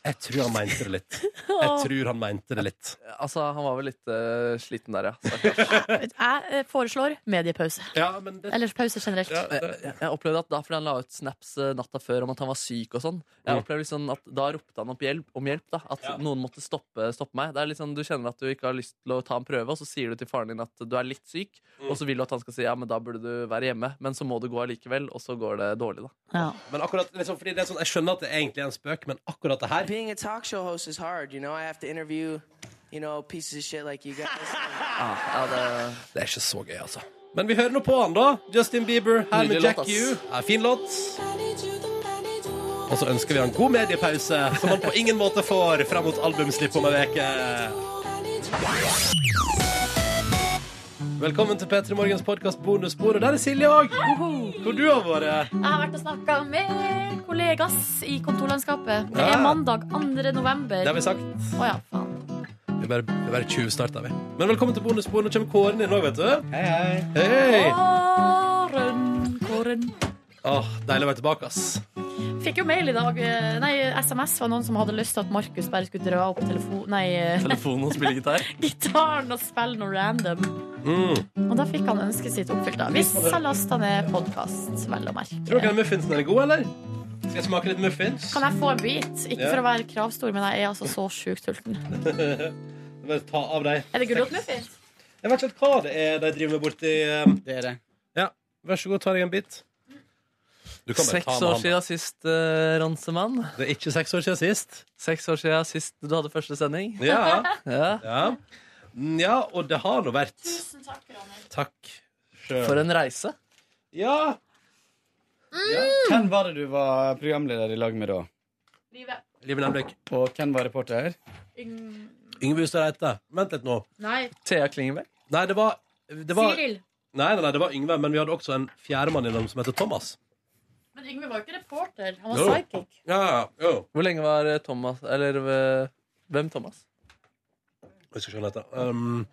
Speaker 2: Jeg tror han mente det litt. Jeg tror han mente det litt.
Speaker 3: Altså, han var vel litt eh, sliten der, ja. Stakkars.
Speaker 4: Jeg eh, foreslår mediepause.
Speaker 2: Ja, men det,
Speaker 4: Eller pause generelt.
Speaker 2: ja, det,
Speaker 3: Jeg, jeg- jeg opplevde at da fordi han la ut snaps eh, natta før om at han var syk og sånn, jeg
Speaker 2: Mm.
Speaker 3: opplevde liksom at da ropte han opp hjelp, om hjelp. da At
Speaker 2: Ja.
Speaker 3: noen måtte stoppe, stoppe meg. Det er liksom, Du kjenner at du ikke har lyst til å ta en prøve, og så sier du til faren din at du er litt syk, og så vil du at han skal si ja, men da burde du være hjemme, men så må du gå allikevel, og så går det dårlig, da.
Speaker 4: Ja.
Speaker 2: men akkurat, liksom, fordi det er sånn, Jeg skjønner at det egentlig er en spøk, men akkurat det her
Speaker 8: Being a talk show host is hard, you know. I have to interview, you know, pieces of shit like you guys.
Speaker 3: Ja, det,
Speaker 2: Det er ikke så gøy, altså. Men vi hører nå på han, da. Justin Bieber her med
Speaker 3: Nydelig
Speaker 2: Jack
Speaker 3: låt, ass.
Speaker 2: U. Ja, fin låt. Og så ønsker vi han god mediepause, som han på ingen måte får fram mot albumslipp om ei uke. Velkommen til P3 Morgens podkast bonusbord, og der er Silje òg. Hvor du har vært.
Speaker 4: Jeg har vært og snakka med kollegas i kontorlandskapet. Det er
Speaker 2: Ja.
Speaker 4: mandag 2. november.
Speaker 2: Ah. Det har vi sagt.
Speaker 4: Å ja, faen.
Speaker 2: Vi bare, vi bare tjuvstarter, vi. Men velkommen til bonusbord. Nå kommer Kåren inn òg, vet du. Hei, hei.
Speaker 4: Kåren, Kåren.
Speaker 2: Åh, deilig å være tilbake, ass.
Speaker 4: Fikk jo mail i dag. eh, Nei, SMS var noen som hadde lyst til at Markus bare skulle dra opp telefon... Nei, eh,
Speaker 3: telefonen og spille gitar.
Speaker 4: gitaren og spille noe random.
Speaker 2: Mm.
Speaker 4: Og da fikk han ønsket sitt oppfylt, da. Hvis jeg lasta ned podkast, vel å
Speaker 2: Tror dere
Speaker 4: merke.
Speaker 2: den muffinsen er god, eller? Skal jeg smake litt muffins?
Speaker 4: Kan jeg få en bit? Ikke
Speaker 2: Ja.
Speaker 4: for å være kravstor, men jeg er altså så sjukt sulten.
Speaker 2: Bare ta av deg.
Speaker 4: Er det gulrotmuffins?
Speaker 2: Jeg vet ikke helt hva det er de driver med borti ehm,
Speaker 7: Det er det.
Speaker 2: Vær så god, ta deg en bit. Du kan bare ta
Speaker 3: Seks
Speaker 2: med
Speaker 3: år
Speaker 2: hånda.
Speaker 3: siden sist, eh, Ransemann.
Speaker 2: Det er ikke seks år siden sist.
Speaker 3: Seks år siden sist du hadde første sending.
Speaker 2: Ja,
Speaker 3: Ja.
Speaker 2: ja. Mm, ja og det har nå vært
Speaker 4: Tusen takk, Ronny.
Speaker 2: Takk.
Speaker 3: For
Speaker 2: Sjøl.
Speaker 3: en reise.
Speaker 2: Ja.
Speaker 7: Hvem var det du var programleder i lag med da?
Speaker 4: Livet.
Speaker 2: Live Nelvik.
Speaker 7: Og hvem var reporter?
Speaker 4: Yng...
Speaker 2: Yngve Hustad Reite. Vent litt nå.
Speaker 4: Nei.
Speaker 3: Thea Klingeberg.
Speaker 2: Nei, det var, det var nei,
Speaker 4: Siril.
Speaker 2: nei, nei, det var Yngve, men vi hadde også en fjerdemann innom som heter Thomas.
Speaker 4: Men Yngve var jo ikke reporter. Han var
Speaker 2: Jo.
Speaker 4: psychic.
Speaker 2: Ja, ja, jo.
Speaker 3: Hvor lenge var eh, Thomas Eller eh, hvem Thomas?
Speaker 2: Jeg skal skjønne dette. Um,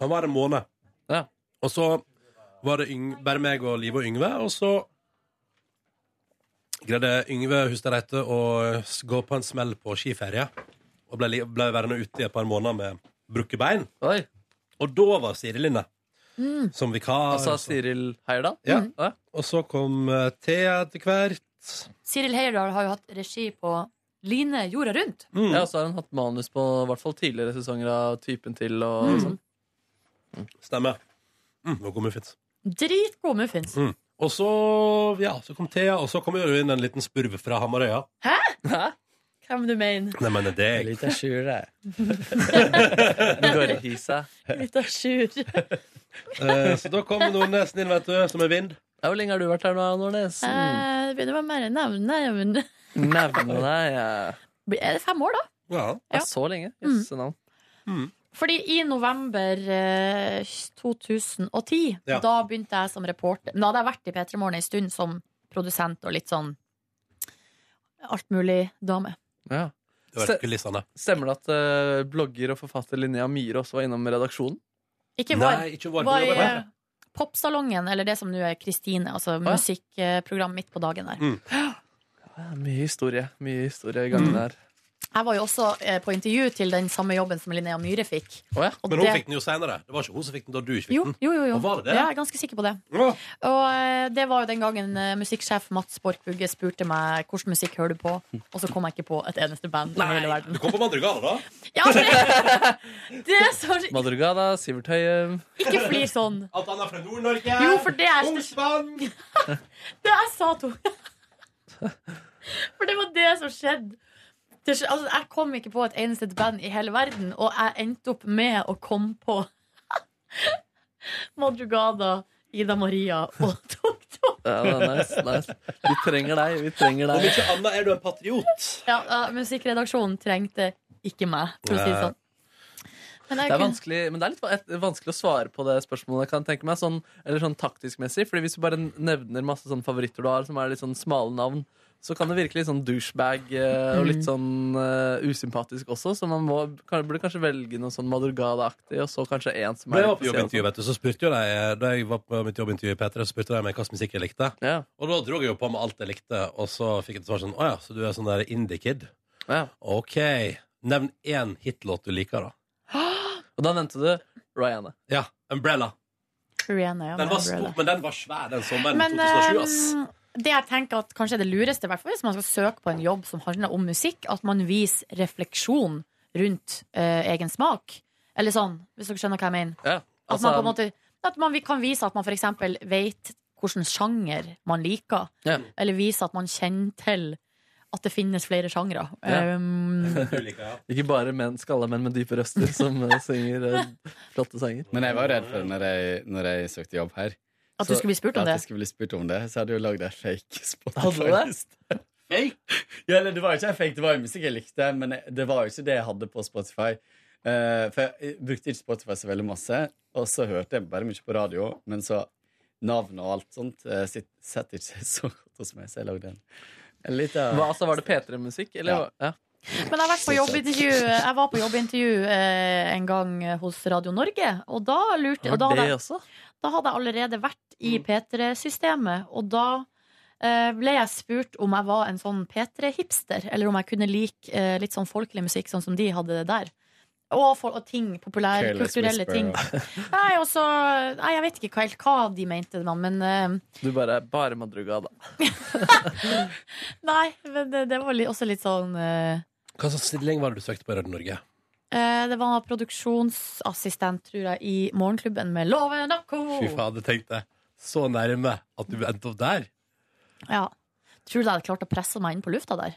Speaker 2: han var en måned.
Speaker 3: Ja.
Speaker 2: Og så var det Yng bare meg og Live og Yngve, og så greide Yngve Hustad Reite å s- gå på en smell på skiferie. Og ble, li- ble værende ute i et par måneder med brukket bein.
Speaker 3: Oi,
Speaker 2: Og da var Siri Linne som vikar.
Speaker 3: altså
Speaker 2: og så-
Speaker 3: Siril Heierdal?
Speaker 2: Ja.
Speaker 3: Mm. Ja.
Speaker 2: Og så kom eh, Thea etter hvert.
Speaker 4: Siril Heyerdahl har jo hatt regi på Line jorda rundt.
Speaker 2: Mm.
Speaker 3: Ja, og så har hun hatt manus på i hvert fall tidligere sesonger av Typen til og
Speaker 2: Mm.
Speaker 3: sånn.
Speaker 2: Stemmer. Mm, det var god muffins.
Speaker 4: Dritgod muffins.
Speaker 2: Mm. Og så, ja, så kom Thea, og så kom jo inn en liten spurv fra Hamarøya.
Speaker 4: Hvem du mener?
Speaker 2: Nei, men det er
Speaker 7: Lita Sjure.
Speaker 3: Gorrhisa.
Speaker 4: Litt av sjur.
Speaker 2: Eh, Så da kom Nordnesen inn, vet du, som en vind.
Speaker 3: Ja, hvor lenge har du vært her nå, Nordnes? Mm.
Speaker 4: Eh, Det begynner å være mer navn. Nei, men
Speaker 3: Nevne deg ja.
Speaker 4: Er det fem år, da?
Speaker 2: Ja.
Speaker 3: Ja, Så lenge? Jøsse navn.
Speaker 4: Fordi i november eh, 2010,
Speaker 2: Ja.
Speaker 4: da begynte jeg som reporter. Men da hadde jeg vært i P3 Morgen en stund som produsent og litt sånn altmulig dame.
Speaker 3: Ja.
Speaker 2: Det var kulissene.
Speaker 3: Stemmer det at eh, blogger og forfatter Linnea Myhre også var innom redaksjonen?
Speaker 4: Ikke var,
Speaker 2: Nei, ikke vår.
Speaker 4: var i
Speaker 2: men det var-
Speaker 4: eh, Popsalongen, eller det som nå er Kristine, altså
Speaker 3: ja.
Speaker 4: musikkprogram midt på dagen der.
Speaker 3: Ja, mye historie. Mye historie i
Speaker 2: Mm.
Speaker 3: gangen der.
Speaker 4: Jeg var jo også eh, på intervju til den samme jobben som Linnea Myhre fikk.
Speaker 3: Å ja.
Speaker 4: Og
Speaker 2: Men hun
Speaker 4: det-
Speaker 2: fikk den jo senere. Det var ikke hun som fikk den da du ikke fikk
Speaker 4: jo,
Speaker 2: den.
Speaker 4: jo, jo, jo.
Speaker 2: Og var det det?
Speaker 4: Ja, jeg er ganske sikker på det.
Speaker 2: Ja.
Speaker 4: Og eh, det var jo den gangen eh, musikksjef Mats Borch Bugge spurte meg hvilken musikk hører du på, og så kom jeg ikke på et eneste band i hele verden.
Speaker 2: Du kom på Madrugada, da?
Speaker 4: Ja, men det, det er så
Speaker 3: Madrugada, Sivert Høie
Speaker 4: Ikke flir sånn.
Speaker 2: Alt annet fra Nord-Norge?
Speaker 4: Jo, for det er
Speaker 2: Kongsvann!
Speaker 4: Det jeg sa til henne. For det var det som skjedde. Det skj- altså, jeg kom ikke på et eneste band i hele verden, og jeg endte opp med å komme på Madrugada, Ida Maria og Tok Tok.
Speaker 3: Ja, det er nice, nice. Vi trenger deg, vi trenger
Speaker 2: Om
Speaker 3: deg.
Speaker 2: ikke annet er du en patriot.
Speaker 4: Ja, ja, musikkredaksjonen trengte ikke meg, for å si det sånn. Men
Speaker 3: Det
Speaker 4: jeg
Speaker 3: er
Speaker 4: kunne,
Speaker 3: vanskelig, men det er litt va- et- vanskelig å svare på det spørsmålet, kan jeg tenke meg. Sånn, eller sånn taktisk-messig. Fordi hvis du bare nevner masse sånne favoritter du har, som er litt sånn smale navn, så kan det virke litt sånn douchebag eh, og
Speaker 4: Mm.
Speaker 3: litt sånn eh, usympatisk også. Så man må, kan, burde kanskje velge noe sånn Madrugada-aktig, og så kanskje én som
Speaker 2: Da
Speaker 3: er
Speaker 2: jeg var
Speaker 3: litt
Speaker 2: på jobbintervju,
Speaker 3: spesiell.
Speaker 2: vet du, så spurte jo de Da jeg var på mitt jobbintervju i P3, så spurte de meg hvilken musikk jeg likte.
Speaker 3: Ja.
Speaker 2: Og da dro jeg jo på med alt jeg likte, og så fikk jeg til svar sånn Å ja, så du er sånn der indie-kid?
Speaker 3: Ja.
Speaker 2: OK. Nevn én hitlåt du liker, da.
Speaker 3: Og da nevnte du Rihanna.
Speaker 2: Ja. 'Umbrella'.
Speaker 4: Rihanna, ja.
Speaker 2: Den
Speaker 4: med
Speaker 2: var
Speaker 4: Umbrella.
Speaker 2: stor, men den var svær den sommeren
Speaker 4: Men
Speaker 2: 2007, ass.
Speaker 4: ehm, det jeg tenker at kanskje er det lureste, i hvert fall hvis man skal søke på en jobb som handler om musikk, at man viser refleksjon rundt eh, egen smak. Eller sånn, hvis dere skjønner hva jeg mener.
Speaker 3: Ja.
Speaker 4: At
Speaker 3: Altså,
Speaker 4: man på en måte at man vi- kan vise at man f.eks. vet hvilken sjanger man liker.
Speaker 3: Ja.
Speaker 4: Eller vise at man kjenner til at det finnes flere sjangre.
Speaker 3: Ja.
Speaker 4: Ehm,
Speaker 2: Du liker, ja.
Speaker 3: Ikke bare menn, skalla menn med dype røster som eh, synger eh, flotte sanger.
Speaker 7: Men jeg var redd for det når jeg, når jeg søkte jobb her.
Speaker 4: at du
Speaker 7: Så-
Speaker 4: skulle bli spurt om
Speaker 7: At jeg
Speaker 4: det.
Speaker 7: skulle bli spurt om det. Så hadde jeg jo lagd ei fake spot.
Speaker 3: Hadde du det?
Speaker 7: faktisk. Ja, eller det var jo ikke en fake, det var jo musikk jeg likte, men jeg- det var jo ikke det jeg hadde på Spotify. Eh, for jeg brukte ikke Spotify så veldig masse, og så hørte jeg bare mye på radio. Men så navn og alt sånt eh, sitt- setter ikke seg så godt hos meg, så jeg lagde en. en liten-
Speaker 3: Hva, altså, var det P3-musikk? Ja. Ja.
Speaker 4: Men jeg, har vært på jobbintervju, jeg var på jobbintervju eh, en gang hos Radio Norge, og da lurte og da
Speaker 3: Var
Speaker 4: hadde
Speaker 3: det
Speaker 4: jeg-
Speaker 3: også?
Speaker 4: Da hadde jeg allerede vært i
Speaker 3: Mm.
Speaker 4: P3-systemet, og da eh, ble jeg spurt om jeg var en sånn P3-hipster, eller om jeg kunne like eh, litt sånn folkelig musikk, sånn som de hadde det der. Og, for, og ting, populære,
Speaker 7: Careless
Speaker 4: kulturelle
Speaker 7: Whisper
Speaker 4: ting.
Speaker 7: og-
Speaker 4: Nei, og så- nei, jeg vet ikke helt hva de mente, da, men eh,
Speaker 3: Du bare Bare Madruga, da.
Speaker 4: Nei, men det, det var li, også litt sånn eh,
Speaker 2: Hva slags stilling var det du søkte på i Radio Norge?
Speaker 4: eh, Det var produksjonsassistent, tror jeg, i Morgenklubben med Loven og Co.
Speaker 2: Fy fader, tenk deg. Så nærme at du endte opp der.
Speaker 4: Ja. Tror du jeg hadde klart å presse meg inn på lufta der?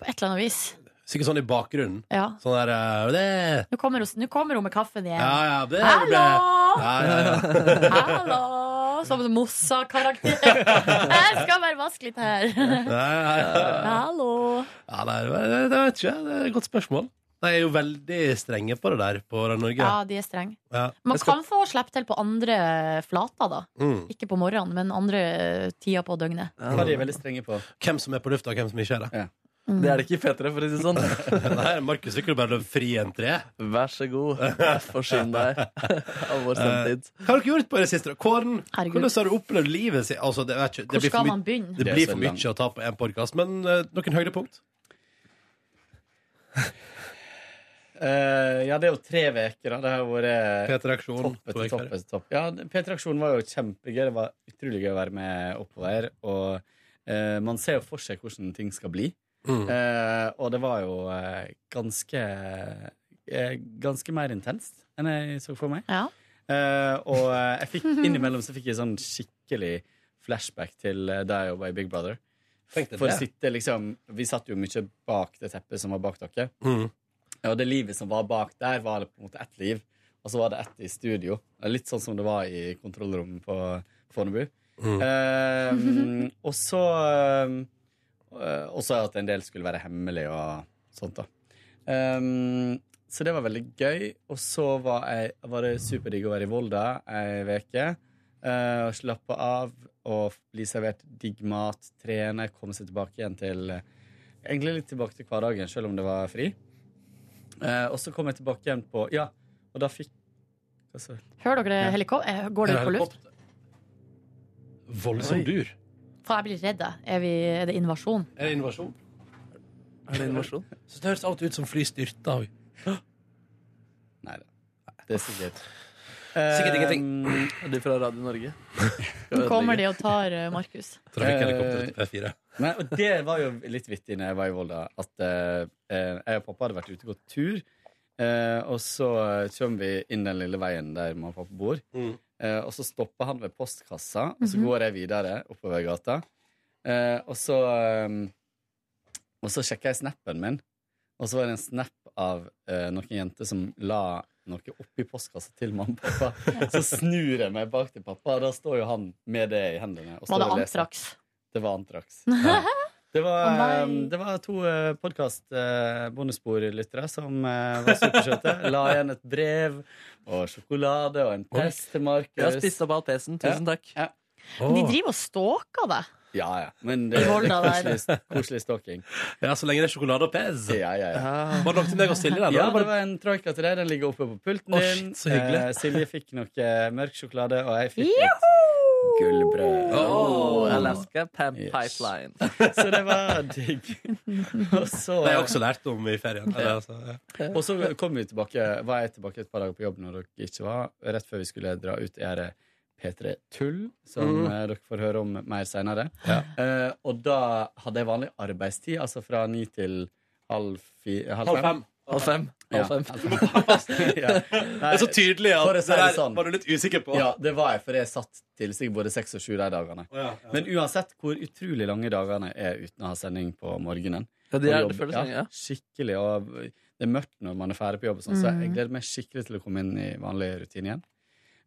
Speaker 4: På et eller annet vis.
Speaker 2: Sikkert sånn i bakgrunnen.
Speaker 4: Ja
Speaker 2: Sånn der eh, det.
Speaker 4: Nå kommer, hun, nå kommer hun med kaffen igjen.
Speaker 2: Ja, ja, det
Speaker 4: Hallo!
Speaker 2: ble ja, ja, ja.
Speaker 4: Hallo! Som en Mossa-karakter. Jeg skal bare vaske litt her.
Speaker 2: Nei, nei, nei.
Speaker 4: Hallo.
Speaker 2: Ja, nei, det, var- det vet ikke jeg. Det er et godt spørsmål. De er jo veldig strenge på det der på Radio Norge.
Speaker 4: Ja, de er strenge.
Speaker 2: Ja.
Speaker 4: Man
Speaker 3: Jeg skal-
Speaker 4: kan få slippe til på andre flater, da.
Speaker 2: Mm.
Speaker 4: Ikke på morgenen, men andre tider på døgnet.
Speaker 7: Hva de er veldig strenge på.
Speaker 2: Hvem som er på lufta, og hvem som ikke er det.
Speaker 4: Mm.
Speaker 3: Det er det ikke i P3, for å si det sånn.
Speaker 2: Nei, Markus Zuckerberg løp fri entré.
Speaker 3: Vær så god, forsyn deg av vår samtid.
Speaker 2: Hva har dere gjort på det siste? Kåren,
Speaker 4: Herregud.
Speaker 2: hvordan har du opplevd livet sitt? Altså, det, vet ikke, det
Speaker 4: Hvor
Speaker 2: blir for
Speaker 4: skal
Speaker 2: mye,
Speaker 4: man begynne?
Speaker 2: det
Speaker 7: Det er
Speaker 2: blir
Speaker 7: så
Speaker 2: for
Speaker 7: lang.
Speaker 2: mye å ta på én podkast, men eh, noen høydepunkt?
Speaker 7: Eh, ja, det er jo tre uker, da. Det har vært
Speaker 2: Peter Aksjon.
Speaker 7: Topp
Speaker 2: to
Speaker 7: etter
Speaker 2: uker.
Speaker 7: topp etter topp. Ja, P3-aksjonen var jo kjempegøy. Det var utrolig gøy å være med oppover. Og eh, man ser jo for seg hvordan ting skal bli.
Speaker 2: Mm.
Speaker 7: Eh, og det var jo eh, ganske eh, Ganske mer intenst enn jeg så for meg.
Speaker 4: Ja.
Speaker 7: Eh, og eh, jeg fikk innimellom så fikk jeg sånn skikkelig flashback til eh, da jeg jobba i Big Brother.
Speaker 2: Tenk deg
Speaker 7: For å
Speaker 2: det.
Speaker 7: sitte liksom Vi satt jo mye bak det teppet som var bak dere.
Speaker 2: Mm.
Speaker 7: Ja, og det livet som var bak der, var det på en måte ett liv. Og så var det ett i studio. Litt sånn som det var i kontrollrommet på Fornebu.
Speaker 2: Mm.
Speaker 7: Ehm, og så eh, Og så at en del skulle være hemmelig og sånt, da. Ehm, så det var veldig gøy. Og så var, jeg, var det superdigg å være i Volda ei uke. eh, og slappe av og bli servert digg mat, trene, komme seg tilbake igjen til eh, Egentlig litt tilbake til hverdagen, selv om det var fri. Eh, og så kom jeg tilbake igjen på Ja, og da fikk Hva sa jeg?
Speaker 4: Hører dere heliko- eh, Går det ut på luft?
Speaker 2: Voldsom dur.
Speaker 4: Faen, jeg blir redd. jeg. Er, vi, er det invasjon?
Speaker 2: Er det innovasjon?
Speaker 3: Er det invasjon?
Speaker 2: Så det høres alltid ut som fly styrta.
Speaker 7: Nei da. Det er sikkert
Speaker 2: Sikkert ingenting.
Speaker 7: Eh,
Speaker 3: Er de fra Radio Norge?
Speaker 4: Nå kommer de og tar eh, Markus.
Speaker 2: Trafikkhelikopter til P4.
Speaker 7: Nei, og det var jo litt vittig når jeg var i Volda, at eh, eh, jeg og pappa hadde vært ute og gått tur. eh, og så eh, kommer vi inn den lille veien der mamma og pappa bor.
Speaker 2: Mm.
Speaker 7: Eh, og så stopper han ved postkassa, og
Speaker 4: Mhm.
Speaker 7: så går jeg videre oppover gata. Eh, og så eh, Og så sjekker jeg snappen min, og så var det en snap av eh, noen jenter som la noe oppi postkassa til mamma og pappa. Så snur jeg meg bak til pappa, og da står jo han med det i hendene. Og står
Speaker 4: Var det
Speaker 7: og leser.
Speaker 4: antrax?
Speaker 7: Det var Antrax.
Speaker 2: Ja.
Speaker 7: Det var,
Speaker 4: Å, nei.
Speaker 7: eh, det var to eh, podkast eh, bonusbordlyttere som eh, var supersøte. La igjen et brev og sjokolade og en pest til
Speaker 3: Jeg har
Speaker 7: Markus.
Speaker 3: spist opp all pesen. Tusen takk.
Speaker 4: De
Speaker 2: Åh.
Speaker 4: driver og stalker deg.
Speaker 7: Ja, ja. Men det
Speaker 4: I
Speaker 7: er
Speaker 4: Volda der.
Speaker 7: koselig, koselig stalking.
Speaker 2: Ja, så lenge det er sjokolade og pez.
Speaker 7: Ja, ja, ja.
Speaker 3: Ah.
Speaker 2: Var det nok til meg å stille den?
Speaker 7: Ja,
Speaker 2: da?
Speaker 7: det var en troika til deg. Den ligger oppe på pulten
Speaker 2: Å,
Speaker 7: din.
Speaker 2: shit, så hyggelig.
Speaker 7: Eh, Silje fikk noe mørk sjokolade, og jeg fikk litt Gullbrød.
Speaker 3: Oh, Alaska Pam Pipeline.
Speaker 7: Så det var digg. Og så,
Speaker 2: Det har jeg også lært om i ferien. Eller, altså, ja.
Speaker 7: og så kom vi tilbake, var jeg tilbake et par dager på jobb når dere ikke var. Rett før vi skulle dra ut i her P3 Tull, som
Speaker 2: Mhm.
Speaker 7: eh, dere får høre om mer seinere.
Speaker 2: Ja.
Speaker 7: og da hadde jeg vanlig arbeidstid, altså fra ni til halv, fi, halv,
Speaker 2: Halv fem.
Speaker 3: Halv fem.
Speaker 7: Ja,
Speaker 3: Halv fem.
Speaker 7: halv fem. ja.
Speaker 2: Det er så tydelig
Speaker 7: For
Speaker 2: at
Speaker 7: å
Speaker 2: det
Speaker 7: si det
Speaker 2: der
Speaker 7: sånn.
Speaker 2: var du litt usikker på.
Speaker 7: Ja, det var jeg, for jeg satt til sikkert både seks og sju de dagene.
Speaker 2: Å, ja, ja.
Speaker 7: Men uansett hvor utrolig lange dagene er uten å ha sending på morgenen
Speaker 3: Ja, de
Speaker 7: og
Speaker 3: er,
Speaker 7: jobb-
Speaker 3: det føles
Speaker 7: ja,
Speaker 3: sånn, ja.
Speaker 7: Skikkelig. Og det er mørkt når man er ferdig på jobb, og sånn,
Speaker 3: Mm.
Speaker 7: så jeg gleder meg skikkelig til å komme inn i vanlig rutine igjen.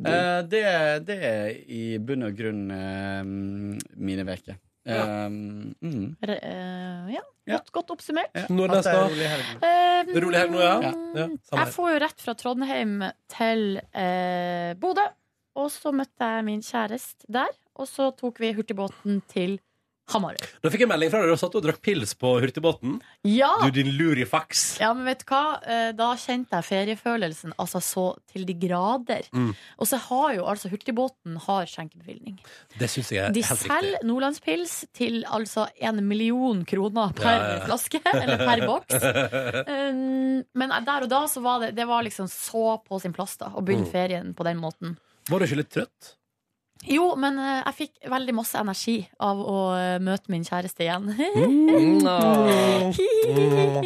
Speaker 7: Eh, det, det er i bunn og grunn eh, mine uker. Eh, mm.
Speaker 4: Re- eh, ja.
Speaker 7: Ja.
Speaker 4: Godt, godt oppsummert.
Speaker 7: ja.
Speaker 2: Når
Speaker 7: Hatt
Speaker 2: neste
Speaker 7: ei
Speaker 2: år?
Speaker 7: rolig helg.
Speaker 4: Eh,
Speaker 2: Rolig her nå, ja?
Speaker 4: mm,
Speaker 2: Ja, samme
Speaker 4: Jeg
Speaker 2: her.
Speaker 4: for jo rett fra Trondheim til eh, Bodø, og så møtte jeg min kjæreste der. Og så tok vi hurtigbåten til Hamarøy.
Speaker 2: Da fikk jeg melding fra deg. Du satt og drakk pils på hurtigbåten.
Speaker 4: Ja!
Speaker 2: Du, din lurifaks.
Speaker 4: Ja, men vet du hva? Eh, Da kjente jeg feriefølelsen altså så til de grader.
Speaker 2: Mm.
Speaker 4: Og så har jo altså hurtigbåten har skjenkebevilgning.
Speaker 2: Det syns jeg er
Speaker 4: De
Speaker 2: Eh, helt riktig.
Speaker 4: selger Nordlandspils til altså en million kroner per
Speaker 2: Ja, ja, ja.
Speaker 4: flaske, eller per boks. Um, men der og da så var det, det var liksom så på sin plass da, å begynne
Speaker 2: Mm.
Speaker 4: ferien på den måten.
Speaker 2: Var du ikke litt trøtt?
Speaker 4: Jo, men eh, jeg fikk veldig masse energi av å eh, møte min kjæreste igjen.
Speaker 2: Mm.
Speaker 4: Mm.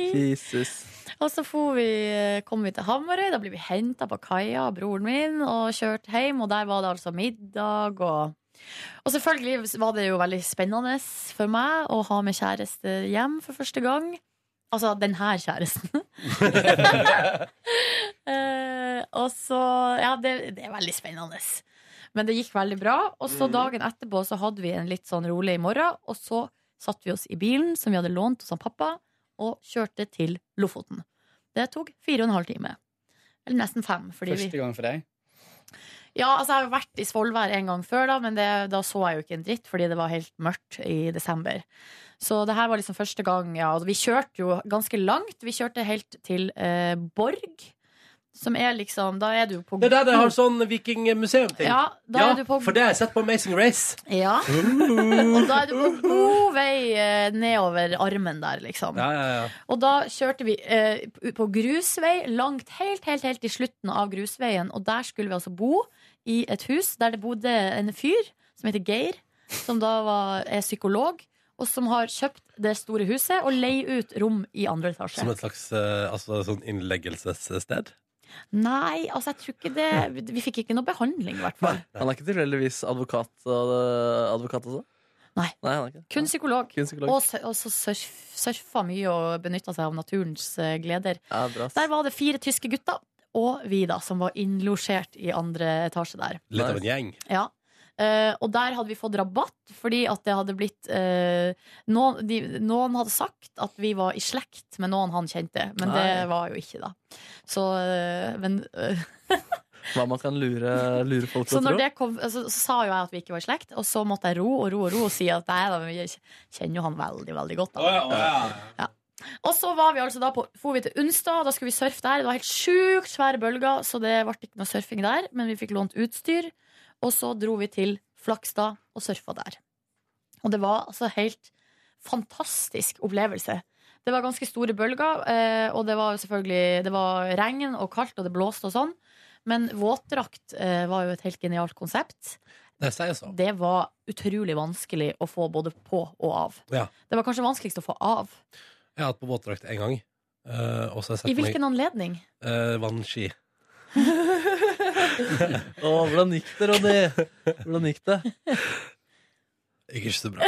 Speaker 4: Og så for vi, eh, kom vi til Hamarøy, da ble vi henta på kaia av broren min og kjørt hjem, og der var det altså middag og Og selvfølgelig var det jo veldig spennende for meg å ha med kjæreste hjem for første gang. Altså den her kjæresten. Eh, og så Ja, det, det er veldig spennende. Men det gikk veldig bra. Og så dagen etterpå så hadde vi en litt sånn rolig morgen, og så satte vi oss i bilen som vi hadde lånt hos han pappa, og kjørte til Lofoten. Det tok fire og en halv time. Eller nesten fem. Fordi vi,
Speaker 7: Første gang for deg.
Speaker 4: ja, altså Jeg har jo vært i Svolvær en gang før, da, men det, da så jeg jo ikke en dritt fordi det var helt mørkt i desember. Så det her var liksom første gang. Ja, og vi kjørte jo ganske langt. Vi kjørte helt til eh, Borg, som er liksom Da er du på
Speaker 2: Det er der de har sånn vikingmuseum-ting.
Speaker 4: Ja, da er du på
Speaker 2: for det har jeg sett på Amazing Race.
Speaker 4: Ja.
Speaker 2: Mm.
Speaker 4: Og da er du på god vei eh, nedover armen der, liksom.
Speaker 2: Ja, ja, ja.
Speaker 4: Og da kjørte vi eh, på grusvei langt, helt, helt, helt i slutten av grusveien. Og der skulle vi altså bo i et hus der det bodde en fyr som heter Geir, som da var, er psykolog, og som har kjøpt det store huset og leier ut rom i andre etasje.
Speaker 2: Som et slags eh, altså, sånn innleggelsessted.
Speaker 4: Nei, altså jeg tror ikke det Vi fikk ikke noe behandling, i hvert fall.
Speaker 3: Han er ikke tilfeldigvis advokat, og, advokat også?
Speaker 4: Nei.
Speaker 3: Nei han er ikke. det.
Speaker 4: Kun psykolog.
Speaker 3: Kun psykolog.
Speaker 4: Og, sø- og så surf, surfa mye og benytta seg av naturens eh, gleder.
Speaker 3: Ja, bra. ass.
Speaker 4: Der var det fire tyske gutter og vi, da, som var innlosjert i andre etasje der.
Speaker 2: Litt av en gjeng.
Speaker 4: Ja. Eh, og der hadde vi fått rabatt, fordi at det hadde blitt eh, noen, de, noen hadde sagt at vi var i slekt med noen han kjente, men
Speaker 3: Nei.
Speaker 4: det var jo ikke, da. Så, eh, men, eh,
Speaker 3: Hva man kan lure, lure folk til
Speaker 4: så
Speaker 3: å
Speaker 4: når
Speaker 3: tro.
Speaker 4: det kom, altså, så sa jo jeg at vi ikke var i slekt, og så måtte jeg ro og ro og ro og si at nei da, men vi kjenner jo han veldig, veldig godt. Da. Og så var vi altså da på, for vi til Unstad, da skulle vi surfe der. Det var helt sjukt svære bølger, så det ble ikke noe surfing der. Men vi fikk lånt utstyr, og så dro vi til Flakstad og surfa der. Og det var altså helt fantastisk opplevelse. Det var ganske store bølger, eh, og det var jo selvfølgelig Det var regn og kaldt, og det blåste og sånn. Men våtdrakt eh, var jo et helt genialt konsept.
Speaker 2: Det sier sånn. så.
Speaker 4: Det var utrolig vanskelig å få både på og av.
Speaker 2: Ja.
Speaker 4: Det var kanskje vanskeligst å få av.
Speaker 2: Jeg har hatt på våtdrakt én gang. eh, og så har jeg sett
Speaker 4: I hvilken anledning?
Speaker 2: meg eh, vannski.
Speaker 3: Å, hvordan gikk det, Ronny? Hvordan gikk det?
Speaker 2: Gikk ikke så bra.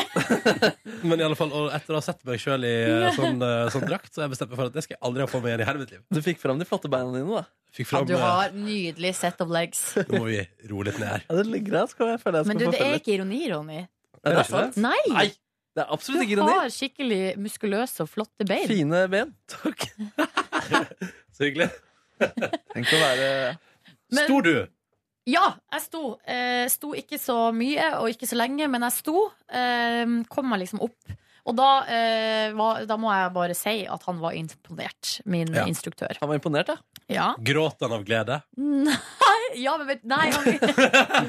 Speaker 2: Men i alle fall, og etter å ha sett meg sjøl i eh, sånn, eh, sånn drakt, så har jeg bestemt meg for at det skal jeg aldri ha på meg igjen i hele mitt liv.
Speaker 3: Du fikk fram de flotte beina dine, da.
Speaker 2: Fikk
Speaker 4: Ja,
Speaker 2: fram,
Speaker 4: du
Speaker 2: eh,
Speaker 4: har nydelig set of legs.
Speaker 2: Nå må vi roe litt ned her.
Speaker 3: Ja, det ligger der. Skal jeg føle jeg skal
Speaker 4: Men du,
Speaker 3: få
Speaker 4: det
Speaker 3: følge
Speaker 4: er
Speaker 3: litt.
Speaker 4: ikke ironi, Ronny.
Speaker 3: Er det
Speaker 2: ikke
Speaker 3: sant?
Speaker 4: Nei!
Speaker 3: Nei, det er absolutt ikke
Speaker 4: Du
Speaker 3: ironi.
Speaker 4: har skikkelig muskuløse og flotte bein.
Speaker 3: Fine ben. Takk.
Speaker 2: Så hyggelig.
Speaker 3: Tenk å være
Speaker 4: Men-
Speaker 2: Sto du?
Speaker 4: Ja, jeg sto. Eh, sto ikke så mye og ikke så lenge, men jeg sto. Eh, kom meg liksom opp. Og da, eh, var, da må jeg bare si at han var imponert, min
Speaker 2: Ja.
Speaker 4: instruktør.
Speaker 3: Han var imponert, ja.
Speaker 4: Ja.
Speaker 2: Gråt han av glede?
Speaker 4: Nei, ja, men vet, nei han,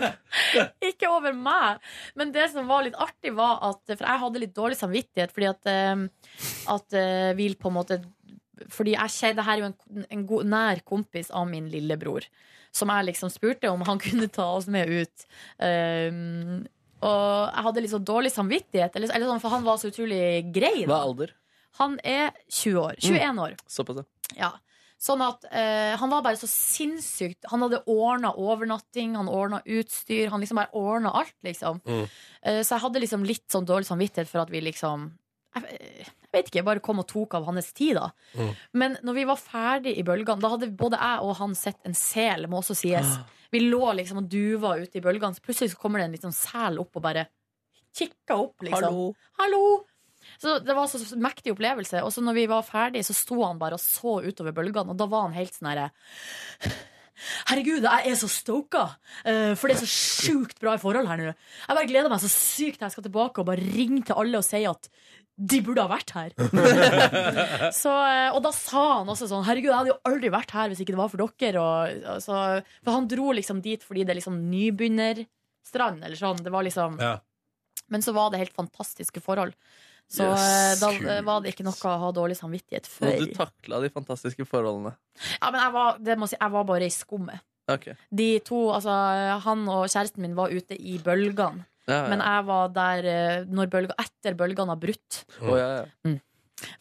Speaker 4: Ikke ikke over meg. Men det som var litt artig, var at For jeg hadde litt dårlig samvittighet, fordi at, eh, at eh, vi på en måte Fordi jeg kje- det her er jo en, en god, nær kompis av min lillebror, som jeg liksom spurte om han kunne ta oss med ut. Eh, og jeg hadde litt sånn dårlig samvittighet, eller, eller sånn, for han var så utrolig grei.
Speaker 3: Hva
Speaker 4: Da.
Speaker 3: er alder?
Speaker 4: Han er 20 år. 21 år.
Speaker 3: Såpass, ja.
Speaker 4: Ja. Sånn at eh, Han var bare så sinnssykt Han hadde ordna overnatting, han ordna utstyr, han liksom bare ordna alt, liksom.
Speaker 2: Mm.
Speaker 4: Eh, så jeg hadde liksom litt sånn dårlig samvittighet for at vi liksom jeg, jeg vet ikke, jeg bare kom og tok av hans tid, da.
Speaker 2: Mm.
Speaker 4: Men når vi var ferdig i bølgene, da hadde både jeg og han sett en sel, må også sies.
Speaker 2: Ah.
Speaker 4: Vi lå liksom og duva ute i bølgene, så plutselig så kommer det en liten sel opp og bare kikker opp, liksom.
Speaker 3: Hallo.
Speaker 4: Hallo! Så Det var så så mektig opplevelse. Og så når vi var ferdig, så sto han bare og så utover bølgene, og da var han helt sånn herre Herregud, jeg er så stoka! eh, For det er så sjukt bra i forhold her nå. Jeg bare gleder meg så sykt til jeg skal tilbake og bare ringe til alle og si at de burde ha vært her. så, eh, og da sa han også sånn Herregud, jeg hadde jo aldri vært her hvis ikke det var for dere. Og, og så, for han dro liksom dit fordi det er liksom nybegynnerstrand, eller sånn. Det var liksom
Speaker 2: Ja.
Speaker 4: men så var det helt fantastiske forhold. Så
Speaker 7: Yes,
Speaker 4: eh, da eh, var det ikke noe å ha dårlig samvittighet for.
Speaker 3: Og du takla de fantastiske forholdene.
Speaker 4: Ja, men jeg var, det må jeg si, jeg var bare i skummet.
Speaker 3: Ok.
Speaker 4: De to, altså Han og kjæresten min var ute i bølgene.
Speaker 3: Ja, ja.
Speaker 4: Men jeg var der eh, når bølga, etter bølgene har brutt.
Speaker 3: Å, ja, ja.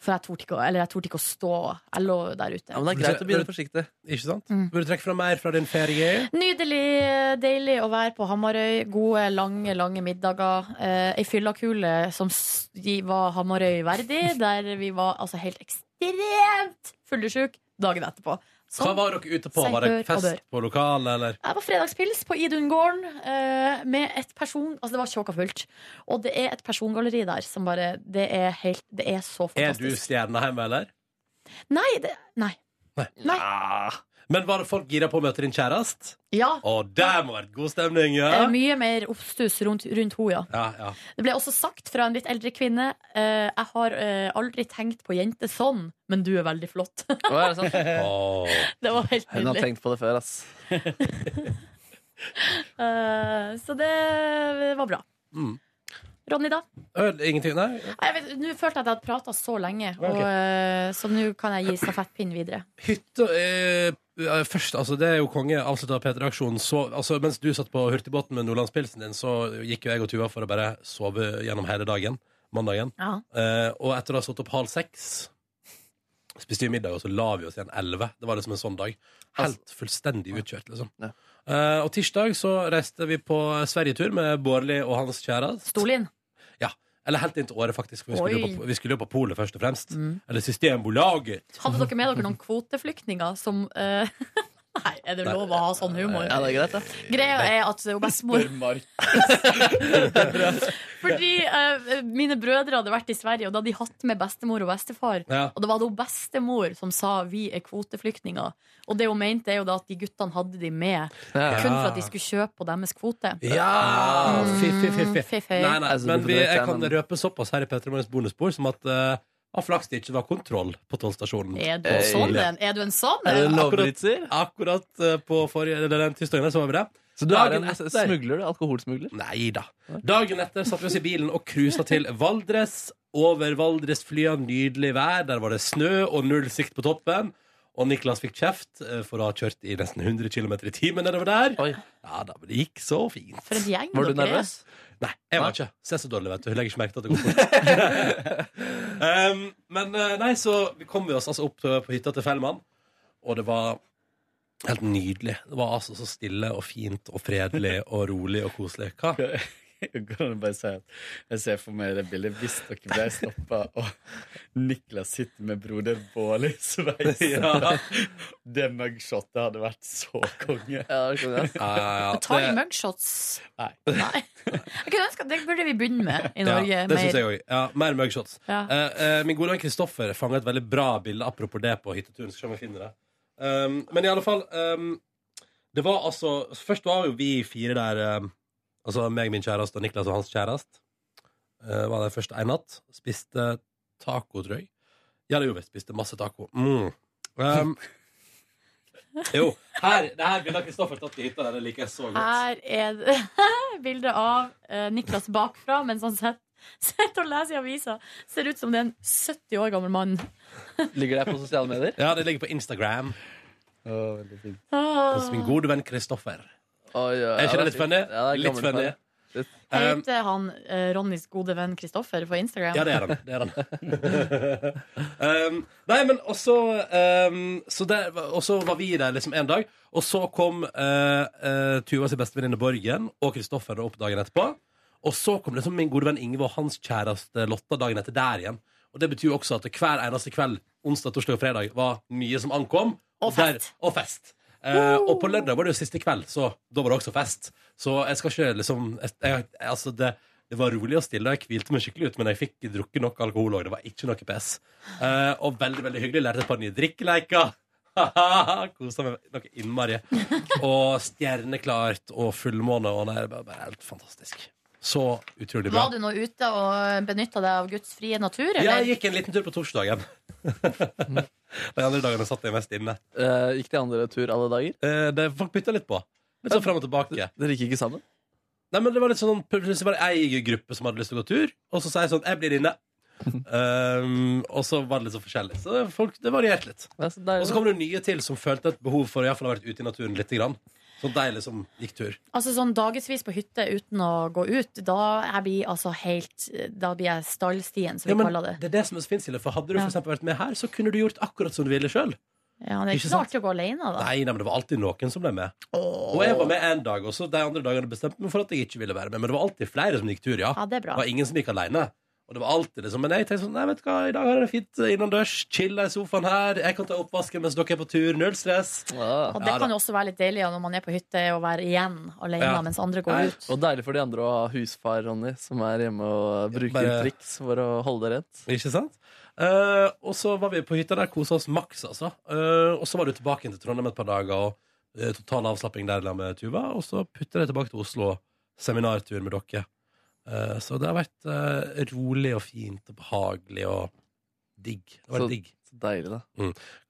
Speaker 4: For jeg torde ikke, å- eller jeg torde ikke å stå. Jeg lå der
Speaker 3: ja,
Speaker 4: ute.
Speaker 3: men det er greit å begynne forsiktig.
Speaker 2: Ikke sant?
Speaker 4: Mm.
Speaker 2: Burde trekke fra mer fra din ferie.
Speaker 4: Nydelig, eh, deilig å være på Hamarøy. Gode, lange, lange middager. Eh, Ei fyllakule som s- de var Hamarøy verdig, der vi var altså helt ekstremt fullesjuk dagen etterpå.
Speaker 2: Hva
Speaker 4: Sånn.
Speaker 2: var dere ute på?
Speaker 4: Seg
Speaker 2: Var det
Speaker 4: hør og bør.
Speaker 2: fest på lokalet, eller?
Speaker 4: Jeg var fredagspils på Idungården eh, med et person Altså, det var tjåka fullt. Og det er et persongalleri der som bare Det er helt Det er så
Speaker 2: Er du
Speaker 4: fantastisk.
Speaker 2: stjerne hjemme, eller?
Speaker 4: Nei, det Nei.
Speaker 2: Nei.
Speaker 4: Nei.
Speaker 2: Ah. Men var det folk gira på å møte din kjæreste?
Speaker 4: Ja.
Speaker 2: Å, der må ha vært god stemning, ja!
Speaker 4: det er Mye mer oppstuss rundt, rundt henne, ja.
Speaker 2: Ja, ja.
Speaker 4: Det ble også sagt fra en litt eldre kvinne eh, Jeg har eh, aldri tenkt på jenter sånn, men du er veldig flott.
Speaker 3: Å, er det sant?
Speaker 2: Åh.
Speaker 4: det var helt
Speaker 3: Hun har
Speaker 4: nydelig.
Speaker 3: tenkt på det før, ass.
Speaker 4: Eh, så det var bra.
Speaker 2: Mm.
Speaker 4: Ronny, da?
Speaker 2: Øl, ingenting? Nei?
Speaker 4: Nei, jeg vet- Nå følte jeg at jeg hadde prata så lenge,
Speaker 2: Ok.
Speaker 4: og, eh, så nå kan jeg gi stafettpinnen videre.
Speaker 2: Hytta eh, eh, Først, altså, det er jo konge. Avslutta P3-aksjonen. så- Altså, mens du satt på hurtigbåten med nordlandspilsen din, så gikk jo jeg og Tuva for å bare sove gjennom hele dagen. Mandagen.
Speaker 4: Ja.
Speaker 2: Eh, og etter å ha stått opp halv seks Spiste vi middag, og så la vi oss igjen elleve. Det var liksom en sånn dag. Helt fullstendig utkjørt, liksom.
Speaker 3: Ja.
Speaker 2: Eh, og tirsdag så reiste vi på sverigetur med Bårdli og hans kjæreste.
Speaker 4: Stolin?
Speaker 2: Eller helt inn til året, faktisk. For vi skulle,
Speaker 4: Oi.
Speaker 2: jo på, vi skulle jo på polet, først og fremst.
Speaker 4: Mm.
Speaker 2: Eller Systembolaget.
Speaker 4: Hadde dere med dere noen kvoteflyktninger som eh, Nei, er det lov å ha sånn humor?
Speaker 3: Ja, det er greit, da.
Speaker 4: Greia er at jo bestemor
Speaker 7: Mark.
Speaker 4: Fordi eh, mine brødre hadde vært i Sverige, og da hadde de hatt med bestemor og bestefar.
Speaker 2: Ja.
Speaker 4: Og det var da bestemor som sa 'vi er kvoteflyktninger'. Og det hun mente, er jo da at de guttene hadde de med
Speaker 3: Ja.
Speaker 4: kun for at de skulle kjøpe på deres kvote.
Speaker 2: Ja! Fiffi, fiffi.
Speaker 4: Fiffi.
Speaker 2: Nei, nei,
Speaker 3: Altså, du
Speaker 2: men
Speaker 3: får
Speaker 2: vi,
Speaker 3: drikke,
Speaker 2: jeg kan
Speaker 3: men-
Speaker 2: røpe såpass her i Petter Morgens bonusbord som at eh, av flaks det ikke var kontroll på tollstasjonen.
Speaker 4: Er du en sånn en? Er du en sånn
Speaker 3: Er
Speaker 4: en?
Speaker 3: det
Speaker 2: Akkurat-
Speaker 3: lovbryter?
Speaker 2: Akkurat eh, på forrige, eller den tirsdagen der, så var vi det.
Speaker 3: Så du er
Speaker 2: Dagen
Speaker 3: en
Speaker 2: etter.
Speaker 3: smugler, du? Alkoholsmugler?
Speaker 2: Nei da. Dagen etter satte vi oss i bilen og cruisa til Valdres. Over Valdresflya, nydelig vær. Der var det snø og null sikt på toppen. Og Niklas fikk kjeft eh, for å ha kjørt i nesten 100 km i timen nedover der.
Speaker 3: Oi.
Speaker 2: Ja da, men det gikk så fint.
Speaker 4: For en gjeng
Speaker 3: Var du
Speaker 4: dere er.
Speaker 3: nervøs?
Speaker 2: Nei, jeg var
Speaker 3: Nei?
Speaker 2: ikke. Ser så dårlig, vet du. Hun legger ikke merke til at det går fort. um, men eh, nei, så kom vi oss altså opp til- på hytta til Fellmann, og det var helt nydelig. Det var altså så stille og fint og fredelig og rolig og koselig. Hva?
Speaker 7: Går an å bare si at jeg ser for meg det bildet hvis dere ble stoppa, og Niklas sitter med broder Bård i sveis.
Speaker 2: Ja.
Speaker 7: Det mugshotet hadde vært så konge.
Speaker 3: Ja, det skjønner jeg. ass.
Speaker 2: Ja, ja, ja.
Speaker 4: Men Tar de
Speaker 2: Det-
Speaker 4: mugshots?
Speaker 7: Nei.
Speaker 4: Nei. Jeg kunne ønske at Det burde vi begynne med i Norge.
Speaker 2: ja, det syns
Speaker 4: mer.
Speaker 2: jeg òg. Ja, mer mugshots.
Speaker 4: Ja.
Speaker 2: Eh, eh, min gode venn Kristoffer fanga et veldig bra bilde apropos det på hytteturen. Skal vi se om jeg finner det. Um, men i alle fall um, Det var altså Først var jo vi fire der um, Altså meg, min kjæreste og Niklas og hans kjæreste. eh, var der først en natt. Spiste taco, tror jeg. Ja, det gjorde vi. Spiste masse taco. Mm. Um, Jo. Her, det her bildet av Kristoffer tatt i hytta der, det liker jeg så godt.
Speaker 4: Her er det bilde av eh, Niklas bakfra mens han sitter sitter og leser i avisa. Ser ut som det er en 70 år gammel mann.
Speaker 3: Ligger der på sosiale medier?
Speaker 2: Ja, det ligger på Instagram
Speaker 7: Å, veldig fint.
Speaker 4: Ah.
Speaker 2: hos min gode venn Kristoffer.
Speaker 3: Oi, ja,
Speaker 2: Er ikke
Speaker 3: ja,
Speaker 2: det litt funny?
Speaker 3: Ja, det er
Speaker 2: Litt
Speaker 3: gammelt
Speaker 2: funny.
Speaker 3: funny.
Speaker 2: Um,
Speaker 4: Heter han eh, Ronnys gode venn Kristoffer på Instagram?
Speaker 2: Ja, det er han. Det er han. um, nei, men også um, så der, Og så var vi der liksom en dag, og så kom uh, uh, Tuva sin bestevenninne Borgen og Kristoffer da opp dagen etterpå. Og så kom liksom min gode venn Ingve og hans kjæreste Lotta dagen etter der igjen. Og det betyr jo også at hver eneste kveld, onsdag, torsdag og fredag, var nye som ankom.
Speaker 4: Og fest.
Speaker 2: Der, og fest. Eh, og på lørdag var det jo siste kveld, så da var det også fest. Så jeg skal ikke liksom jeg, jeg, Altså, det, det var rolig og stille, og jeg hvilte meg skikkelig ut, men jeg fikk drukket nok alkohol òg. Det var ikke noe pes. Eh, og veldig, veldig hyggelig. Lærte et par nye drikkeleker. Kosa meg noe innmari. Og stjerneklart og fullmåne og nei, det var bare helt fantastisk. Så utrolig bra.
Speaker 4: Var du nå ute og benytta deg av Guds frie natur,
Speaker 2: Ja,
Speaker 4: eller?
Speaker 2: jeg gikk en liten tur på torsdagen. De andre dagene satt jeg mest inne.
Speaker 3: Eh, gikk de andre tur alle dager?
Speaker 2: Eh, det, folk bytta litt på. Litt sånn fram og tilbake.
Speaker 3: Dere gikk ikke sammen?
Speaker 2: Nei, men det var litt sånn Plutselig var det ei gruppe som hadde lyst til å gå tur, og så sa jeg sånn Jeg blir inne. Ehm, og så var det litt sånn forskjellig. Så folk, det varierte litt.
Speaker 3: Ja, så
Speaker 2: Og
Speaker 3: deilig.
Speaker 2: så kom det jo nye til som følte et behov for å i hvert fall ha vært ute i naturen lite grann. Så deilig som gikk tur.
Speaker 4: Altså sånn dagevis på hytte uten å gå ut, da jeg blir altså helt Da blir jeg stallstien, som vi
Speaker 2: Ja, men
Speaker 4: kaller det.
Speaker 2: det er det som er så fint, Silje, for hadde du
Speaker 4: Ja.
Speaker 2: for eksempel vært med her, så kunne du gjort akkurat som du ville sjøl.
Speaker 4: Ja, det er
Speaker 2: Ikke
Speaker 4: ikke så
Speaker 2: sant?
Speaker 4: artig å gå alene, da.
Speaker 2: Nei, nei, men det var alltid noen som ble med. Og jeg var med en dag, og så de andre dagene bestemte jeg meg for at jeg ikke ville være med. Men det var alltid flere som gikk tur, ja.
Speaker 4: Ja, det er bra.
Speaker 2: Det var ingen som gikk alene. Og det var alltid liksom Men jeg tenkte sånn Nei, vet du hva, i dag har jeg det fint innendørs. Chilla i sofaen her. Jeg kan ta oppvasken mens dere er på tur. Null stress.
Speaker 3: Ja.
Speaker 4: Og det
Speaker 2: Ja, da.
Speaker 4: kan jo også være litt deilig ja, når man er på hytte, å være igjen alene
Speaker 2: Ja.
Speaker 4: mens andre
Speaker 2: Nei.
Speaker 4: går ut.
Speaker 3: Og deilig for de andre å ha husfar, Ronny, som er hjemme og bruker
Speaker 2: Bare-
Speaker 3: triks for å holde det rent.
Speaker 2: Ikke sant? Eh, og så var vi på hytta der, kosa oss maks, altså. Eh, og så var du tilbake igjen til Trondheim et par dager, og eh, total avslapping der sammen med Tuva. Og så putta jeg tilbake til Oslo, seminartur med dere. Eh, så det har vært eh, rolig og fint og behagelig og digg. Det var
Speaker 3: Så-
Speaker 2: digg.
Speaker 3: Så deilig, da.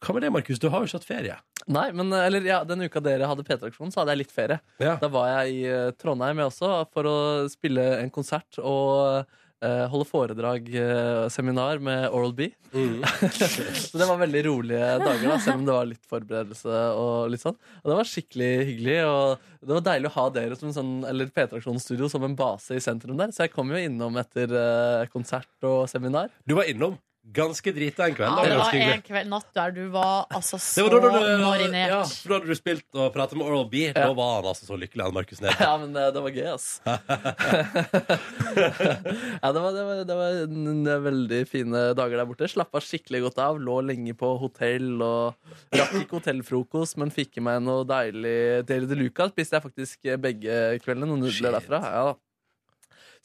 Speaker 2: Hva med det, Markus? Du har jo ikke hatt ferie.
Speaker 3: Nei, men eh, eller, ja, den uka dere hadde P3-aksjonen, så hadde jeg litt ferie.
Speaker 2: Ja.
Speaker 3: Da var jeg i eh, Trondheim jeg også for å spille en konsert og eh, holde foredrag, eh, seminar med Oral B.
Speaker 2: Mm.
Speaker 3: Så det var veldig rolige dager, da, selv om det var litt forberedelse. Og litt sånn Og det var skikkelig hyggelig. Og det var deilig å ha dere som en sånn, eller P3aksjonens studio som en base i sentrum der. Så jeg kom jo innom etter eh, konsert og seminar.
Speaker 2: Du var innom ganske drita en
Speaker 4: Ja,
Speaker 2: kveld. da.
Speaker 4: det var
Speaker 2: Ganske hyggelig.
Speaker 4: en kveld, natt der du var altså
Speaker 2: Det
Speaker 4: så
Speaker 2: var da du-
Speaker 4: marinert.
Speaker 2: Ja, for da hadde du spilt og pratet med Oral B. Da var han altså så lykkelig, han Markus Neby.
Speaker 3: Ja, men eh, det var gøy, ass. ja, det var, det var, det var en veldig fine dager der borte. Slappa skikkelig godt av. Lå lenge på hotell og rakk ikke hotellfrokost, men fikk i meg noe deilig Deli de Luca. Spiste jeg faktisk begge kveldene. Noen
Speaker 2: Shit.
Speaker 3: nudler derfra. Ja, da.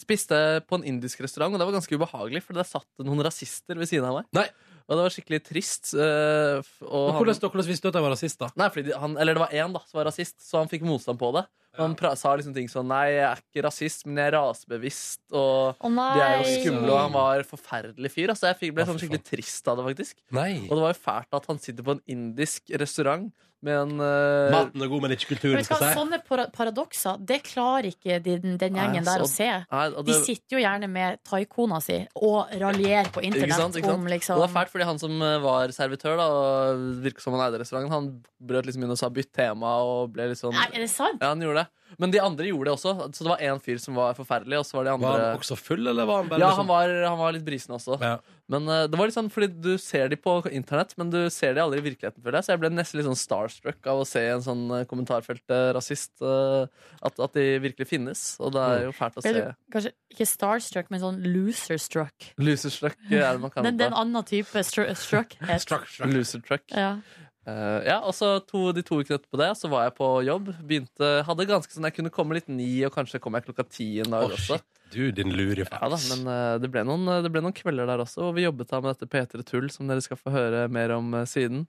Speaker 3: Spiste på en indisk restaurant, og det var ganske ubehagelig, for der satt det noen rasister ved siden av meg.
Speaker 2: Nei.
Speaker 3: Og det var skikkelig trist. eh, f- og
Speaker 2: Men
Speaker 3: han-
Speaker 2: Hvordan, hvordan visste du at jeg var rasist, da?
Speaker 3: Nei, fordi de- han, eller det var én da, som var rasist, så han fikk motstand på det. Han pra sa liksom ting sånn Nei, jeg er ikke rasist, men jeg er rasebevisst. Og
Speaker 4: Å nei!
Speaker 3: de er jo skumle, og han var forferdelig fyr. Altså, jeg fikk, ble
Speaker 2: Ja,
Speaker 3: sånn
Speaker 2: fy
Speaker 3: skikkelig trist av det, faktisk.
Speaker 2: Nei.
Speaker 3: Og det var jo fælt at han sitter på en indisk restaurant med en eh,
Speaker 2: Maten er god, men ikke
Speaker 4: Men
Speaker 2: kulturen,
Speaker 4: vet du hva,
Speaker 2: skal jeg si.
Speaker 4: sånne para- paradokser, det klarer ikke den, den
Speaker 3: Nei,
Speaker 4: gjengen der
Speaker 3: så-
Speaker 4: å se.
Speaker 3: Nei, og
Speaker 4: De
Speaker 3: det,
Speaker 4: sitter jo gjerne med taikona si og raljerer på internett
Speaker 3: Ikke sant, ikke sant?
Speaker 4: om
Speaker 3: og
Speaker 4: liksom
Speaker 3: det var fælt, fordi han som eh, var servitør, da, og virket som han eide restauranten, han brøt liksom inn og sa 'bytt tema', og ble litt sånn
Speaker 4: Nei, er det sant?
Speaker 3: Ja, han gjorde det. Men de andre gjorde det også. Så det var én fyr som var forferdelig, og så var de andre
Speaker 2: Var han også full, eller var han bare
Speaker 3: Ja,
Speaker 2: liksom-
Speaker 3: han var, han var litt brisen også.
Speaker 2: Ja.
Speaker 3: Men eh, det var litt sånn, fordi du ser de på internett, men du ser de aldri i virkeligheten, føler jeg. Så jeg ble nesten litt sånn starstruck av å se i en sånn eh, kommentarfelt eh, rasist. eh, at, at de virkelig finnes. Og det
Speaker 2: Mm.
Speaker 3: er jo fælt å
Speaker 4: Ble du
Speaker 3: se.
Speaker 4: kanskje ikke starstruck, men sånn loserstruck?
Speaker 3: Loserstruck eh, er det man kan
Speaker 4: Den, den
Speaker 3: hete.
Speaker 4: annen type stru- struckhet.
Speaker 2: Struck, struck.
Speaker 3: Losertruck.
Speaker 4: Ja.
Speaker 3: Eh, ja, og så to, De to ukene etterpå det så var jeg på jobb. Begynte, hadde ganske sånn, Jeg kunne komme litt ni, og kanskje kom jeg klokka ti en dag
Speaker 2: Å,
Speaker 3: også.
Speaker 2: shit. Du, din lure
Speaker 3: Ja da, men eh, det ble, noen, det ble noen kvelder der også, og vi jobbet da med dette P3 Tull, som dere skal få høre mer om eh, siden.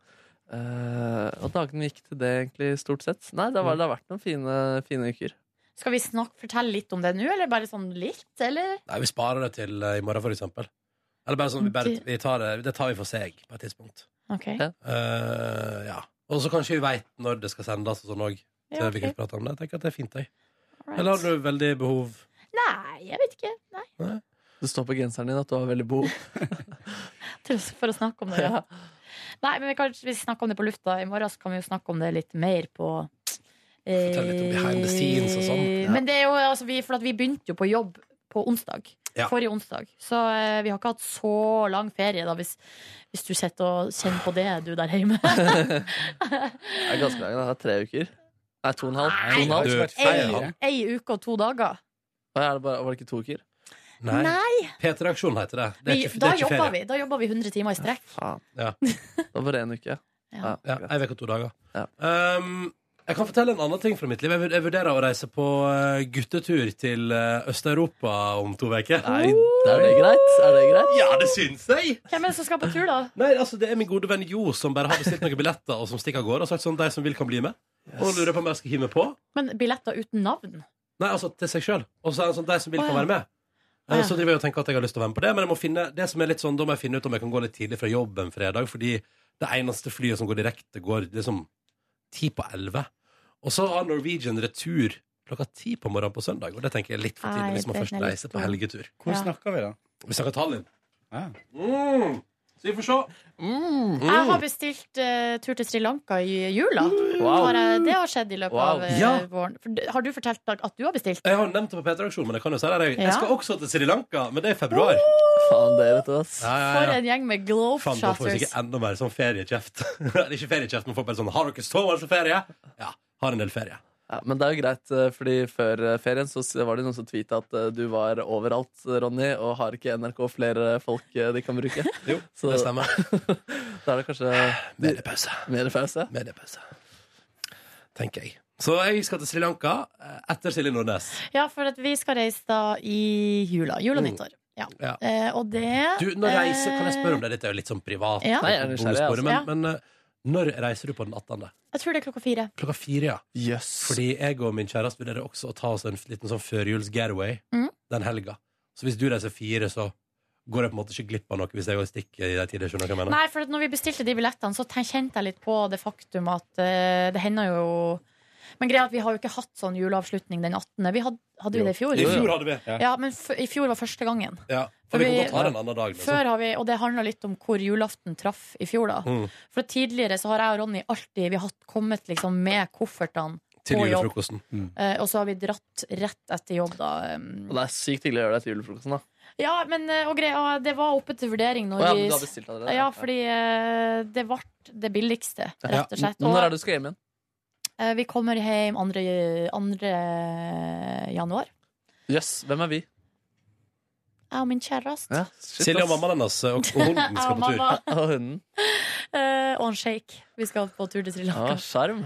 Speaker 3: Eh, og dagene gikk til det, egentlig, stort sett. Nei, det, var, det har vært noen fine, fine uker.
Speaker 4: Skal vi snakke, fortelle litt om det nå, eller bare sånn litt? Eller?
Speaker 2: Nei, vi sparer det til eh, i morgen, for eksempel. Eller bare sånn, vi bare,
Speaker 4: Det-
Speaker 2: vi tar det, det tar vi for seg på et tidspunkt.
Speaker 4: Ok.
Speaker 3: Ja.
Speaker 2: Eh, ja. Og så kanskje vi veit når det skal sendes og sånn òg. Så
Speaker 4: Ja,
Speaker 2: vi
Speaker 4: ok.
Speaker 2: kan prate om det. Jeg tenker at det er fint, jeg.
Speaker 4: Alright.
Speaker 2: Eller har du veldig behov
Speaker 4: Nei, jeg vet ikke. Nei.
Speaker 3: Det står på genseren din at du har veldig behov.
Speaker 4: Til oss For å snakke om det. Ja. Nei, men vi kan vi snakker om det på lufta. I morgen så kan vi jo snakke om det litt mer på
Speaker 2: Fortell litt om behind the scenes og sånn.
Speaker 4: Eh, Men det er jo, altså, vi, for at vi begynte jo på jobb på onsdag.
Speaker 2: Ja.
Speaker 4: Forrige onsdag. Så eh, vi har ikke hatt så lang ferie, da, hvis, hvis du sitter og kjenner på det, du der hjemme.
Speaker 3: Det er ganske lang. Det er tre uker. Nei, to og en halv. To og
Speaker 2: Nei,
Speaker 3: en halv.
Speaker 2: du-
Speaker 4: Ei, ei uke og to dager.
Speaker 3: Å, ja, er det bare, var det ikke to uker?
Speaker 2: Nei. P3-aksjon heter det. Det er
Speaker 4: vi,
Speaker 2: ikke, det
Speaker 4: da
Speaker 2: er ikke
Speaker 4: jobber
Speaker 2: ferie.
Speaker 4: vi. Da jobber vi 100 timer i strekk.
Speaker 3: Faen.
Speaker 2: Ja.
Speaker 3: Det var bare én uke.
Speaker 4: Ja.
Speaker 2: Ja,
Speaker 3: greit.
Speaker 2: Ei uke og to dager.
Speaker 3: Ja.
Speaker 2: Um, jeg kan fortelle en annen ting fra mitt liv. Jeg vur- Jeg vurderer å reise på eh, guttetur til eh, Øst-Europa om to uker.
Speaker 3: Nei, er det greit? Er det greit?
Speaker 2: Ja, det syns jeg!
Speaker 4: Hvem er det som skal på tur, da?
Speaker 2: Nei, altså Det er min gode venn Jo som bare har bestilt noen billetter og som stikker av gårde. Og sagt sånn, de som vil, kan bli med. Og lurer på om jeg skal hive meg på.
Speaker 4: Men billetter uten navn?
Speaker 2: Nei, altså til seg sjøl. Og så er det sånn, de som vil,
Speaker 4: Å,
Speaker 2: kan
Speaker 4: ja.
Speaker 2: være med.
Speaker 4: Å, ja.
Speaker 2: Eh, Så driver jeg og tenker at jeg har lyst til å være med på det, men jeg må finne, det som er litt sånn, da må jeg finne ut om jeg kan gå litt tidlig fra jobb en fredag, fordi det eneste flyet som går direkte, går liksom ti på elleve. Og så har Norwegian retur klokka ti på morgenen på søndag, og det tenker jeg er litt for
Speaker 4: Nei,
Speaker 2: tidlig hvis man
Speaker 4: det er
Speaker 2: først
Speaker 4: litt
Speaker 2: reiser på
Speaker 4: dumt.
Speaker 2: helgetur.
Speaker 7: Hvor
Speaker 4: Ja.
Speaker 7: snakker vi, da?
Speaker 2: Vi snakker Tallinn.
Speaker 7: Ja.
Speaker 2: Mm. Så vi får se.
Speaker 4: Mm.
Speaker 2: Mm.
Speaker 4: Jeg har bestilt eh, tur til Sri Lanka i jula.
Speaker 3: Wow.
Speaker 4: Har jeg, det har skjedd i løpet
Speaker 3: Wow.
Speaker 4: av eh,
Speaker 2: Ja.
Speaker 4: våren. For, d- har du fortalt Dag, at du har bestilt?
Speaker 2: Jeg har nevnt det på P3-aksjonen, men jeg kan jo si det. Jeg,
Speaker 4: Ja.
Speaker 2: jeg skal også til Sri Lanka, men det er i februar.
Speaker 3: Faen, det vet du, ass.
Speaker 2: Ja, ja,
Speaker 4: For
Speaker 2: ja.
Speaker 4: en gjeng
Speaker 2: Faen,
Speaker 4: med
Speaker 2: da får vi
Speaker 4: globetrotters.
Speaker 2: sikkert enda mer sånn feriekjeft. Eller ikke feriekjeft, men folk bare sånn Har dere så mye ferie? Ja, har en del ferie.
Speaker 3: Ja, men det er jo greit, eh, fordi før eh, ferien så s- var det noen som tweeta at eh, du var overalt, Ronny, og har ikke NRK flere folk eh, de kan bruke?
Speaker 2: Jo,
Speaker 3: Så-
Speaker 2: det stemmer.
Speaker 3: Da er det kanskje
Speaker 2: Mediepause.
Speaker 3: mer pause?
Speaker 2: Mediepause. Tenker jeg. Så jeg skal til Sri Lanka eh, etter Silje Nordnes.
Speaker 4: Ja, for at vi skal reise da i jula. Jul og
Speaker 2: Mm.
Speaker 4: nyttår. Ja.
Speaker 2: Ja.
Speaker 4: Eh, og det
Speaker 2: Du, når reiser, Kan jeg spørre om det? Dette er jo litt sånn privat. det
Speaker 4: Ja.
Speaker 2: er
Speaker 3: Nei, jeg er
Speaker 2: ikke
Speaker 3: nysgjerrig,
Speaker 2: bonusbordet,
Speaker 4: altså.
Speaker 2: Men, men eh, når reiser du på den 18.?
Speaker 4: Eh, Jeg tror det er klokka fire.
Speaker 2: Klokka fire, ja.
Speaker 3: Jøss.
Speaker 2: Fordi jeg og min kjæreste vurderer også å ta oss en liten sånn førjuls-getaway
Speaker 4: Mhm.
Speaker 2: den helga. Så hvis du reiser fire, så går jeg på en måte ikke glipp av noe hvis jeg går og stikker i de tider. Skjønner du hva jeg mener?
Speaker 4: Nei, for at når vi bestilte de billettene, så ten- kjente jeg litt på det faktum at eh, det hender jo Men greia er at vi har jo ikke hatt sånn juleavslutning den 18. Vi hadde, hadde vi det i fjor?
Speaker 2: I fjor hadde vi.
Speaker 4: Ja, men f i fjor var første gangen.
Speaker 2: Ja,
Speaker 4: For
Speaker 2: og vi kan
Speaker 4: vi-
Speaker 2: godt ha det en annen dag. liksom.
Speaker 4: Før har vi, og det handler litt om hvor julaften traff i fjor. da
Speaker 2: Mm.
Speaker 4: For Tidligere så har jeg og Ronny alltid Vi har hatt- kommet liksom med koffertene,
Speaker 2: Til
Speaker 4: på jobb.
Speaker 2: julefrokosten.
Speaker 4: eh, og så har vi dratt rett etter jobb. da eh.
Speaker 3: Og det er sykt hyggelig å gjøre det etter julefrokosten, da.
Speaker 4: Ja, men eh, og greia, Det var oppe til vurdering
Speaker 3: Å,
Speaker 4: når
Speaker 3: ja,
Speaker 4: vi
Speaker 3: men du har bestilt allerede?
Speaker 4: Ja, fordi eh, det ble det billigste,
Speaker 2: Ja.
Speaker 4: rett og slett.
Speaker 3: N-
Speaker 4: Og
Speaker 3: Når er det du skal hjem igjen?
Speaker 4: eh, vi kommer hjem 2. januar.
Speaker 3: Jøss, hvem er vi?
Speaker 4: Jeg og min kjæreste.
Speaker 3: Ja, shit,
Speaker 2: Silje og
Speaker 3: ass.
Speaker 2: mammaen hennes eh, og, og hunden skal
Speaker 4: Jeg og
Speaker 2: på tur.
Speaker 4: mamma.
Speaker 3: Og hunden.
Speaker 4: Eh, og han Sheikh. Vi skal på tur til Sri
Speaker 3: Ja,
Speaker 4: Lanka.
Speaker 3: Ah, skjerm.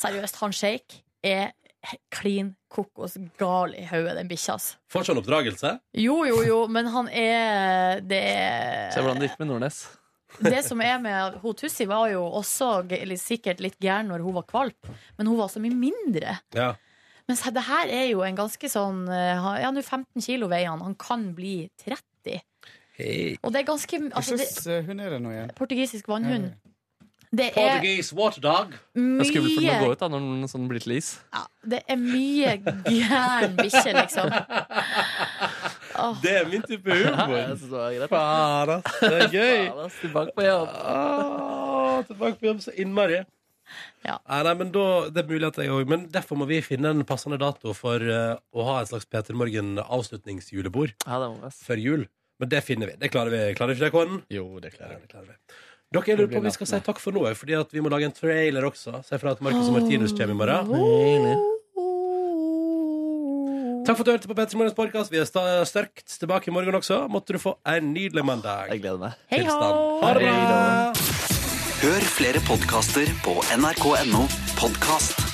Speaker 4: Seriøst, han Sheikh er klin kokos gal i hodet, den bikkja. ass.
Speaker 2: Får ikke en oppdragelse.
Speaker 4: Jo, jo, jo, men han er Det, er-
Speaker 3: Se hvordan det gikk med Nordnes.
Speaker 4: det som er med hun Tussi, var jo også g- eller sikkert litt gæren når hun var kvalp, men hun var så mye mindre.
Speaker 2: Ja.
Speaker 4: Men se, det her er jo en ganske sånn eh, han- Ja, nå 15 kilo veier han. Han kan bli 30.
Speaker 2: Eh.
Speaker 4: Og det er ganske
Speaker 7: Hva
Speaker 4: altså, det,
Speaker 7: slags eh, hund er det nå igjen?
Speaker 4: Portugisisk vannhund. Det er
Speaker 2: Portuguese waterdog.
Speaker 3: Det er skummelt for den å
Speaker 4: mye
Speaker 3: gå ut da, når den sånn blir til is.
Speaker 4: ja, Det er mye gæren bikkje, liksom. Åh.
Speaker 2: Det er min type
Speaker 3: Ja,
Speaker 2: humor.
Speaker 3: jeg synes det var greit.
Speaker 2: Faen, ass. Det er gøy.
Speaker 3: Faen, ass, tilbake på jobb.
Speaker 2: Ah, tilbake på jobb så innmari. Eh,
Speaker 4: Ja.
Speaker 2: Nei, nei, men da, det er mulig at jeg òg Men derfor må vi finne en passende dato for eh, å ha et slags Peter Morgen-avslutningsjulebord
Speaker 3: Ja, det må vi, ass.
Speaker 2: før jul. Men det finner vi. Det klarer vi. Klarer vi ikke det, Kåren?
Speaker 7: Jo, det
Speaker 2: Ja,
Speaker 7: klarer jeg.
Speaker 2: det klarer vi. Dere, jeg lurer på om vi
Speaker 7: blir
Speaker 2: skal si
Speaker 7: natten,
Speaker 2: takk for nå, jeg, fordi at vi må lage en trailer også. Si fra at Marcus og Martinus kommer i morgen. Takk for at du hørte på Petter Morgens podcast. Vi er sta- sterkt tilbake i morgen også. Måtte du få en nydelig mandag.
Speaker 3: Jeg gleder meg.
Speaker 4: Hei ho!
Speaker 2: Tilstand. Ha det bra!
Speaker 9: Hør flere podkaster på nrk.no podkast.